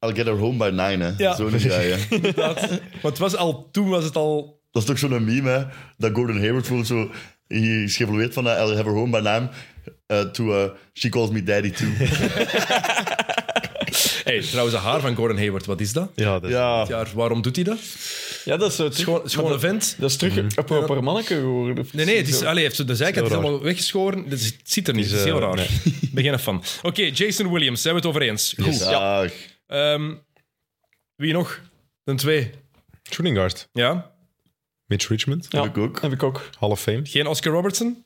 I'll get her home by nine, hè.
Ja.
Zo'n guy, hè.
inderdaad. Maar het was al, toen was het al...
Dat is toch zo'n meme, hè? Dat Gordon Hayward voelt zo... Hij is geëvolueerd van... eh, I'll have her home by nine. eh, to... eh, she calls me daddy, too.
Hey, trouwens, het haar van Gordon Hayward, wat is dat?
Ja, dat
Ja,
Ja, waarom doet hij dat?
Ja, dat is zo terug-
Schoon, schone vent.
Dat is terug een proper manneke geworden. of
Nee, nee, het is,
zo.
allee, hij heeft zo de zijkant
Heel raar.
helemaal weggeschoren. Dat is- Het ziet er niet, het is heel raar. [LAUGHS] Ik ben geen fan. Oké, Jason Williams, zijn we het over eens? Goed.
ja.
Ehm, wie nog? Een twee.
Shooting guard.
Ja?
Mitch Richmond.
Ja,
ik ook.
Heb ik ook.
Hall of Fame.
Geen Oscar Robertson?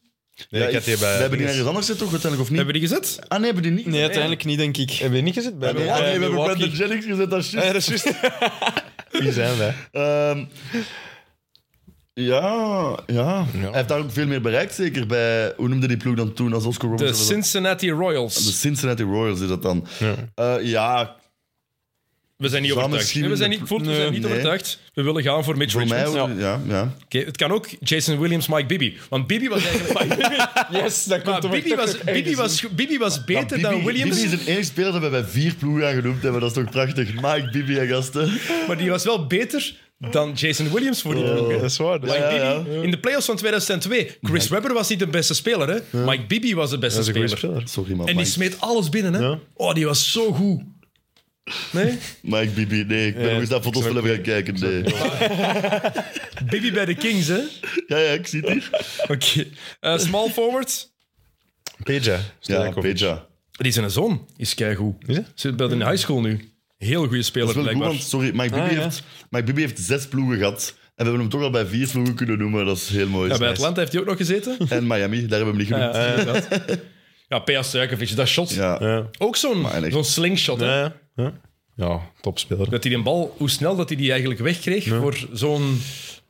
Nee, ik had die bij...
We hebben die ergens anders zitten, toch? Uiteindelijk, of niet?
Hebben we die gezet?
Ah, nee, hebben die niet.
Nee, uiteindelijk niet, denk ik.
Hebben we niet gezet? Bij
Ah, nee,
bij-
we
eh,
hebben
Milwaukee. [LAUGHS]
Brandon Jennings gezet, dat is juist.
Nee, dat is juist. Wie zijn wij?
Ehm, ja, ja, Hij heeft daar ook veel meer bereikt, zeker bij... Hoe noemde die ploeg dan toen als Oscar
De
Robertson? was dat?
Cincinnati
de
Royals.
Cincinnati Royals is dat dan. Ja, ja
We zijn niet
Zou
overtuigd.
misschien
Nee, We zijn
de-
niet, voort, we zijn niet
Nee.
overtuigd. We willen gaan voor Mitch
voor mij...
Richmond.
Ja, ja. ja.
Oké, het kan ook Jason Williams, Mike Bibby. Want Bibby was eigenlijk...
Yes, [LAUGHS] dat
Maar
komt er
Bibby
toch
was,
nog
Bibby,
ergens
was, Bibby was beter
Maar
dan
Bibi-
Williams.
Bibi is een enige speler dat we bij vier ploegen aan genoemd hebben. Dat is toch prachtig. Mike, Bibi en gasten.
Maar die was wel beter dan Jason Williams voor die ploeg.
Dat
hè.
is waar. Dat is-
Ja,
Mike
ja.
Bibby, in de playoffs van 2002, Chris Webber was niet de beste speler. Hè? Mike Bibby was de beste
dat is een goede
speler.
speler.
Sorry, man.
En die
Mike,
smeet alles binnen. Hè?
Ja.
Oh, die was zo goed. Nee?
Mike Bibi. Nee, ik ben nog eens naar foto's van hem gaan kijken. Nee.
Bibby bij de Kings, hè?
Ja, ja, ik zie het hier.
Oké. Eh, small forward.
Peja.
Ja,
Stojkovic.
Peja.
Die zijn zoon is keigoed.
Is het?
Zit bij de high school nu. Heel goede speler,
Dat is wel goed,
blijkbaar.
want sorry, Mike Bibby,
Ah, ja.
heeft, Mike Bibby heeft zes ploegen gehad. En we hebben hem toch al bij vier ploegen kunnen noemen. Dat is heel mooi.
ja, bij Atlanta heeft hij ook nog gezeten.
En Miami, daar hebben we hem [LAUGHS] niet genoemd.
Ja, inderdaad. ja P.A. Stojkovic, dat shot.
Ja.
Ja.
Ook zo'n
Maar echt.
zo'n slingshot. hè.
Ja, ja. Ja, topspeler.
Dat hij die bal, hoe snel dat hij die eigenlijk wegkreeg voor zo'n...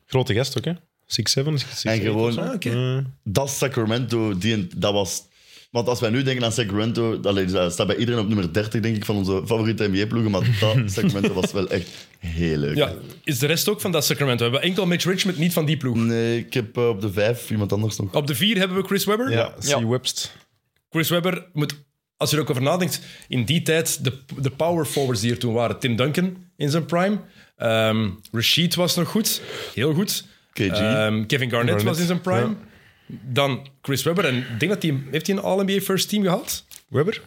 Grote gast ook, hè? 6-7.
En
Ah,
gewoon,
oké.
dat Sacramento, die, en- dat was... Want als wij nu denken aan Sacramento, dat ligt- dat staat bij iedereen op nummer 30, denk ik, van onze favoriete NBA-ploegen. Maar dat Sacramento was wel echt heel leuk.
Ja, is de rest ook van dat Sacramento? We hebben enkel Mitch Richmond, niet van die ploeg.
Nee, ik heb eh, op de vijf iemand anders nog.
Op de vier hebben we Chris Webber.
Ja, C.
Ja.
Webst.
Chris Webber moet, als je er ook over nadenkt, in die tijd de, de power forwards die er toen waren. Tim Duncan in zijn prime. Ehm Rashid was nog goed. Heel goed.
KG.
Ehm, Kevin Garnett, was in zijn prime. Dan Chris Webber. En ik denk dat hij... Heeft hij een All-NBA First Team gehad?
Webber?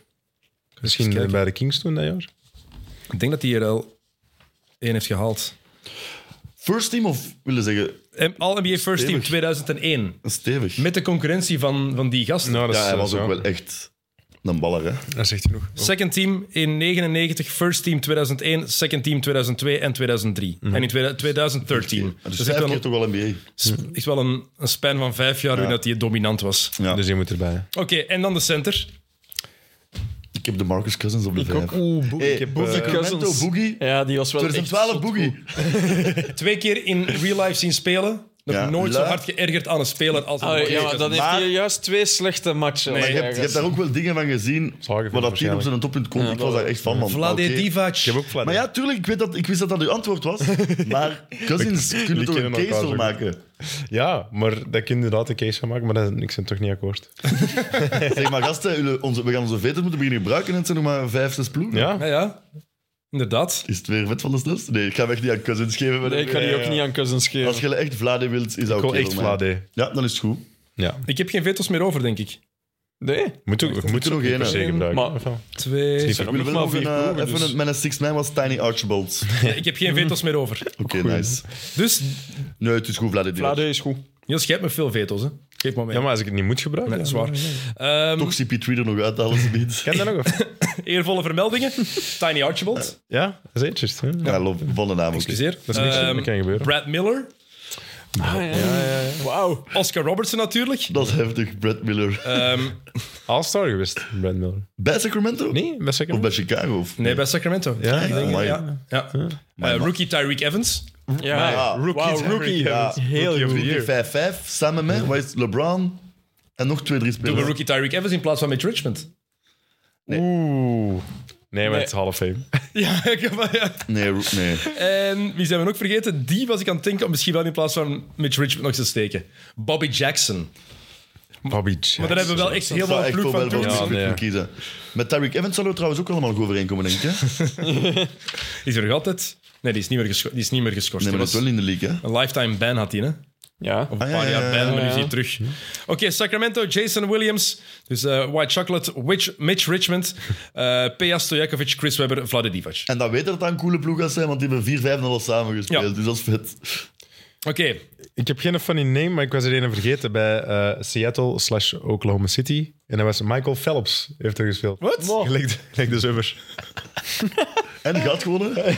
Misschien eh, bij de Kings toen dat jaar.
Ik denk dat hij er al één heeft gehaald. Ehm,
First team of willen zeggen
All-NBA First Team
Stevig.
2001.
stevig.
Met de concurrentie van, van die gasten.
Nou, dat
Ja,
is,
hij
eh,
was
zo.
ook wel echt een baller, hè?
Dat zegt hij nog.
Oh. Second team in 99, first team 2001, second team 2002 en 2003. En in 2000 2013.
Dus
Dus
vijf
echt wel,
keer toch wel NBA.
een- echt wel een, een span van vijf jaar waarin dat hij dominant was.
Ja.
Dus je moet erbij.
Oké, en dan de center.
Ik heb de Marcus Cousins op de vijf.
Oeh,
Hey, Sacramento
eh, Cousins.
Boogie.
Ja, die was wel echt
2012
zot
Boogie.
goed.
Twee keer in real life zien spelen. Nog
Ja,
nooit zo
lui.
hard geërgerd aan een speler als
Ah,
een
ja, maar dan heeft
Maar-
hij juist twee slechte matchen.
Maar je hebt, je hebt daar ook wel dingen van gezien
Zagen
waar dat team op
waarschijnlijk.
zijn toppunt kon. ik was daar echt van, man.
Vlade
Oké.
Divac.
Ik heb ook Vlad.
Maar ja, tuurlijk, ik, weet dat, ik wist dat dat uw antwoord was. Maar Cousins kunnen toch
kennen
een case
elkaar
wel
zo
maken.
ja, maar dat kun je inderdaad een case van maken, maar dat, ik ben toch niet akkoord.
Zeg maar, gasten, jullie- onze, we gaan onze veters moeten beginnen gebruiken. En het zijn nog maar vijf, zes ploegen.
Ja,
Ja?
ja. Inderdaad.
Is het weer vet van de snelste? Nee, ik ga hem echt niet aan Cousins geven. maar
Nee, ik ga die ook niet aan Cousins
Als
geven.
je echt Vlade wilt, is dat
Ik
oké.
wil echt
voor mij.
Vlade.
Ja, dan is het goed.
Ja.
Ik heb geen veto's meer over, denk ik.
Nee?
Moet ook, moet
er nog
ook niet
één
per se
uit.
gebruiken.
Maar-
Of wel?
Twee.
[LAUGHS] Is niet
Ik
zo-
wil
nog
wel
maar
nog
vier
een, eh,
ploegen,
even
dus.
een, mijn six man was Tiny Archibald.
Ik heb geen veto's meer over.
Oké, nice.
Dus,
Nee, het is goed, Vlade.
Vlade is goed.
Niels, jij hebt me veel veto's, hè? Geef maar mee.
Ja, maar als ik het niet moet gebruiken...
Nee, dat is
ja.
waar. Ehm,
Toch CP3 er nog uit, alles biedt.
Ken je dat nog? Of?
Eervolle vermeldingen. [LAUGHS] Tiny Archibald.
Ja, dat is eentjes. hè.
Ja, loop, volle naam. oké.
Excuseer.
Dat is niks,
Ehm,
dat kan gebeuren.
Brad Miller.
Ah, Wauw.
Oscar Robertson [LAUGHS] natuurlijk.
Dat is heftig, Brad Miller.
Ehm,
All-star geweest, Brad Miller.
bij Sacramento?
Nee, best zeker
Of bij Chicago? Of?
nee, bij Sacramento.
Ja,
ik denk-
Ja,
Amai.
ja. ja. Eh, rookie Tyreek Evans.
Ja,
ja,
rookie.
rookie
Wow, Ah, rookie.
Ja,
Heel
rookie of the
goed.
year. 5-5, samen met waar is LeBron en nog twee, drie
Doen we
spelers.
rookie Tyreek Evans in plaats van Mitch Richmond.
Oeh. Nee, maar het is Hall of Fame.
Ja, [LAUGHS] ik heb- ja.
Nee, ro-
[LAUGHS]
nee.
En wie zijn we nog vergeten? Die was ik aan het denken om misschien wel in plaats van Mitch Richmond nog te steken. Bobby Jackson.
Bobby Jackson.
Maar daar hebben we wel echt heel
Dat zou
veel
echt
ploeg van
voor wel
toe.
voor
Ja,
Sacramento
nee.
kiezen. Met Tyreek Evans zullen we trouwens ook allemaal goed overeenkomen,
[LAUGHS]
denk ik. Hè?
Is er nog altijd? Nee, die is niet meer, gescho- die is niet meer geschorst.
Nee, maar dat is
Die
wel in de league, hè?
was- Een lifetime ban had hij, hè?
Ja.
Of een
Ah, ja,
paar
ja,
jaar
ja,
bij, maar nu
ja.
is hij terug. Oké, Sacramento, Jason Williams. Dus eh, White Chocolate, Witch- Mitch Richmond, eh Peja Stojakovic, Chris Webber, Vlade Divac.
En dat weet dat dat een coole ploeg gaat zijn, want die hebben 4, 5 en al samen gespeeld.
Ja.
Dus dat is vet.
Oké, [LAUGHS]
Ik heb geen funny name, maar ik was er een vergeten bij eh, Seattle slash Oklahoma City. En dat was Michael Phelps, heeft er gespeeld.
Wat?
Wow. Gelijk, gelijk de zummer.
En gaat
[LAUGHS]
gewonnen.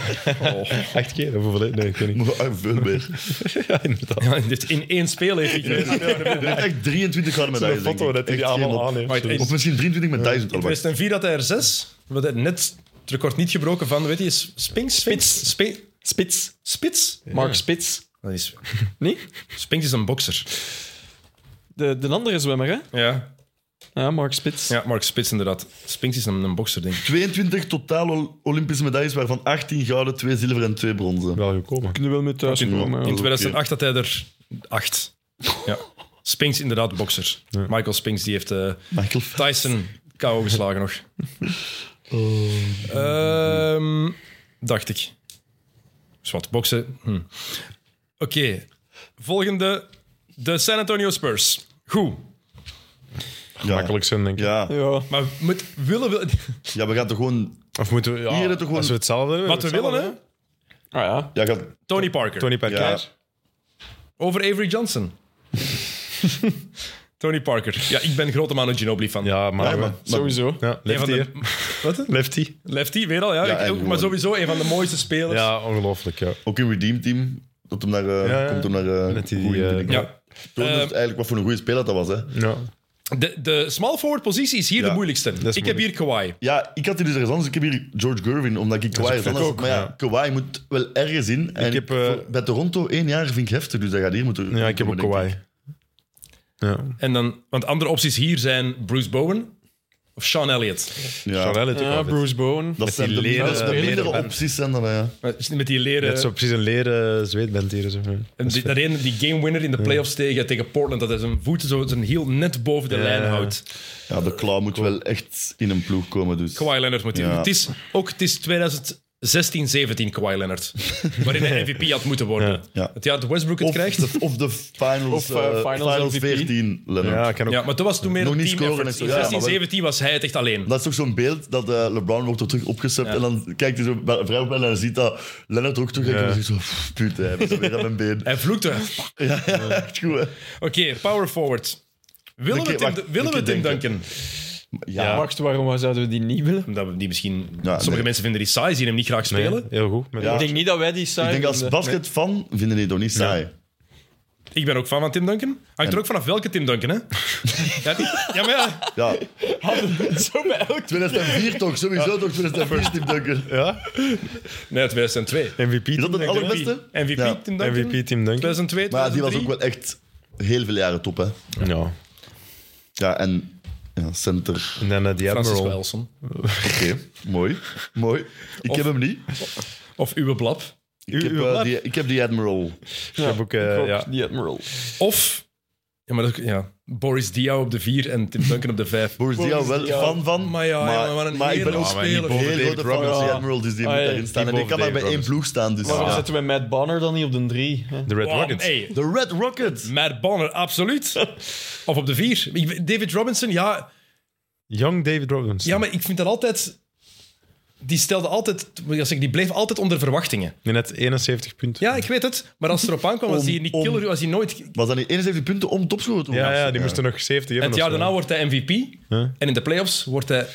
Acht keer, of hoeveel? Nee,
[LAUGHS]
ik weet niet.
Maar eh, veel meer.
Ja, inderdaad.
Ja, dit in één spel heeft hij gekregen.
Die heeft echt 23 gouden
Een
medailles. denk
foto
ik.
dat hij
Echt
die
geen
allemaal
op-
aan heeft.
Maar het
Of misschien 23 medailles in
In
totaal.
2004 had hij er zes. We hadden net het record niet gebroken van, weet je, is Spinks? Spits.
Spits.
Spits?
Mark Spits.
Dat is,
Nee?
Spinks is een bokser.
De, de andere zwemmer, hè?
Ja.
Ja, Mark Spits.
ja, Mark Spits inderdaad. Spinks is een, een bokser, denk ik.
22 totale Olympische medailles, waarvan 18 gouden, 2 zilveren en 2 bronzen.
Wel gekomen.
Kunnen we wel mee thuis
Kunnen we.
komen.
In
ja.
2008 had hij er acht. Ja. Spinks inderdaad bokser. Michael Spinks die heeft eh,
Michael Phelps.
Tyson KO geslagen nog. Ehm, dacht ik. Dus wat boksen. Hm. Oké. Volgende. De San Antonio Spurs. Goed.
Ja.
Makkelijk zijn, denk ik.
Ja.
Ja. Ah,
Maar moet, willen we...
ja, we gaan toch gewoon...
Of moeten we... Ja,
Hier het toch gewoon-
Als we hetzelfde hebben,
Wat we
hetzelfde,
willen, hè?
Ah ja.
Ja, gaat...
Tony Parker.
Tony Parker.
Ja.
Over Avery Johnson. [LAUGHS] Tony Parker. Ja, ik ben grote Manu Ginobili fan.
Ja, maar...
Ja,
Ja,
maar-
Sowieso.
Een van
lefty,
de,
hè?
wat?
Lefty.
Lefty, weer al. Ja,
Ja,
Ik-
en
ook, maar
gewoon-
sowieso een van de mooiste spelers.
Ja, ongelooflijk, ja.
Ook in Redeem Team. Dat hem naar, eh,
Ja, ja.
komt hem naar... eh,
Met die,
goeie
eh,
binnen.
Ja.
Toonde
Eh,
het eigenlijk wat voor een goede speler dat was. Hè.
ja.
De, de small forward positie is hier
Ja,
de moeilijkste. Ik
moeilijk.
heb hier Kawhi.
Ja, ik had hier dus ergens anders. Ik heb hier George Gervin, omdat ik Kawhi
ook
ergens anders...
ook,
maar ja,
ja.
Kawhi moet wel ergens in. En
heb, eh,
voor- bij Toronto één jaar vind ik heftig, dus dat gaat hier moeten...
ja, ik heb ook
komen, denk
Kawhi. Ja.
En dan, want andere opties hier zijn Bruce Bowen of Sean Elliott.
ik. Ja.
Charlotte heeft ook
Ja,
wel fit.
Bruce Bowen.
Dat zijn
die
de,
leren-
dat is de
leren
mindere
band.
opties zijn dan, eh, ja.
Met met die leren...
Net zo precies een leren zweetband hier. Zo.
en die, dat ene, die game winner in de playoffs tegen, tegen Portland, dat hij zijn voeten zo zijn heel net boven de lijn houdt.
Ja, de klauw moet wel echt in een ploeg komen, dus...
Kawhi Leonard moet hier.
Ja.
Het is ook het is 2016-17 Kawhi
[LAUGHS]
Leonard, waarin hij MVP had moeten worden.
Ja.
Het jaar dat Westbrook het
Of
krijgt.
de, of de finals,
Of, eh,
eh,
finals
finals,
MVP.
14, Leonard.
Ja, ik kan ook...
Ja, maar toen was toen meer
Nog
een
niet
team
scoren
effort.
en zo.
In
Ja, maar wel-
16-17 was hij het echt alleen.
Dat is toch zo'n beeld dat eh, LeBron wordt er terug opgesupt en dan kijkt hij zo bij- vrij op en dan ziet dat Leonard er ook terug en dan zegt zo, "Pff, puut, hij is weer aan mijn been.
Hij vloekte.
Ja, echt goed, hè.
Oké, power forward. Willen
Oké,
we Tim,
wacht,
willen we
ik
Tim
denk-
Duncan?
Ja,
Wacht, waarom zouden we die niet willen?
Omdat we die misschien...
Ja,
sommige
nee.
mensen vinden die saai, zien hem niet graag spelen.
Nee, heel goed. Met
Ja.
Ik denk niet [LAUGHS] dat wij die saai
ik denk als
vinden.
basketfan vinden die dat niet saai.
Ik ben ook fan van Tim Duncan. Hangt er ook vanaf welke Tim Duncan,
[LAUGHS]
hè? ja, die- ja, maar ja.
Ja,
Zo bij elk
2004 toch, sowieso toch 2004 Tim Duncan.
Ja?
Nee, 2002.
MVP
Is dat
Team
het
Duncan.
allerbeste?
MVP
Ja.
Tim Duncan.
MVP Team Duncan.
2002,
Maar ja, die was ook
2003.
wel echt heel veel jaren top, hè.
Ja.
Ja, en ja, center.
En dan eh, die
Francis
Admiral.
Wilson.
Oké, mooi. Mooi. Ik heb hem niet.
Of Uwe Blab.
Ik heb,
uw
eh,
lap.
die, ik heb die Admiral.
Ik heb ook... eh,
Klopt,
ja.
die Admiral.
Of... Ja, maar dat, is ook- ja. Boris Diaw op de 4 en Tim Duncan op de
[LAUGHS]
5.
Boris Diaw wel
Diaw.
fan van.
Maar ja, ja, maar wat een
ik ben
heerlijk
ook
speler.
heel
Boven
grote
David
fan van
Roberts.
die Admiral, dus die
Ah,
moet
ja.
daarin staan.
Die
En die kan
boven
maar bij
David
één ploeg staan. Dus
Waarom
ja.
zetten wij Matt Bonner dan niet op de drie? [LAUGHS] hè?
De Red
Wow,
Rockets.
hey.
De Red Rockets.
Matt Bonner, absoluut. of op de 4. David Robinson, ja...
Young David Robinson.
Ja, maar ik vind dat altijd... Die stelde altijd... wil ik zeggen, Die bleef altijd onder verwachtingen.
Die net 71 punten.
Ja, ik weet het. Maar als het erop aankwam, was
Om-
hij niet
om-
killer, was hij nooit... En
Was dat niet 71 punten om topscorer te worden?
Ja, ja, die moesten nog 70 hebben.
het
of
jaar
zo.
daarna wordt hij MVP. En in de playoffs wordt hij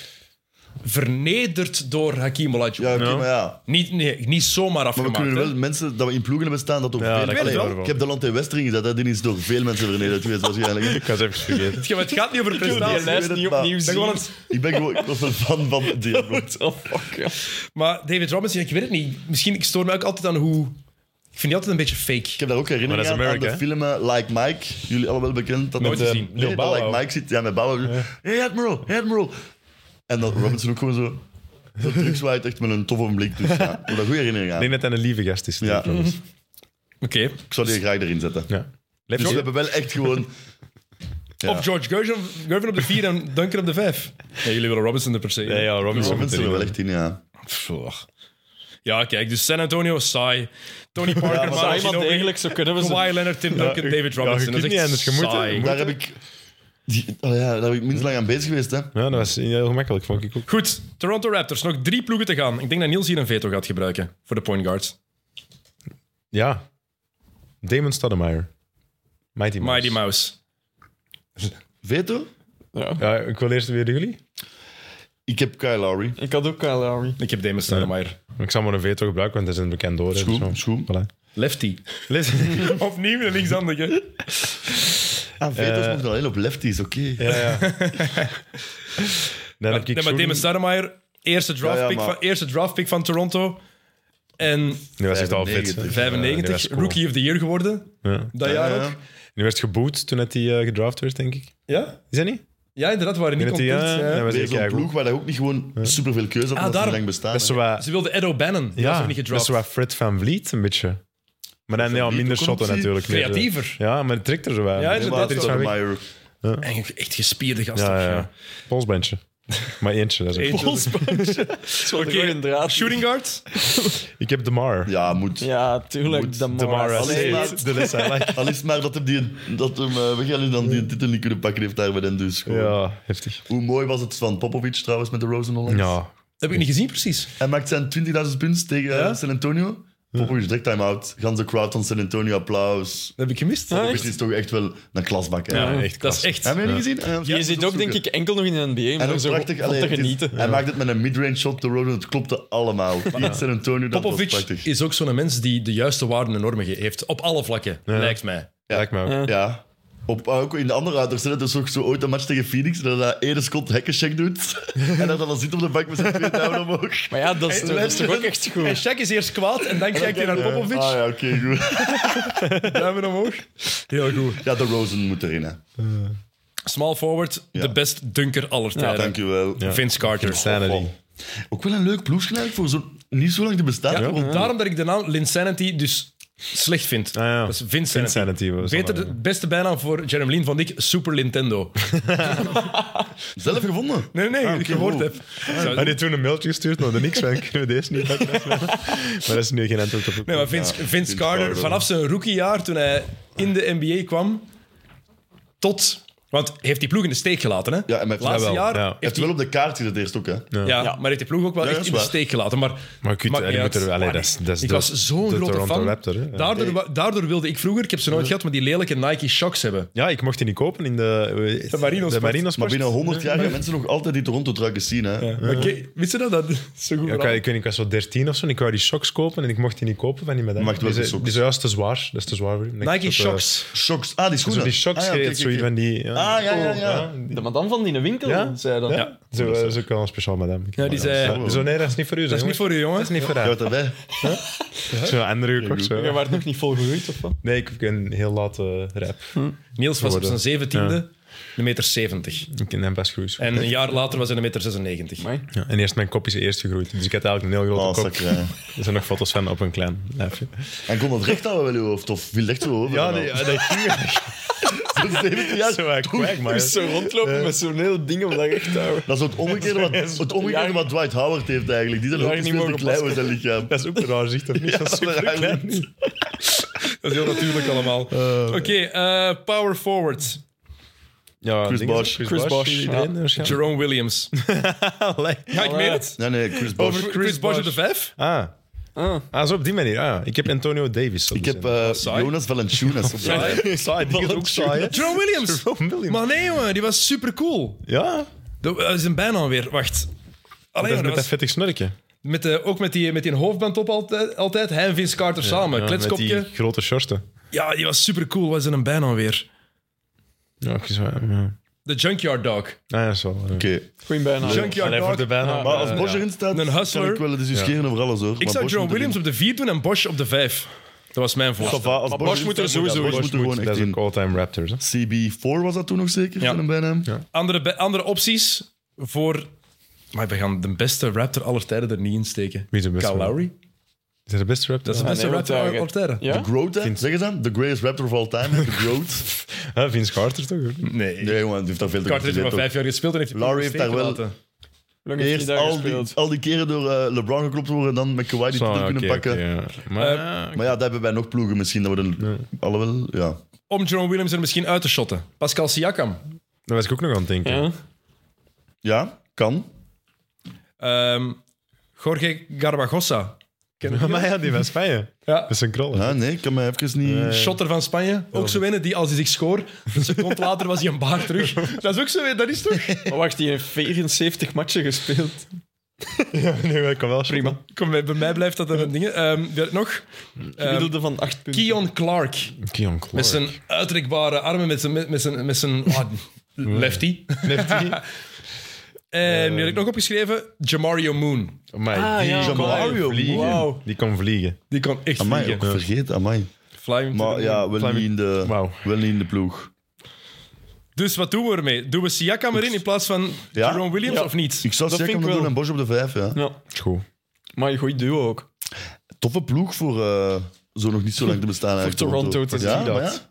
vernederd door Hakim Olajuwon.
Ja, oké,
Ja.
maar ja.
Niet, nee, niet zomaar
Maar we
afgemaakt.
kunnen
hè.
wel mensen dat we in ploegen hebben staan dat toch
Ja, dat
veel...
kan
Allee,
wel.
ik heb de land in Westering gezet, hè. die is door veel mensen vernederd geweest waarschijnlijk.
Ik was even [LAUGHS] vergeten.
Ja, maar het gaat niet over
Die
prestaties.
weet
lijst
het,
niet
maar-
opnieuw
Dat
zien.
gewoon het-
Ik ben gewoon ik was een fan van die Admiral.
Oh, fuck, ja.
Maar David Robinson, ik weet het niet. Misschien, ik stoor me ook altijd aan hoe... Ik vind die altijd een beetje fake.
Ik heb daar ook
Maar
herinneringen
dat
aan,
is
aan de
Amerika,
film eh, Like Mike. Jullie allemaal wel bekend. Dat
Nooit
eh,
gezien.
nee,
Lil
dat
Bow
Like
Wow.
Mike zit. Ja, met Bauer. Hey Admiral, hey Admiral. En dan Robinson ook gewoon zo. Zo terugzwaait, echt met een toffe blik. Dus ja, ik heb daar goede herinneringen
Ik
aan.
denk dat hij een lieve gast is.
Ja,
David Robinson.
Oké.
ik zou die graag erin zetten.
ja.
Dus we
Lefty.
hebben wel echt
[LAUGHS]
gewoon... Ja.
Of George Gervin, Gervin op de 4 en Duncan op de 5. Ja, jullie willen Robinson er per se. in.
Ja, ja, Robinson.
Robinson
moet
er
erin.
wel echt in, ja.
Pff, och. Ja, kijk, dus San Antonio, saai. Tony Parker,
maar
Manu
Saai, maar
Ginobili,
nou degelijk, zo kunnen we ze.
nou Kawhi Leonard, Tim Duncan,
je-
David
ja, je
Robinson. dat is
kunt niet
echt
anders, je moet, hè.
saai.
Je moet.
Daar heb ik... Die, oh ja, daar ben ik minst lang aan bezig geweest, hè.
Ja, dat was heel gemakkelijk, vond ik ook.
Goed, Toronto Raptors. Nog drie ploegen te gaan. Ik denk dat Niels hier een veto gaat gebruiken voor de point guards.
Ja. Damon Stoudemire. Mighty Mouse.
Mighty Mouse.
Veto?
Ja, ik wil eerst weer jullie.
Ik heb Kyle Lowry.
Ik had ook Kyle Lowry.
Ik heb Damon Stoudemire.
Ik zal maar een veto gebruiken, want dat is een bekend door. hè,
Schoen,
dus zo.
schoen.
Voilà.
Lefty.
Listen.
[LAUGHS] Opnieuw een linkshandige.
Ah, veto's mochten alleen op lefties, oké.
ja, ja. Dan heb ik
Nee, maar
Schoen.
Damon Stoudemire, eerste draft,
Ja, ja,
pick
maar-
van, eerste draft pick van Toronto. En
Nu was echt al fit.
95.
95, rookie of the year geworden.
Ja.
Dat jaar
ja.
ook.
Nu werd geboet toen dat hij eh, gedraft werd, denk ik.
Ja?
Is dat niet?
Ja, inderdaad, we waren niet
Ik denk dat
content.
hij, ja, dat
ja.
was
Weer
echt
zo'n
eigenlijk
ploeg waar hij ook niet gewoon superveel keuze had, omdat ze
daarom-
niet lang bestaan.
Dat is
hè.
zo wat,
Ze wilden Ed O'Bannon. Die was
ja,
nog niet
dat is
gedraft.
zo wat Fred van Vliet, een beetje. Maar dan
Van
ja,
Vliet
minder
ook een
shotten
optie.
natuurlijk. meer, eh,
Creatiever.
Ja, maar het trekt er zo wat.
Ja,
Er
Ja,
inderdaad.
maar
zit iets van weg.
Stoudemire.
Eigenlijk echt gespierde gasten.
Ja, ja, ja. Polsbandje. Maar eentje, dat is ook.
Eentje.
[LAUGHS]
Zo
Oké.
een draad.
Shooting guard.
Ik heb Demar.
Ja, moet.
Ja, tuurlijk.
Moet
De
Demar
Mara.
as
Allee,
eight.
maar-
De les I like.
Al is het maar dat hem, die, dat hem eh, Weghel is dan die titel niet kunnen pakken heeft daar bij hen dus. gewoon.
Ja, heftig.
Hoe mooi was het van Popovic trouwens met de Rosen onlangs?
Ja.
Dat heb ik niet gezien, precies.
Hij maakt zijn 20.000 punten tegen eh, San Antonio. Popovic direct time-out. Gans de crowd van San Antonio, applaus.
Dat heb ik gemist.
Popovic is toch echt wel een klasbak. Hè?
Ja,
echt
dat is
klasse.
echt.
Heb je niet gezien? Eh,
Je
moet
zit ook,
opzoeken.
denk ik, enkel nog in de NBA. Maar
En ook
zo
prachtig.
prachtig,
Allee,
te
het is-
genieten.
Hij maakt het met een midrange shot de Rosen. Het klopte allemaal. Niet San Antonio, dat was
Popovic
prachtig.
is ook zo'n mens die de juiste waarden en normen heeft. Op alle vlakken, lijkt mij.
Lijkt me ook.
Ja. Op, ook in de andere uiters. hè. Dat is ook zo ooit een match tegen Phoenix. Dat hij ene Scott hekkencheck doet. [LAUGHS] en dat hij dan zit op de bank met zijn twee duimen omhoog.
Maar ja, dat is, dat is toch ook echt
En
goed.
Shaq is eerst kwaad en dan kijkt hij naar Popovic.
Ah ja, oké, goed.
Duimen omhoog. Heel goed.
Ja, de Rosen moet erin, hè.
Small forward,
Ja.
de best dunker aller tijden.
Dankjewel.
Vince Carter.
Insanity.
Ook wel een leuk ploesje eigenlijk voor zo, niet zo lang te bestaan.
Ja, Daarom dat ik de naam Linsanity dus slecht vind.
Ah, ja.
Dat is Vince
Insanity was
Beter,
wel,
de beste bijnaam voor Jeremy Lin vond ik Super Nintendo.
Zelf gevonden.
Nee, nee,
oké,
ik gehoord
wow.
heb. Zou-
Hij heeft toen een mailtje gestuurd, maar er niks van. [LAUGHS] Kunnen we deze niet pakken? maar dat is nu geen antwoord op.
Nee, maar Vince, Vince,
Vince
Carter,
Carter.
vanaf zijn rookiejaar toen hij in de NBA kwam, tot... Want hij heeft die ploeg in de steek gelaten, hè?
en met-
Laatste
jawel,
jaar
ja.
Hij heeft
heeft
wel
hij...
op de kaart gezet eerst ook, hè.
Ja, maar heeft die ploeg ook wel
Ja,
echt
dat
in
is
de
waar.
steek gelaten. Maar,
Maar
maakt
goed, eh, die
niet uit.
moeten we- allee, dat is- dat is
ik
de-
was zo'n
de
grote
Toronto
fan.
Raptor, hè? Ja.
daardoor, wa- daardoor wilde ik vroeger, ik heb ze nooit gehad, maar die lelijke Nike Shocks hebben.
Ja, ik mocht die niet kopen in de... De
Marino's
De Marino's
Maar binnen 100 jaar gaan mensen nog altijd die Toronto-truikens zien, hè.
Oké, wist je dat? Dat is zo goed.
Ja, ik,
verhaal.
wou- ik weet niet, ik was zo 13 of zo en ik wou die shocks kopen en ik mocht die niet kopen van die medaille.
Mag het wel
die,
de
zijn-
socks?
die zijn juist te zwaar. Dat is te zwaar voor hem.
Nike Shocks.
Shocks. Ah, die schoenen.
zo die shocks
ah,
ah,
ja, oké,
zo
oké,
van die... Ja.
Ah, ja, ja, ja.
De madame van die winkel,
Ja?
zei dat.
Ja? Zo, eh, dat is ook wel een speciaal madame.
Ja, die zei,
zo.
dat
Die zo, nee, dat is niet voor u.
is niet voor u, jongens.
niet voor
oké.
haar.
Ja, wat erbij.
Zo'n andere gekocht. zo.
Jij waart nog niet volgroeid, of wat?
Nee, ik heb een heel late rap.
Niels was op zijn
Geworden.
zeventiende, een meter zeventig.
Ik ken hem best groeis.
En een jaar later was hij een meter 96.
Amai.
Ja, en eerst mijn kop is eerst gegroeid. Dus ik had eigenlijk een heel
Oh,
grote kop.
zakker, hè.
Er zijn nog foto's van op een klein lijfje.
En kon dat recht houden wel in je hoofd? Of viel het echt zo over?
Ja, nee, ja, [LAUGHS] dat ging echt
[LAUGHS] Dat is 17 jaar.
zo eh, kwijk, maar...
Moest zo rondlopen
Eh.
met zo'n heel ding om dat recht te houden.
Dat is het omgekeerde, wat, het omgekeerde wat Dwight Howard heeft eigenlijk. Die zijn ook
Daar niet
veel te
mogen
klein met zijn
[LAUGHS]
lichaam.
Dat is ook een raar zicht, of niet? dat is
dat is
super klein.
eigenlijk-
Dat is heel natuurlijk [LAUGHS] allemaal. Oké, eh, power forward.
Ja,
Chris
dingen-
Bosh.
Chris
Chris
Bosch.
Bosch,
Iedereen waarschijnlijk.
Jerome Williams.
[LAUGHS] Allee.
Ja, ik meen het.
Nee, nee, Chris Bosh.
Over Chris Bosch op de vijf.
Ah.
Ah.
ah, zo op die manier. Ah, ik heb Antonio Davis.
Ik heb eh,
saai.
Jonas Valanciunas op de
Saai.
lijst.
saai, die is ook saai. hè?
[LAUGHS] Jerome Williams.
[LAUGHS] Jerome Williams.
eh, Maar nee, jongen, die was super cool.
Ja,
Dat is een bijnaam weer. Wacht. Alleen
dat is
dat
met dat
was
vettig snorkje.
met de, ook met die, met die hoofdband op altijd, altijd. Hij en Vince Carter samen.
Ja,
Kletskopje.
Met die grote shorten.
Ja, die was super cool. Was een bijnaam weer.
Ja, ik zo, ja.
De Junkyard Dog.
Ah, ja, zo. ja.
Oké.
Goeie bijna.
Junkyard
Allee, voor
Dog.
de bijna.
Maar als Bosch erin staat,
Een hustler.
kan ik wel discussiëren over alles, hoor.
ik
Maar
zou
Bosch
Jerome
moet erin.
Williams op de vier doen en Bosch op de vijf. Dat was mijn voorstel.
Ça va, als
Maar Bosch
erin
moet er
staat,
sowieso
Bosch
in.
moet er gewoon
dat
echt
is ook
in.
all-time Raptors. Hè?
CB4 was dat toen nog zeker,
Ja.
zijn bijnaam?
Andere, be- andere opties voor... Maar we gaan de beste Raptor aller tijden er niet in steken.
Wie is de beste?
Kyle Lowry.
Is dat de beste
Dat
Raptors?
is de beste
nee,
Raptor
want,
aller
ja,
aller tijden.
Ja?
Groot, hè? Zeg eens dan. The greatest raptor of all time. The Groot.
Ah, Vince Carter toch? hoor?
Nee.
Nee, jongen, die heeft daar veel te
Carter heeft er maar
gezeten,
vijf jaar gespeeld en heeft die
Lowry
ploeg
heeft daar wel-
gelaten.
lang heeft hij
Eerst
daar
al die,
gespeeld?
al die keren door eh, LeBron geklopt worden en dan met Kawhi die
Zo,
titel
oké,
kunnen pakken.
oké, ja.
Eh,
Maar, Nou,
Maar ja, daar hebben wij nog ploegen misschien. Dat we dan, Alhoewel, ja.
Om Jerome Williams er misschien uit te shotten. Pascal Siakam.
daar was ik ook nog aan het denken.
Ja.
Ja, kan.
Ehm Jorge Garbagosa.
Maar ja, die van Spanje.
Ja.
Dat is een krol. hè.
Ja, nee, ik kan mij even niet...
Shotter van Spanje. Ook zo winnen die als hij zich scoort. Een [LAUGHS] seconde later was hij een baard terug. Dat is ook zo, dat is toch?
Maar wacht, die heeft 74 matchen gespeeld.
[LAUGHS]
Ehm,
nee, maar ik kan wel shotten.
Prima.
Kom, bij bij mij blijft dat een ding. Ehm wie had het nog? Ehm
Gemiddelde van 8 punten.
Keon Clark.
Keon
Met
Clark. [LAUGHS]
zijn uitrekbare armen, met zijn, met zijn, met
[LAUGHS]
zijn ah, lefty.
Nifty.
En die had ik nog opgeschreven, Jamario Moon.
Amai,
Ah,
die
ja,
kon
Mario,
vliegen.
wauw.
Die kon vliegen.
Die kan echt
Amai, ook
vliegen.
vergeten, amai.
Fly him to the
Maar
moon.
ja, wel
Fly me-
niet in de,
Wauw.
wel niet in de ploeg.
Dus wat doen we ermee? Doen we Siakam erin in plaats van
Ja?
Jerome Williams
Ja.
of niet?
Ik zou
Dat
zeggen,
vind ik
we doen
wel.
een Bosch op de vijf, ja.
Ja.
Is Goed.
Maar een goeie duo ook.
Toffe ploeg voor eh, zo nog niet zo lang te bestaan. eigenlijk,
Toronto te
ja,
zien
maar
dat.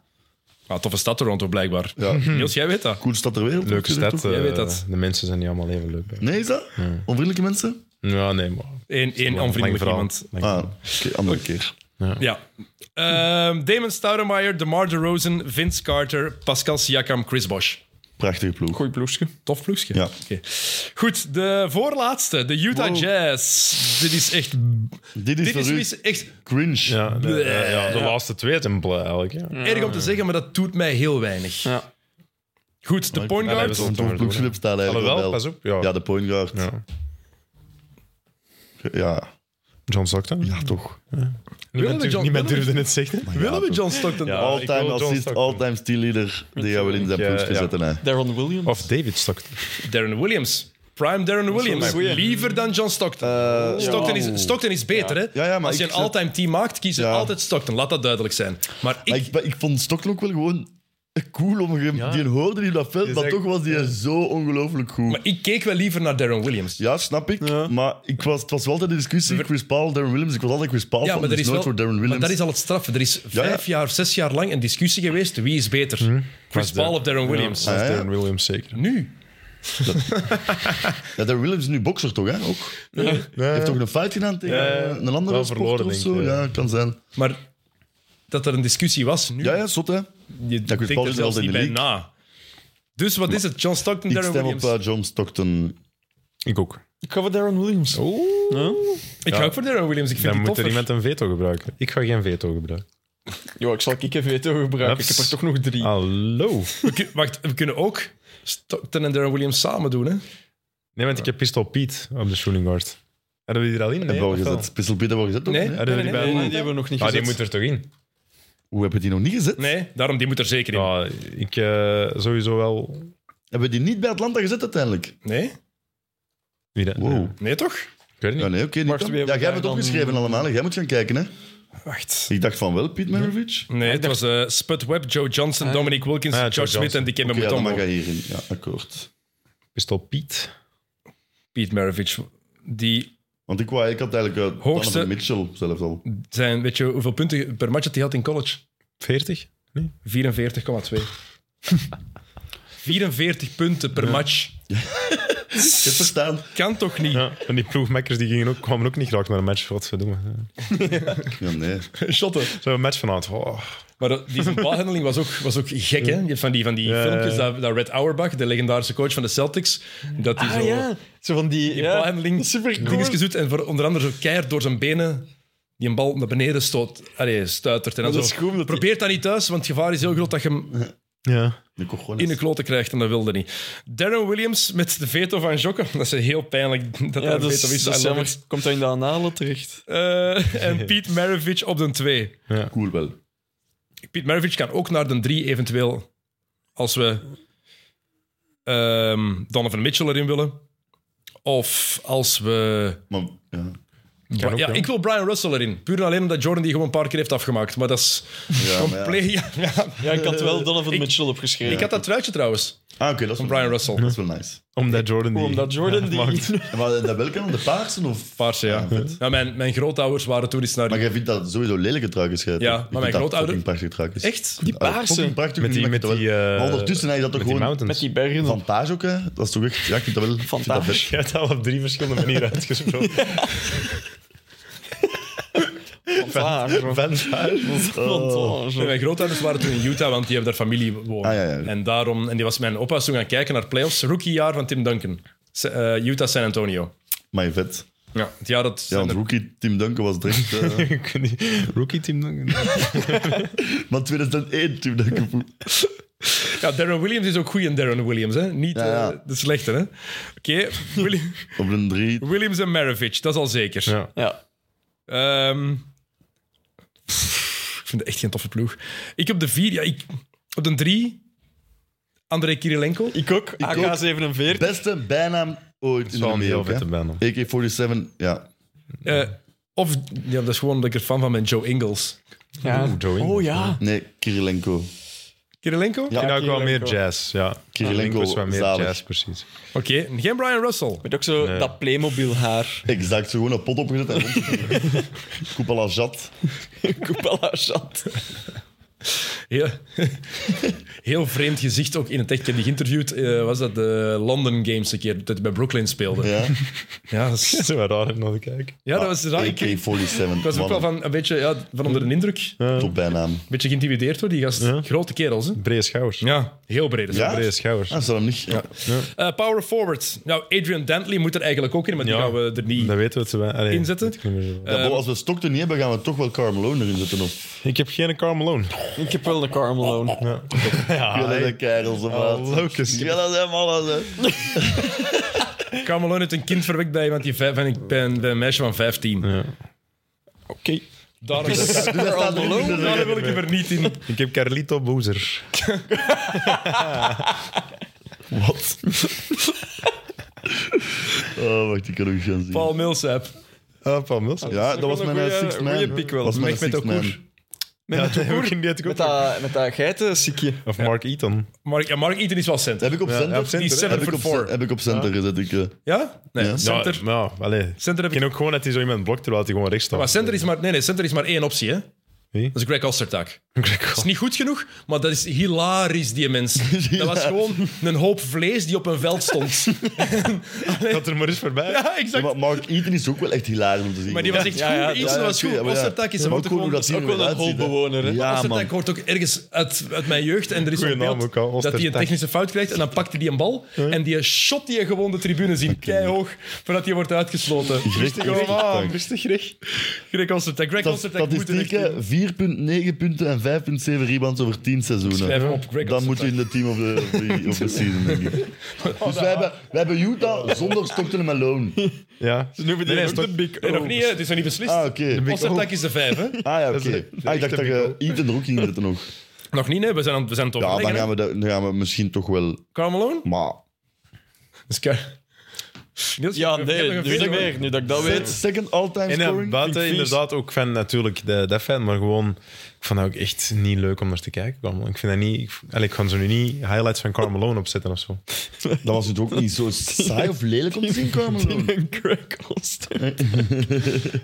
Ah, toffe stad Toronto, blijkbaar. [LAUGHS]
Ja, ja.
Niels, jij weet dat.
Cool stad ter wereld.
Leuke
natuurlijk,
stad.
toch?
Jij
eh,
weet dat.
De mensen zijn niet allemaal even leuk. hè.
Nee, is dat? Onvriendelijke mensen?
Ja, nee, maar...
Eén één
Lang
onvriendelijk
verhaal.
iemand.
Lang
Ah, oké, andere keer.
Ja. Ehm, Damon Stoudemire, DeMar DeRozan, Vince Carter, Pascal Siakam, Chris Bosh.
Prachtige ploeg.
Goeie ploegje.
Tof ploegje.
Ja.
Oké. Goed, de voorlaatste, de Utah
Wow.
Jazz. Dit is echt...
Dit is
Dit
voor
is
u
zoiets echt
cringe.
Ja, de, eh, ja, de laatste twee het een blij eigenlijk. Ja.
erg om te zeggen, maar dat doet mij heel weinig.
Ja.
Goed, de point
Ja, Ah, nee,
guard.
we
Een
zullen-
toffe ploegje op staan eigenlijk
Alhoewel,
wel.
pas op, ja.
de point guard.
Ja.
Ja,
John Stockton?
ja, toch.
Niemand,
John-
durf, niemand
willen we-
durfde het zeggen.
Willen we John Stockton?
Ja. ik wil
all-time
John
assist,
Stockton.
all-time steelleader. Die gaan we in zijn
Ik, eh,
ploegje
ja.
zetten. hè.
Darren Williams.
Of David Stockton.
Darren Williams. Prime Darren Williams.
goeie.
Liever dan John Stockton. Stockton, is, Stockton is beter, hè?
Eh, Ja, ja, maar
Als je
ik
een
zet-
all-time team maakt, kies je
Ja.
altijd Stockton. Laat dat duidelijk zijn. Maar ik...
Maar ik, ik vond Stockton ook wel gewoon cool. Om, je- Die hoorde die op dat veld,
Die
maar
zegt-
toch was die zo ongelooflijk goed.
maar ik keek wel liever naar Darren Williams.
ja, snap ik. Maar ik was, het was wel altijd de discussie Chris Paul, Darren Williams. Ik was altijd Chris Paul
Ja,
van,
maar, er
dus
is
nooit
wel,
voor Darren
maar
Williams.
dat is al het straffe. Er is
Ja, ja.
vijf jaar, zes jaar lang een discussie geweest. Wie is beter? Chris
Was
Paul
Hm? de-
of Darren Williams?
Ja,
Ah, ja.
Darren Williams zeker.
Nu?
Ja, Darren Williams is nu bokser toch, hè? Ook. Hij heeft toch een fight gedaan tegen eh, een andere sporter
Wel verloren,
of
denk
zo?
ik, ja.
Ja, kan zijn.
Maar dat er een discussie was, nu
Ja, ja, zot, hè?
Je denkt
Chris Paul
er
is
zelfs
altijd
niet
in de
bij na. Dus wat is het? John Stockton,
Ik
Darren
stem
Williams.
op eh, John Stockton.
Ik ook.
Ik ga voor Darren Williams.
Oeh.
Ja?
ik ga ook voor Darren Williams. Ik vind
Dan
die
moet er
toffer.
iemand een veto gebruiken. Ik ga geen veto gebruiken.
Jo, ik zal Kike Veto gebruiken.
Ups.
Ik heb er toch nog drie.
Hallo.
We kun- wacht, we kunnen ook Stockton en Darren Williams samen doen. Hè?
Nee, want ik heb Pistol Piet op de shooting guard. Hadden we die er al in? Nee,
Hebben we
of
al
wel?
gezet. Pistol Pete hebben we al gezet, toch?
Nee,
Nee?
nee,
die
nee, nee,
bij-
nee,
Nee,
nee,
die hebben we nog niet
Ah, die
gezet.
moet er toch in?
Hoe hebben we die nog niet gezet?
Nee, daarom die moet er zeker in.
Ja, Ah, ik eh, sowieso wel...
Hebben we die niet bij Atlanta gezet uiteindelijk?
Nee?
Wie dat?
Wow.
Ja,
Nee, toch?
Ik weet het niet.
Ja, Ah, nee, oké. niet
Wacht,
dan.
wie
ja,
hebben
jij hebt
we
het
daar dan-
opgeschreven allemaal. hè. Jij moet gaan kijken, hè?
Wacht.
Ik dacht van wel, Piet Maravich.
Nee, het was eh Spud Webb, Joe Johnson, Dominic Wilkins,
Ah, ja,
Josh
Joe
Smith
Johnson.
en Dikembe
Oké, ja, dan
Mutombo.
mag hij hierin. Ja, akkoord.
Pistol Piet.
Pete Maravich. Die
Want ik, wou, ik had eigenlijk eh,
Hoogste-
Donovan Mitchell zelf al.
zijn, weet je hoeveel punten per match dat hij had in college?
40? Nee.
44,2. 44 punten per match.
Ik heb verstaan.
Kan toch niet?
Ja, en die ploegmakkers die gingen ook, kwamen ook niet graag naar een match. Wat we doen.
Ja, nee.
[LAUGHS] Shotten.
Zo een match vanavond. Oh.
Maar dat- die zijn balhandeling was ook, was ook gek, hè? Je hebt Van die, van die
Ja, ja,
filmpjes,
ja.
dat, dat Red Auerbach, de legendarische coach van de Celtics, dat hij
Ah
zo
ja, zo van die...
die
Ja,
balhandeling
supercool.
dingetjes doet en voor, onder andere zo keihard door zijn benen die een bal naar beneden stoot, allee, stuitert. En dan
Dat
zo,
is goed, omdat die-
probeer dat niet thuis, want het gevaar is heel groot dat je hem
Ja.
Nu kon gewoon
in de
eens-
kloten krijgt en dat wilde niet. Darren Williams met de veto van Jokken, dat is heel pijnlijk dat
Ja,
dat
dat
een
is,
veto is.
dat is
I love
jammer.
it.
Komt dat in de analen terecht?
Eh, en Pete Maravich op de 2.
Cool wel.
Piet Maravich kan ook naar de 3 eventueel. Als we ehm, Donovan Mitchell erin willen. Of als we...
Maar ja.
Ja,
ook, ja.
ik wil Brian Russell erin. Puur en alleen omdat Jordan die gewoon een paar keer heeft afgemaakt. Maar dat is
Ja, maar ja.
compleet... [LAUGHS] Ja, ja.
Ja, Eh, ik had wel Donovan Mitchell opgeschreven.
Ik had dat truitje trouwens.
Ah, oké, dat is wel
Brian Russell.
Dat is wel nice.
Omdat Jordan die...
Omdat Jordan die...
maakt.
En wat, eh, dat welke dan? De paarse? Of...
Paars, ja. ja mijn, mijn grootouders waren toen eens naar...
Maar jij vindt dat sowieso lelijke truikjes. jij.
Ja,
Ik
maar
vind
mijn
dat
grootouder-
fucking prachtige truikjes.
Echt?
[LAUGHS] Die paarse.
Fucking prachtig.
Met die-
maar ik
met
vind dat
die,
wel-
eh,
maar ondertussen heb je dat toch
Met die
gewoon...
Met
mountains.
die bergen.
Van Page ook, hè? Dat is toch echt... Ja, ik vind dat wel... ik vind dat
Vantage.
best.
[LAUGHS]
Je hebt al op drie verschillende manieren uitgesproken.
Vantage.
Vantage. Oh.
Nee,
Vantage.
mijn grootouders waren toen in Utah, want die hebben daar familie wonen.
Ah, ja, ja.
En daarom... En die was mijn opa is toen gaan kijken naar playoffs. Rookiejaar van Tim Duncan. S- eh, Utah San Antonio.
Maar vet.
Ja, het jaar dat...
Ja, want rookie Tim Duncan was direct... eh,
[LAUGHS] Rookie team.
maar 2001 Tim Duncan. voel-
Ja, Darren Williams is ook goed in Darren Williams, hè? Niet
Ja, ja.
eh, de slechte, hè? Oké, Willi-
Op een drie.
Williams en Maravich, dat is al zeker.
Ja.
Ja.
Ehm, ik vind het echt geen toffe ploeg. Ik op de vier, ja, ik, op de drie, André Kirilenko.
Ik ook. AK-47.
Beste bijnaam ooit in de
Zo'n heel vette
NBA.
band.
AK-47, ja.
Eh, of, ja, dat is gewoon dat ik er fan van ben, Joe Ingles.
Ja.
Oeh, Joey.
Oh ja.
Nee, Kirilenko.
Kirilenko?
Ja.
Ik vind ook wel meer
Kirilenko.
jazz, ja.
Kirilenko,
Kirilenko is wel meer
zalig.
jazz, precies.
Oké, geen Brian Russell.
Met ook zo
Nee.
dat Playmobil haar. [LAUGHS]
Exact, zo gewoon een pot opgezet en rond.
[LAUGHS]
Koepel als jat.
Coupala chat.
Heel, [LAUGHS] heel vreemd gezicht ook in het echt. Ik heb die geïnterviewd, eh, was dat de London Games een keer, dat hij bij Brooklyn speelde. Ja,
Ja.
dat, is-
Dat is wel raar om naar te kijken.
ja, dat was raar. Ik- ik-
AK-47.
Ik was ook wel van een beetje ja, van onder de indruk. Een
Top bijnaam.
beetje geïntimideerd door die gast. Grote kerels, hè?
Brede schouwers.
Ja, heel breed.
Ja?
Brede schouwers.
Ah, zou hem niet. Ja.
Eh, power forward. Nou, Adrian Dantley moet er eigenlijk ook in, maar die
Ja.
gaan we er niet...
Dat weten we te wel. Allee,
Inzetten?
dat ik niet meer zo-
ehm,
Ja, Bo, als we Stockton niet hebben, gaan we toch wel Karl Malone erin zetten. Of
Ik heb geen Karl Malone.
Ik heb wel een Carmelone.
Jelle de kerels
Oh,
of wat.
Locus.
Jelle de mannen. hè.
Carmelo heeft een kind verwekt bij iemand die vijf, en ik ben, bij een meisje van 15.
Ja.
Oké.
Daar, is,
[LAUGHS]
Dus dat staat erin. Dus dat-
daar wil ik hem er niet in.
Ik heb Carlito Boozer.
Wat? [LAUGHS] Oh, wacht, ik kan ook gaan zien.
Paul Millsap.
Ah, Paul Mills.
Ja, dat was
wel een
mijn
goeie-
six man.
goeie pick wel.
was mijn
Mehmet
six
Okur.
man.
Ja, dat heb ik in die had ik ook.
Met dat, met dat geitensikje.
Of Mark Eaton.
Mark, ja, Mark Eaton is wel cent.
Heb ik op
Ja, op
center?
Die
center, hè?
center
Heb
voor
ik op,
four.
cent- heb ik op center gezet. Ik, eh,
Ja? Nee,
Ja.
center.
Ja, nou, allee.
Center heb
Ik ken
ik...
ook gewoon dat hij zo iemand blokt terwijl hij gewoon rechts staat. [LAUGHS]
Maar center is maar, nee, nee, center is maar één optie, hè?
Wie?
Dat is Greg Ostertag. Dat is niet goed genoeg, maar dat is hilarisch, die
[LAUGHS]
mens. Dat was gewoon een hoop vlees die op een veld stond.
Gaat er maar eens
Ja,
voorbij.
ja,
exact.
maar Mark Eaton is ook wel echt hilarisch om te zien.
Maar die was echt
Ja, ja,
goed. Iets
ja,
was goed.
oké, ja, maar ja.
Ostertak is
Ja,
een
maar
ook
ook cool hoe
gewoon...
dat
ook wel een hoofdbewoner, hè?
Ja, man.
Ostertak hoort ook ergens uit, uit mijn jeugd. En er is
Goeie
een
naam
beeld
ook al,
dat hij een
Ostertak.
technische fout krijgt. En dan pakt hij die een bal. En die shot die gewoon de tribune zien. Keihoog. Voordat hij wordt uitgesloten. Rustig
Greg
gewoon aan.
Ostertak.
Rustig, Greg. Greg Ostertak. Greg Ostertak moet er echt
Statistieken,
in.
4,9 punten en 5,7 rebounds over 10
Schrijf hem
seizoenen.
op, Oh, Greg
Dan
Ostertag.
moet je in het team of the, of
[LAUGHS]
the, of the season, denk ik. Dus
nou.
wij hebben, wij hebben Utah zonder Stockton en Malone.
Ja.
Ze noemen die
Nee,
ook
nee,
de Big
Nee,
O.
nog niet, hè. het is nog niet beslist.
Ah, oké.
Ostertak is de vijf,
[LAUGHS]
hè?
Ah, ja, oké.
Dat is de- de
Ah, ik dacht
echte
dat je Eaton er ook in zette nog.
Nog niet, nee. We zijn aan, we zijn aan het
Ja, dan
overleggen.
gaan we, dat- dan gaan we misschien toch wel...
Karl Malone?
Maar...
Dus Kar- Niels,
Ja,
ik heb nog
nee,
een
nu niet
vraag.
meer. Nu dat ik dat weet.
Second all-time
En dan
scoring.
buiten
vies.
inderdaad ook fan natuurlijk, de, dat fan, maar gewoon, ik vond dat ook echt niet leuk om naar te kijken. Karl Malone. Ik vind dat niet, ik, allee, ik kan zo nu niet highlights van Carl Malone opzetten of zo.
Dat was het ook niet zo saai of lelijk om te zien, Karl
[LAUGHS]
Malone.
En Greg Olsen.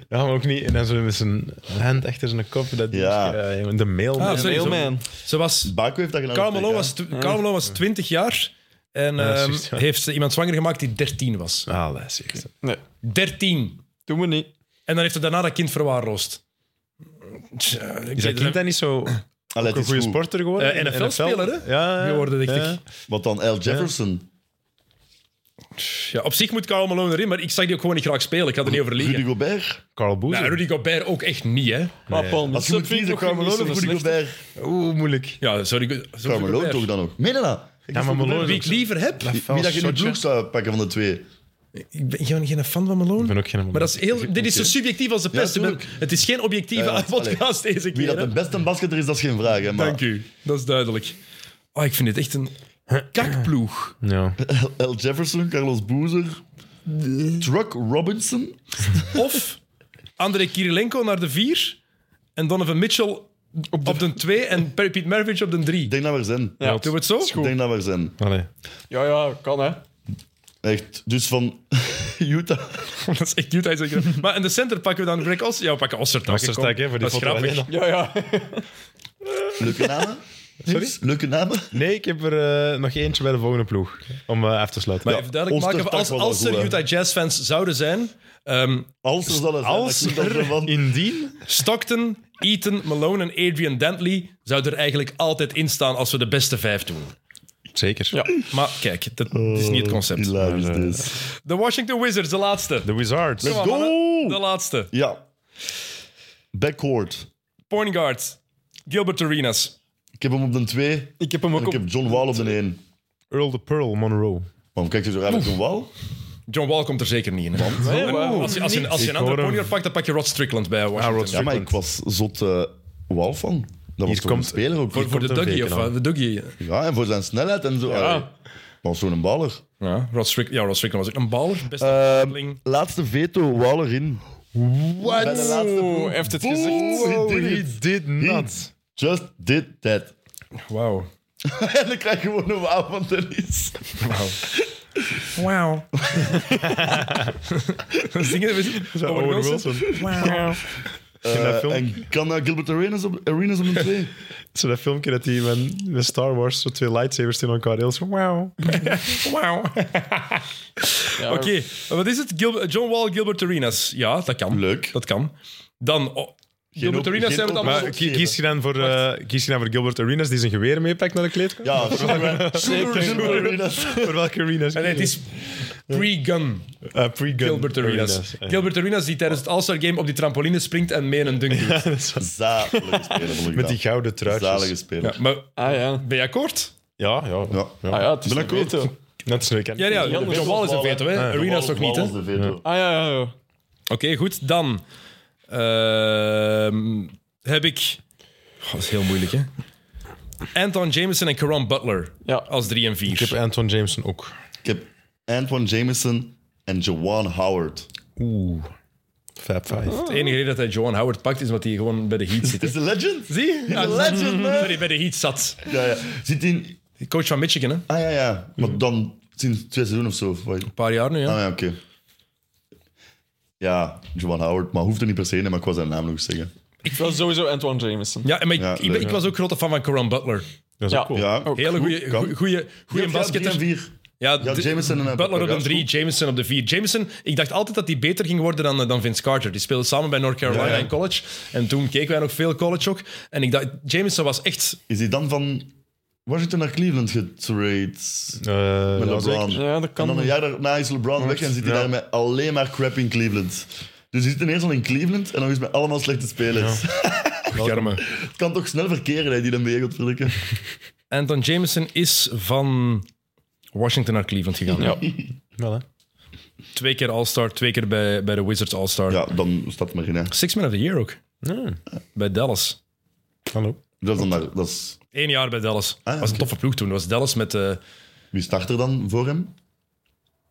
Ja, maar ook niet, en dan zo met zijn hand achter zijn kop, dat die-
Ja.
eh, jongen, de mailman.
Ah, sorry,
Mailman.
Ze was
Baku heeft dat gedaan.
Karl Malone was, tw- Karl Malone was 20 jaar en
Ja,
ehm,
juist, ja.
heeft ze iemand zwanger gemaakt die 13 was.
Ah, dat is echt-
13.
Doen we niet.
En dan heeft ze daarna dat kind verwaarloosd. Tja,
Is dat kind dan niet zo ook
Allee, het
een
is
goede
goed.
sporter geworden?
dus Eh, NFL-speler, hè?
Ja, ja,
Geworden, dacht
ja.
ik.
Wat dan? L. Jefferson.
Ja, op zich moet Karl Malone erin, maar ik zag die ook gewoon niet graag spelen. Ik had er niet over
Rudy
liggen.
Gobert.
Carl Boozer.
Nou, Rudy Gobert ook echt niet, hè.
Maar Paul
Als je moet
Millsap vind
kiezen,
ik
Karl
nog niet
Malone
zo'n
of Rudy
slechte.
Gobert?
Oeh, moeilijk.
Ja, sorry. sorry,
Karl Malone
Gobert.
toch dan ook? Meen je dat?
Ja, maar Malone is
Wie
ook
ik
zo-
liever heb?
La
Wie dat je in de
Fels
ploeg
shotje.
zou pakken van de twee?
Ik ben gewoon geen fan van Malone.
Ik ben ook geen
maar dat is heel, dit is zo subjectief als de
Ja,
pest. Ik ben-
tuurlijk.
het is geen objectieve
Ja, ja,
[LAUGHS] podcast deze keer.
Wie dat
hè.
de beste basketter is, dat is geen vraag. Hè, maar
Dank u, dat is duidelijk. Oh, ik vind dit echt een kakploeg.
Ja.
L. Jefferson, Carlos Boozer, Truck Robinson.
Of André Kirilenko naar de vier en Donovan Mitchell op de, op de twee en Pete Maravich op de drie.
Ik denk dat we er zijn.
Ja.
Doen we het zo?
Ik denk dat we er zijn.
Allee.
Ja, ja, kan hè.
Echt. Dus van [LAUGHS] Utah.
[LAUGHS] Dat is echt cute. hij is echt- Maar in de center pakken we dan Greg Os. Ja, we pakken Ostertak.
Ostertag,
kom.
hè, voor die
Dat is
foto
grappig.
alleen
Ja, ja. [LAUGHS]
Leuke namen?
Sorry?
Leuke namen?
Nee, ik heb er eh, nog eentje bij de volgende ploeg. Om eh af te sluiten.
Maar
Ja.
even duidelijk maken,
Ostertag
als,
was wel
als
goed,
er
hè.
Utah Jazz fans zouden zijn... ehm,
Als er zal het zijn.
Als
dat klinkt als zo van-
Indien?
Stockton, Eaton, Malone en Adrian Dantley zouden er eigenlijk altijd in staan als we de beste vijf doen.
Zeker.
Ja.
Maar kijk, dat is niet het concept.
Hilarisch dus.
Maar, eh,
dit.
De Washington Wizards, de laatste.
De Wizards.
Kom maar, mannen. De laatste.
Ja. Backcourt.
Point guard, Gilbert Arenas.
Ik heb hem op de 2
Ik heb hem
en
ook
ik
op...
heb John Wall op de 1.
Earl de Pearl Monroe.
Waarom kijk je zo raar naar John Wall?
John Wall komt er zeker niet in. hè.
Nee,
En
waarom
Oh. Als je, als je, als je een andere
Ik hoor hem.
point guard pakt, dan pak je Rod Strickland bij Washington.
Rod
Ja, maar ik was zot eh, Wall van. Dat was
Hier
toch een
komt-
speler ook.
Voor, voor de
komt een
Dougie, of
beker
eh,
aan.
de Dougie.
Ja, en voor zijn snelheid en zo. Allee, Was zo'n baller.
Ja, Rod Strick, ja, Rod Strickland was ook een baller. Beste
Ehm
tackling.
laatste veto, Waller in. What? Bij de laatste
Oeh, heeft het gezegd.
Wow,
He did not.
Just did that. [LAUGHS]
Wauw.
en dan krijg je gewoon een wauw van tennis.
Wauw. Zingen we
Owen Wilson.
Wauw.
Ken je dat filmpje?
en kan eh, Gilbert Arenas op, Arenas op een 2?
Zo dat filmpje dat hij met, met Star Wars zo twee lightsabers tegen elkaar heel zo, wauw.
Wauw.
Ja,
Oké, wat is het? Gil- John Wall, Gilbert Arenas. Ja, dat kan.
Leuk.
Dat kan. Dan... oh, Gilbert
op-
Arenas
geen
zijn we het
op-
allemaal...
Maar ki- kies je, dan voor, eh, kies je dan voor Gilbert Arenas die zijn geweer meepakt naar de kleedkamer?
Ja, Shooter Shooter- Shooter Arenas.
[LAUGHS] Voor welke Arenas?
Nee, het is pre-gun
Eh, pre-gun
Gilbert Arenas.
Ja.
Gilbert Arenas die tijdens het All-Star Game op die trampoline springt en mee een dunk doet.
Zalige speler. vond ik
Met
dat.
die gouden
Zalige
truitjes.
speler.
Ja, maar
Ah ja.
ben je akkoord?
Ja, ja.
Ja.
Ah ja, het is
Ben
een
ik ook?
veto.
Dat is leuk. hè?
Ja, ja,
Ja, de
John Wall is een
Wall,
veto, hè.
Ja.
Arenas toch niet, hè?
Wall is de veto.
Ah ja, ja, ja.
Oké, goed. Dan ehm, heb ik... Goh, dat is heel moeilijk, hè. Anton Jameson en Caron Butler
Ja.
als 3 en 4.
Ik heb Anton Jameson ook.
Ik heb Antoine Jameson en Jawan Howard.
Oeh. Fab Five.
De enige reden dat hij Joan Howard pakt, is omdat hij gewoon bij de Heat
[LAUGHS]
zit. hè.
Is de legend?
Zie je? Ja, dus-
legend, man.
Sorry, bij de Heat zat.
Ja, ja. Zit in...
Coach van Michigan, hè? Een
Ah ja, ja. Maar dan sinds twee seizoenen of zo. of wat?
paar jaar nu,
Ah
ja.
ja, oké. Ja, Jawan Howard. Maar hoeft er niet per se in, maar ik was zijn naam nog eens zeggen.
Ik wil sowieso Antoine Jameson.
Ja, en maar ik,
Ja,
ik, ben-
leuk.
ik was ook grote fan van Coran Butler.
Dat is
Ja.
ook cool.
Ja.
Ook.
Hele goede,
kan.
goede, goede
basket en
basketter.
vier.
Ja,
Ja,
de-
Jameson en
Butler op de
Ja,
drie,
goed.
Jameson op de vier. Jameson, ik dacht altijd dat hij beter ging worden dan, eh, dan Vince Carter. Die speelde samen bij North Carolina
Ja, ja.
in college. En toen keken wij nog veel college ook. En ik dacht, Jameson was echt...
Is hij dan van Washington naar Cleveland getrade?
Eh,
Met
ja,
LeBron.
zeker.
Ja, dat kan.
En dan een jaar daarna is LeBron weg en zit hij
Ja.
daar met alleen maar crap in Cleveland. Dus hij zit ineens al in Cleveland en dan is hij met allemaal slechte spelers.
Germe.
[LAUGHS] Het kan toch snel verkeren dat hij die NBA gaat verdikken.
Anton Jameson is van Washington naar Cleveland gegaan.
Ja.
Wel, hè.
Twee keer All-Star, twee keer bij, bij de Wizards All-Star.
Ja, dan staat het maar in. Hè.
Six Man of the Year ook.
Ja.
Bij Dallas.
Hallo.
Dat is dan daar, dat is,
Eén jaar bij Dallas.
Ah,
was
oké.
een toffe ploeg toen. Dat was Dallas met... eh
wie start er dan voor hem?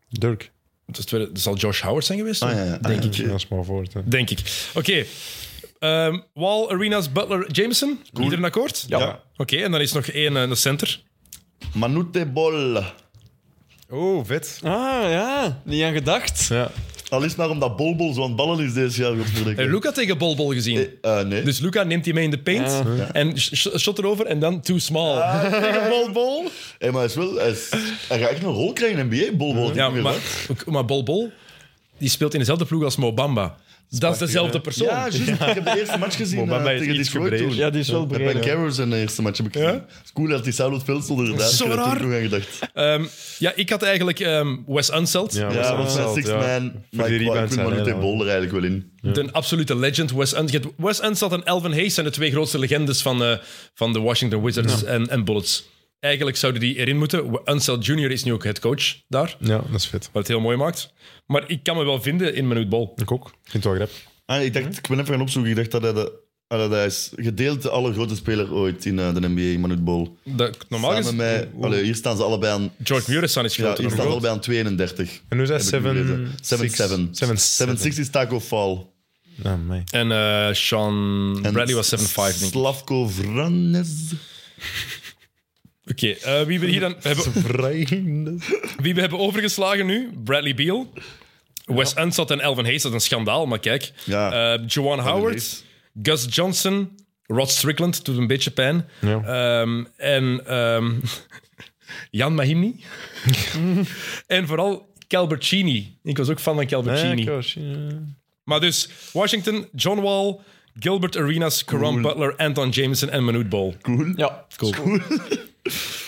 Dirk.
het is tweede- dat zal Josh Howard zijn geweest,
Ah
toen?
ja, ja.
denk
Ah,
ik.
ja.
Dat is maar voor het. hè.
Denk ik. Oké. Ehm, Wall, Arenas, Butler, Jameson. Iedereen akkoord?
Ja.
Ja.
Oké, en dan is nog één eh, de center.
Manute Bol.
Oh, vet.
Ah ja, niet aan gedacht.
Ja.
Al is maar omdat Bolbol zo'n ballen is deze jaar. gaat verdikken.
En Luca tegen Bolbol gezien.
Eh, eh, nee.
[LAUGHS]
Dus Luca neemt die mee in de paint en sh- sh- shot erover en dan too small.
Bolbol. Hey, maar hij, is wel, hij, is- hij gaat echt een rol krijgen in NBA, Bolbol.
Ja, maar, ook- maar Bolbol die speelt in dezelfde ploeg als Mobamba. Dat is dezelfde persoon.
Ja, juist. Dus Ik heb de eerste match gezien
Mobamba
eh,
is
tegen
iets
Detroit
gebreder.
toen.
Ja, die is wel
Met
breed.
Ben Carroll zijn eerste match heb ik gezien. Het is cool dat hij samen op het veld stond, inderdaad.
Zo
ik had er
raar.
toen nog aan gedacht.
Ehm, ja, ik had eigenlijk ehm, Wes Unseld,
Ja,
Ja, want zijn
Unseld,
six
ja.
man,
Voor
maar
die
ik wou- ik
rebounds
vind
zijn
Manute
hij
Bol er eigenlijk wel in.
de absolute legend. Wes, Un- je hebt Wes Unseld en Elvin Hayes zijn de twee grootste legendes van, eh, van de Washington Wizards en, en Bullets. Eigenlijk zouden die erin moeten. We- Unseld Jr. is nu ook head coach daar,
Ja, dat is vet.
wat het heel mooi maakt. Maar ik kan me wel vinden in Manute Bol.
Ik ook. Ik vind het wel grap.
Ah, ik, dacht, ik ben even gaan opzoeken. Ik dacht dat hij, de, ah, dat hij is gedeeld de allergrootste speler ooit in eh, de NBA, Manute Bol.
Dat, normaal
Samen
gezien,
met, allee, hier staan ze allebei aan,
George Muresan is
ja,
groter.
hier
dan
staan ze
Bol.
allebei aan 32.
En hoe is dat?
Heb ik nu gelezen.
7...
7-7. 7-6 is Taco Fall.
Ja, mij.
En eh, Sean
En
Bradley was 7'5, denk ik.
Slavko Vranes.
Oké, eh, wie we hier dan hebben, wie we hebben overgeslagen nu? Bradley Beal. Wes Unsat en Elvin Hayes, dat is een schandaal, maar kijk.
Ja.
Eh, Jawan Howard,
Hayes.
Gus Johnson, Rod Strickland, doet een beetje pijn. Ehm, en ehm, [LAUGHS] Jan Mahimni. [LAUGHS] en vooral Calbertini. Ik was ook fan van
Eh,
Calbertini.
Ja, Koos, ja.
Maar dus Washington, John Wall, Gilbert Arenas, Karan Butler, Anton Jameson en Manute Bol.
Hm.
Ja.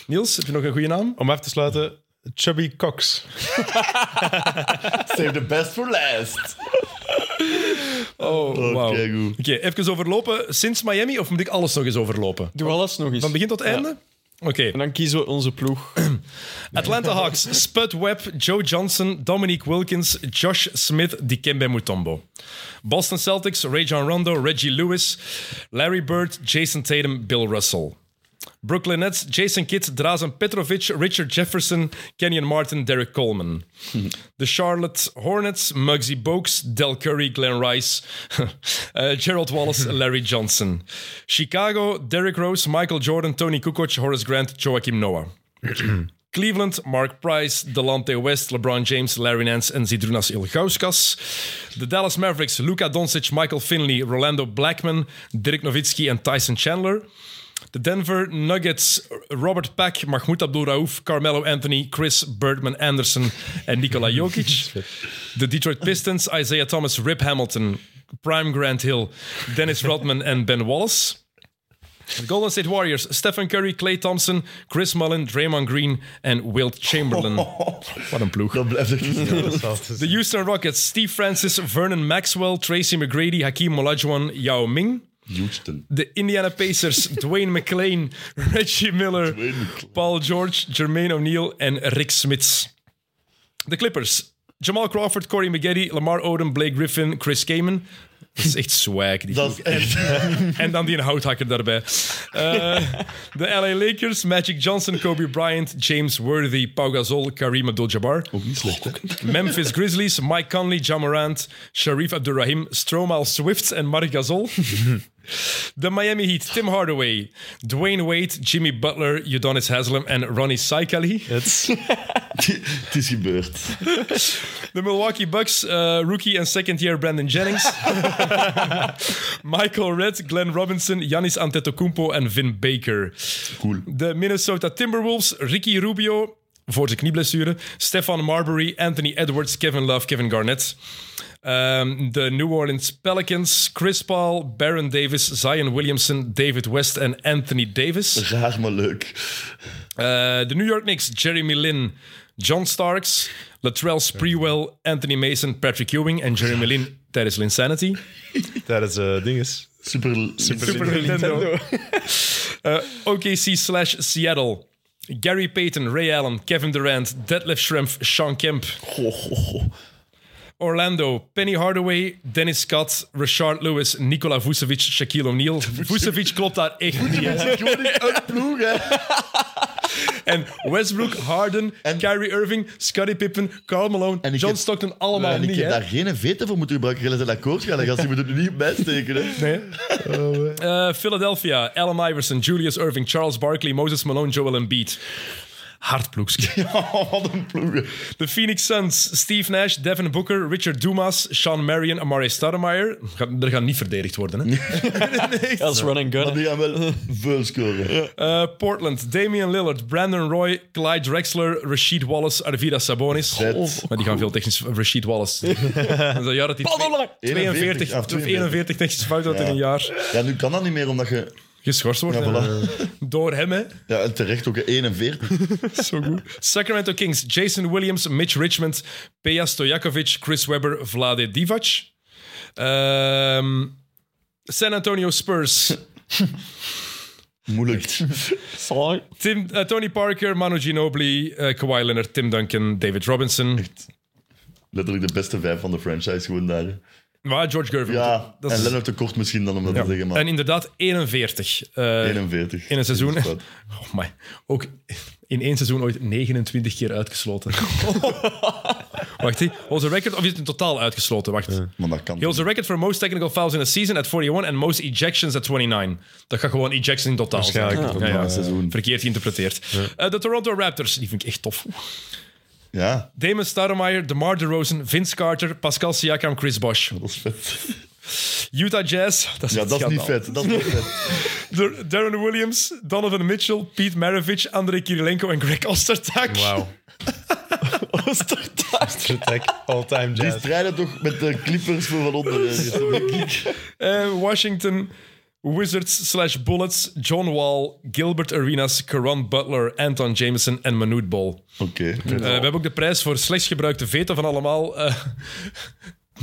Niels, heb je nog een goede naam?
Om af te sluiten, Chubby Cox.
Save the best for last.
Oh, wauw.
Oké,
Oké,
goed.
even overlopen. Sinds Miami of moet ik alles nog eens overlopen?
Doe alles nog eens.
Van begin tot einde? Oké.
En dan kiezen we onze
[CLEARS THROAT]
ploeg.
Atlanta Hawks, Spud Webb, Joe Johnson, Dominique Wilkins, Josh Smith, Dikembe Mutombo. Boston Celtics, Rajon Rondo, Reggie Lewis, Larry Bird, Jason Tatum, Bill Russell. Brooklyn Nets, Jason Kidd, Drazen Petrovic, Richard Jefferson, Kenyon Martin, Derek Coleman. De Charlotte Hornets, Muggsy Bogues, Del Curry, Glenn Rice, [LAUGHS] eh, Gerald Wallace, Larry Johnson. Chicago, Derrick Rose, Michael Jordan, Tony Kukoc, Horace Grant, Joachim Noah. Cleveland, Mark Price, Delante West, LeBron James, Larry Nance en Zidrunas Ilgauskas. De Dallas Mavericks, Luka Doncic, Michael Finley, Rolando Blackman, Dirk Nowitzki en Tyson Chandler. De Denver Nuggets, Robert Pack, Mahmoud Abdul-Raouf, Carmelo Anthony, Chris Birdman Anderson en Nikola Jokic. De Detroit Pistons, Isaiah Thomas, Rip Hamilton, Prime Grant Hill, Dennis Rodman en Ben Wallace. De Golden State Warriors, Stephen Curry, Clay Thompson, Chris Mullen, Draymond Green en Wilt Chamberlain. Wat een ploeg.
Dat blijft echt niet.
De Houston Rockets, Steve Francis, Vernon Maxwell, Tracy McGrady, Hakeem Olajuwon, Yao Ming.
Houston.
De Indiana Pacers, Dwayne McLean, Reggie Miller, Paul George, Jermaine O'Neal en Rick Smits. De Clippers, Jamal Crawford, Corey McGeddy, Lamar Odom, Blake Griffin, Chris Kamen. Dat is echt swag. Die
Dat is echt... [LAUGHS]
en dan die een houthakker daarbij. Eh, de LA Lakers, Magic Johnson, Kobe Bryant, James Worthy, Pau Gasol, Kareem Abdul-Jabbar.
Ook niet slecht, hè?
[LAUGHS] Memphis Grizzlies, Mike Conley, Jamorant, Sharif Abdurrahim, Stromal Swift en Marc
[LAUGHS]
Gasol. De Miami Heat, Tim Hardaway, Dwayne Wade, Jimmy Butler, Udonis Haslem en Ronnie Saikali.
Het is gebeurd.
De Milwaukee Bucks, eh, rookie en second year Brandon Jennings. [LAUGHS] Michael Redd, Glenn Robinson, Giannis Antetokounmpo en Vin Baker.
Cool.
De Minnesota Timberwolves, Ricky Rubio voor zijn knieblessure, Stefan Marbury, Anthony Edwards, Kevin Love, Kevin Garnett. Ehm, de New Orleans Pelicans, Chris Paul, Baron Davis, Zion Williamson, David West en Anthony Davis.
Raar, maar leuk.
Eh, de New York Knicks, Jeremy Lin, John Starks, Latrell Sprewell, Anthony Mason, Patrick Ewing en Jeremy [LAUGHS] Lin tijdens Linsanity.
Tijdens eh dinges.
Super...
Super
[LAUGHS]
Nintendo. [LAUGHS] Eh, OKC slash Seattle. Gary Payton, Ray Allen, Kevin Durant, Detlef Schrempf, Sean [LAUGHS] Kemp.
Goh, goh, goh.
Orlando, Penny Hardaway, Dennis Scott, Richard Lewis, Nikola Vucevic, Shaquille O'Neal. Vucevic klopt daar echt niet. hè.
Het is gewoon niet uit ploeg, hè?
En Westbrook,
[LAUGHS]
Harden, Kyrie Irving, Scottie Pippen, Karl Malone,
En ik
John
heb-
Stockton, allemaal
En ik
niet.
heb
hè.
daar geen veten voor moeten gebruiken. Jullie zijn akkoord gaan, dan gaan ze moeten er niet bij steken, hè?
Nee.
Oh,
Eh, Philadelphia, Allen Iverson, Julius Irving, Charles Barkley, Moses Malone, Joel Embiid. Hartploegske.
[LAUGHS] Oh, wat een ploeg. hè.
De Phoenix Suns, Steve Nash, Devin Booker, Richard Dumas, Sean Marion, Amare Stoudemire. Ga- Er gaan niet verdedigd worden,
[LAUGHS]
hè? [LAUGHS]
Als run and gun.
Maar
hè.
die gaan wel veel scoren.
Eh, Portland, Damian Lillard, Brandon Roy, Clyde Drexler, Rashid Wallace, Arvida Sabonis. Oh,
Zet.
maar die gaan veel technisch... Rashid
[LAUGHS]
Wallace. [LAUGHS] Dat is een jaar dat hij
Paddola!
42
41,
of 41 technische fouten had in
Ja.
een jaar.
Ja, nu kan dat niet meer, omdat je...
Geschorst wordt.
Ja,
hè.
voilà.
Door hem, hè.
ja en terecht ook hè, 41.
Zo goed. Sacramento Kings, Jason Williams, Mitch Richmond, Peja Stojakovic, Chris Webber, Vlade Divac. Ehm, San Antonio Spurs,
Moeilijk.
Sorry.
Tim, eh, Tony Parker, Manu Ginobili, eh, Kawhi Leonard, Tim Duncan, David Robinson.
Letterlijk de beste vijf van de franchise gewoon daar. hè.
Maar George Gervin.
Ja,
dat
en
is-
Lennart te kort misschien dan om dat te zeggen, maar
En inderdaad 41. eh,
41.
[LAUGHS] in een seizoen.
Dat is fout.
Oh my. Ook in één seizoen ooit 29 keer uitgesloten. Wacht, hé. onze record, of is het in totaal uitgesloten? Wacht.
Maar dat kan
He holds the record for most technical fouls in a season at 41 and most ejections at 29. Dat gaat gewoon ejections in totaal zijn.
Waarschijnlijk.
niet.
Ja,
Maar
ja.
een seizoen.
Verkeerd geïnterpreteerd. Eh, de Toronto Raptors, die vind ik echt tof.
Ja,
Damon Stoudemire, DeMar DeRozan, Vince Carter, Pascal Siakam, Chris Bosh.
dat is vet.
Utah Jazz, [LAUGHS] dat is
Ja,
een
dat is niet
schandaal.
vet. Dat is niet
[LAUGHS]
vet.
Dar- Darren Williams, Donovan Mitchell, Pete Maravich, André Kirilenko en Greg Ostertak.
Wauw. Ostertag, all-time
Die
jazz.
strijden toch met de clippers voor van onder. eh, Rick.
[LAUGHS] Eh, Washington, Wizards slash Bullets, John Wall, Gilbert Arenas, Caron Butler, Anton Jameson en Manute Bol.
Oké.
Eh, we hebben ook de prijs voor slechts gebruikte veto van allemaal. eh, [LAUGHS]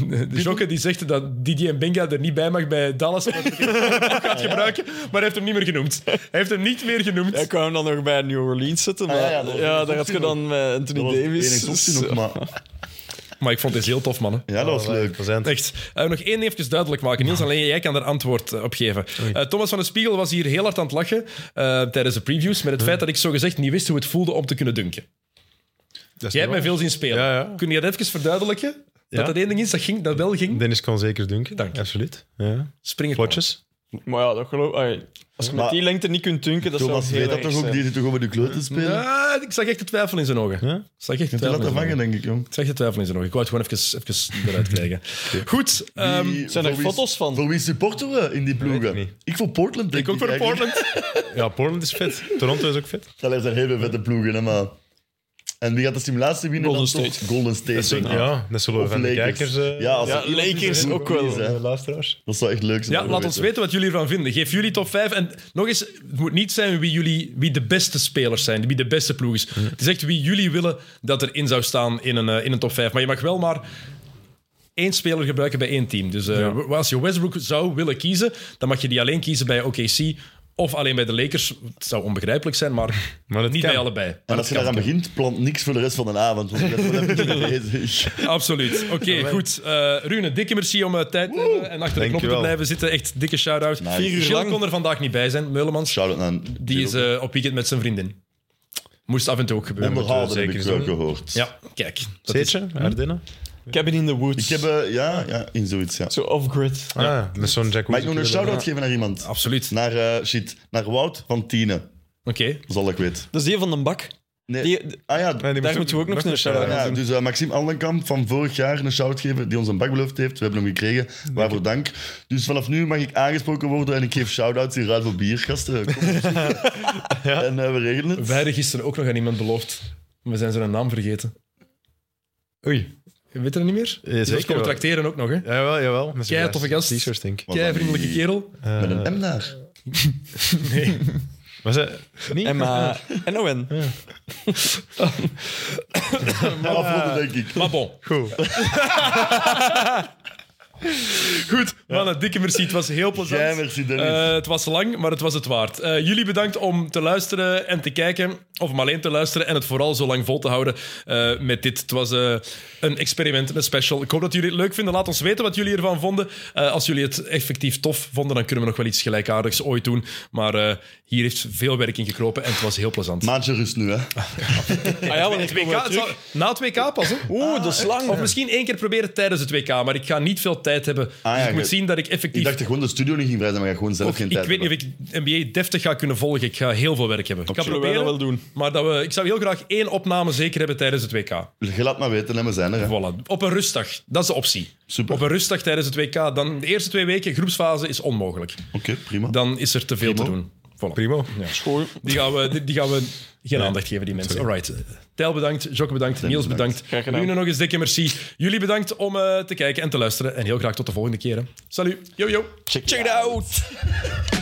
de Jokke die zegt dat Didier Benga er niet bij mag bij Dallas. omdat hij hem gaat gebruiken, maar hij heeft hem niet meer genoemd. Hij heeft hem niet meer genoemd.
Ja, ik wou hem dan nog bij New Orleans zitten, maar
Ah, ja,
ja,
ja, dat was een
daar had je
optie
dan met Anthony
Dat was de enige
Davis. Dus,
optie nog, maar...
Maar ik vond deze heel tof, mannen.
Ja, dat was leuk.
Present.
Echt. Eh, nog één even duidelijk maken, Niels. Alleen jij kan daar antwoord eh, op geven. Eh, Thomas van den Spiegel was hier heel hard aan het lachen eh, tijdens de previews met het feit dat ik zogezegd niet wist hoe het voelde om te kunnen dunken.
Dat is
Jij hebt mij
normaal.
veel zien spelen.
Ja, ja.
Kun je dat even verduidelijken?
Ja.
Dat dat één ding is dat, ging, dat wel ging?
Dennis kon zeker dunken.
Dank je.
Absoluut. Ja.
Springen.
Plotjes.
eh, Maar ja, dat geloof ik. Als je met
Maar-
die lengte niet kunt tunken, dat
Thomas
zou
weet
heel
dat
erg
toch ook?
zijn.
Die zit toch over de kleur te spelen? Ja.
Ah, ik zag echt de twijfel in zijn ogen.
Ja?
Ik zag echt de twijfel
Te
in
laten
zijn
vangen,
ogen.
denk ik, jong.
Ik zag de twijfel in zijn ogen. Ik wou het gewoon even, even eruit krijgen. Goed. ehm,
Die-
zijn er
voor wie-
foto's van?
Voor wie supporten we in die ploegen?
Weet
Ik,
ik
voor Portland,
ik
denk ik.
ook voor
eigenlijk.
Portland.
Ja, Portland is vet. Toronto is ook vet.
Allee, Er zijn hele vette ploegen, hè, maar... En wie gaat de simulatie winnen?
Golden
Dan toch Golden State,
Dat
denk
zullen,
ik.
ja, dat zullen we
Of
van de
Lakers.
kijkers... eh,
Ja, als
Ja,
er iemand
Lakers
is,
ook wel.
is, hè.
eh, luisteraars.
Dat zou echt leuk zijn.
Ja,
om
laat
te
ons weten wat jullie ervan vinden. Geef jullie top 5. En nog eens, het moet niet zijn wie, jullie, wie de beste spelers zijn, wie de beste ploeg is. Het is echt wie jullie willen dat erin zou staan in een, eh, in een top 5. Maar je mag wel maar één speler gebruiken bij één team. Dus eh, w- als je Westbrook zou willen kiezen, dan mag je die alleen kiezen bij OKC of alleen bij de Lakers. Het zou onbegrijpelijk zijn, maar,
Maar dat
niet
kan.
bij allebei.
En als je daaraan begint, plant niks voor de rest van de avond. Want ik ben wel even bezig.
Absoluut. Oké, goed. Eh Rune, dikke merci om eh, tijd te hebben en achter de knoppen te
Dankjewel.
blijven zitten. Echt dikke shout-out.
Nice.
Vier uur
Gilles
lang.
kon er vandaag niet bij zijn, Meulemans.
Shout-out naar...
Die is eh, op weekend met zijn vriendin. Moest af en toe ook gebeuren.
Onderhouden heb
zeker
ik
zo.
wel gehoord.
Ja, kijk. Dat is-
Hm?
Zeetje, Ardennen.
Cabin in the Woods.
Ik heb... eh, Ja, ja, in zoiets, ja.
Zo off-grid.
Ah, met zo'n jacuzzi.
Mag ik nog een shout-out geven naar iemand?
Absoluut. Oké.
Naar, eh, shit, naar Wout van Tienen, zoals ik weet.
Dat is die van de bak.
Nee.
Die,
ah ja,
Nee, die
Daar
moest
moeten we ook nog een
ja,
shout-out
ja, dus eh, Maxime Aldenkamp van vorig jaar een shout geven die ons een bak beloofd heeft. We hebben hem gekregen, waarvoor dank. Dus vanaf nu mag ik aangesproken worden en ik geef shout-outs in ruil voor biergasten. En eh, we regelen het.
Wij hadden gisteren ook nog aan iemand beloofd. We zijn zijn naam vergeten.
Oei.
Je weet het niet meer? Die was
zeker
komen
wel.
tracteren ook nog, hè?
Jawel, jawel. Met zo'n
Kei toffe
gast.
gast.
T-shirts, denk ik.
Was
Kei
dat
vriendelijke
niet-
kerel.
Eh,
Met een M daar.
Was
[LAUGHS]
dat... Niet?
Emma Ah, en Owen.
Maar afronden, denk ik.
Eh, Maar bon.
Goed.
[LAUGHS] Goed, mannen, dikke merci. Het was heel plezant.
Jij, merci Dennis.
Eh, het was lang, maar het was het waard. Eh, jullie bedankt om te luisteren en te kijken. Of om alleen te luisteren en het vooral zo lang vol te houden eh, met dit. Het was eh, een experiment, een special. Ik hoop dat jullie het leuk vinden. Laat ons weten wat jullie ervan vonden. Eh, als jullie het effectief tof vonden, dan kunnen we nog wel iets gelijkaardigs ooit doen. Maar eh, hier heeft veel werk in gekropen en het was heel plezant.
Maandje rust nu, hè.
Ah ja, want ik
Het WK, het zal- na het WK pas, hè?
Oeh, dat is lang.
Of misschien één keer proberen tijdens het WK, maar ik ga niet veel tijd hebben.
ja,
dus ik
je-
moet zien dat ik effectief...
Ik dacht dat gewoon de studio niet ging vrij zijn, maar ik ga gewoon zelf
Of
geen
ik
tijd
weet niet of ik NBA deftig ga kunnen volgen. Ik ga heel veel werk hebben. Ik ga
Zullen wij dat
proberen,
wel doen?
maar dat we, ik zou heel graag één opname zeker hebben tijdens het WK.
hebben. Dus Je laat maar weten, hè, we zijn er. Hè.
Voilà. Op een rustdag. Dat is de optie.
Super.
Op een rustdag tijdens het WK. Dan de eerste twee weken, groepsfase, is onmogelijk.
Oké, prima.
Dan is er te veel te
Primo.
doen. Voilà.
Primo.
Schoon.
Die gaan we, die, die gaan we geen aandacht geven, die mensen. Alright. Tel bedankt, Jocke bedankt, Niels bedankt.
Graag gedaan.
Rune nog eens dikke merci. Jullie bedankt om eh, te kijken en te luisteren. En heel graag tot de volgende keer. hè. Salut. Yo, yo.
Check it out.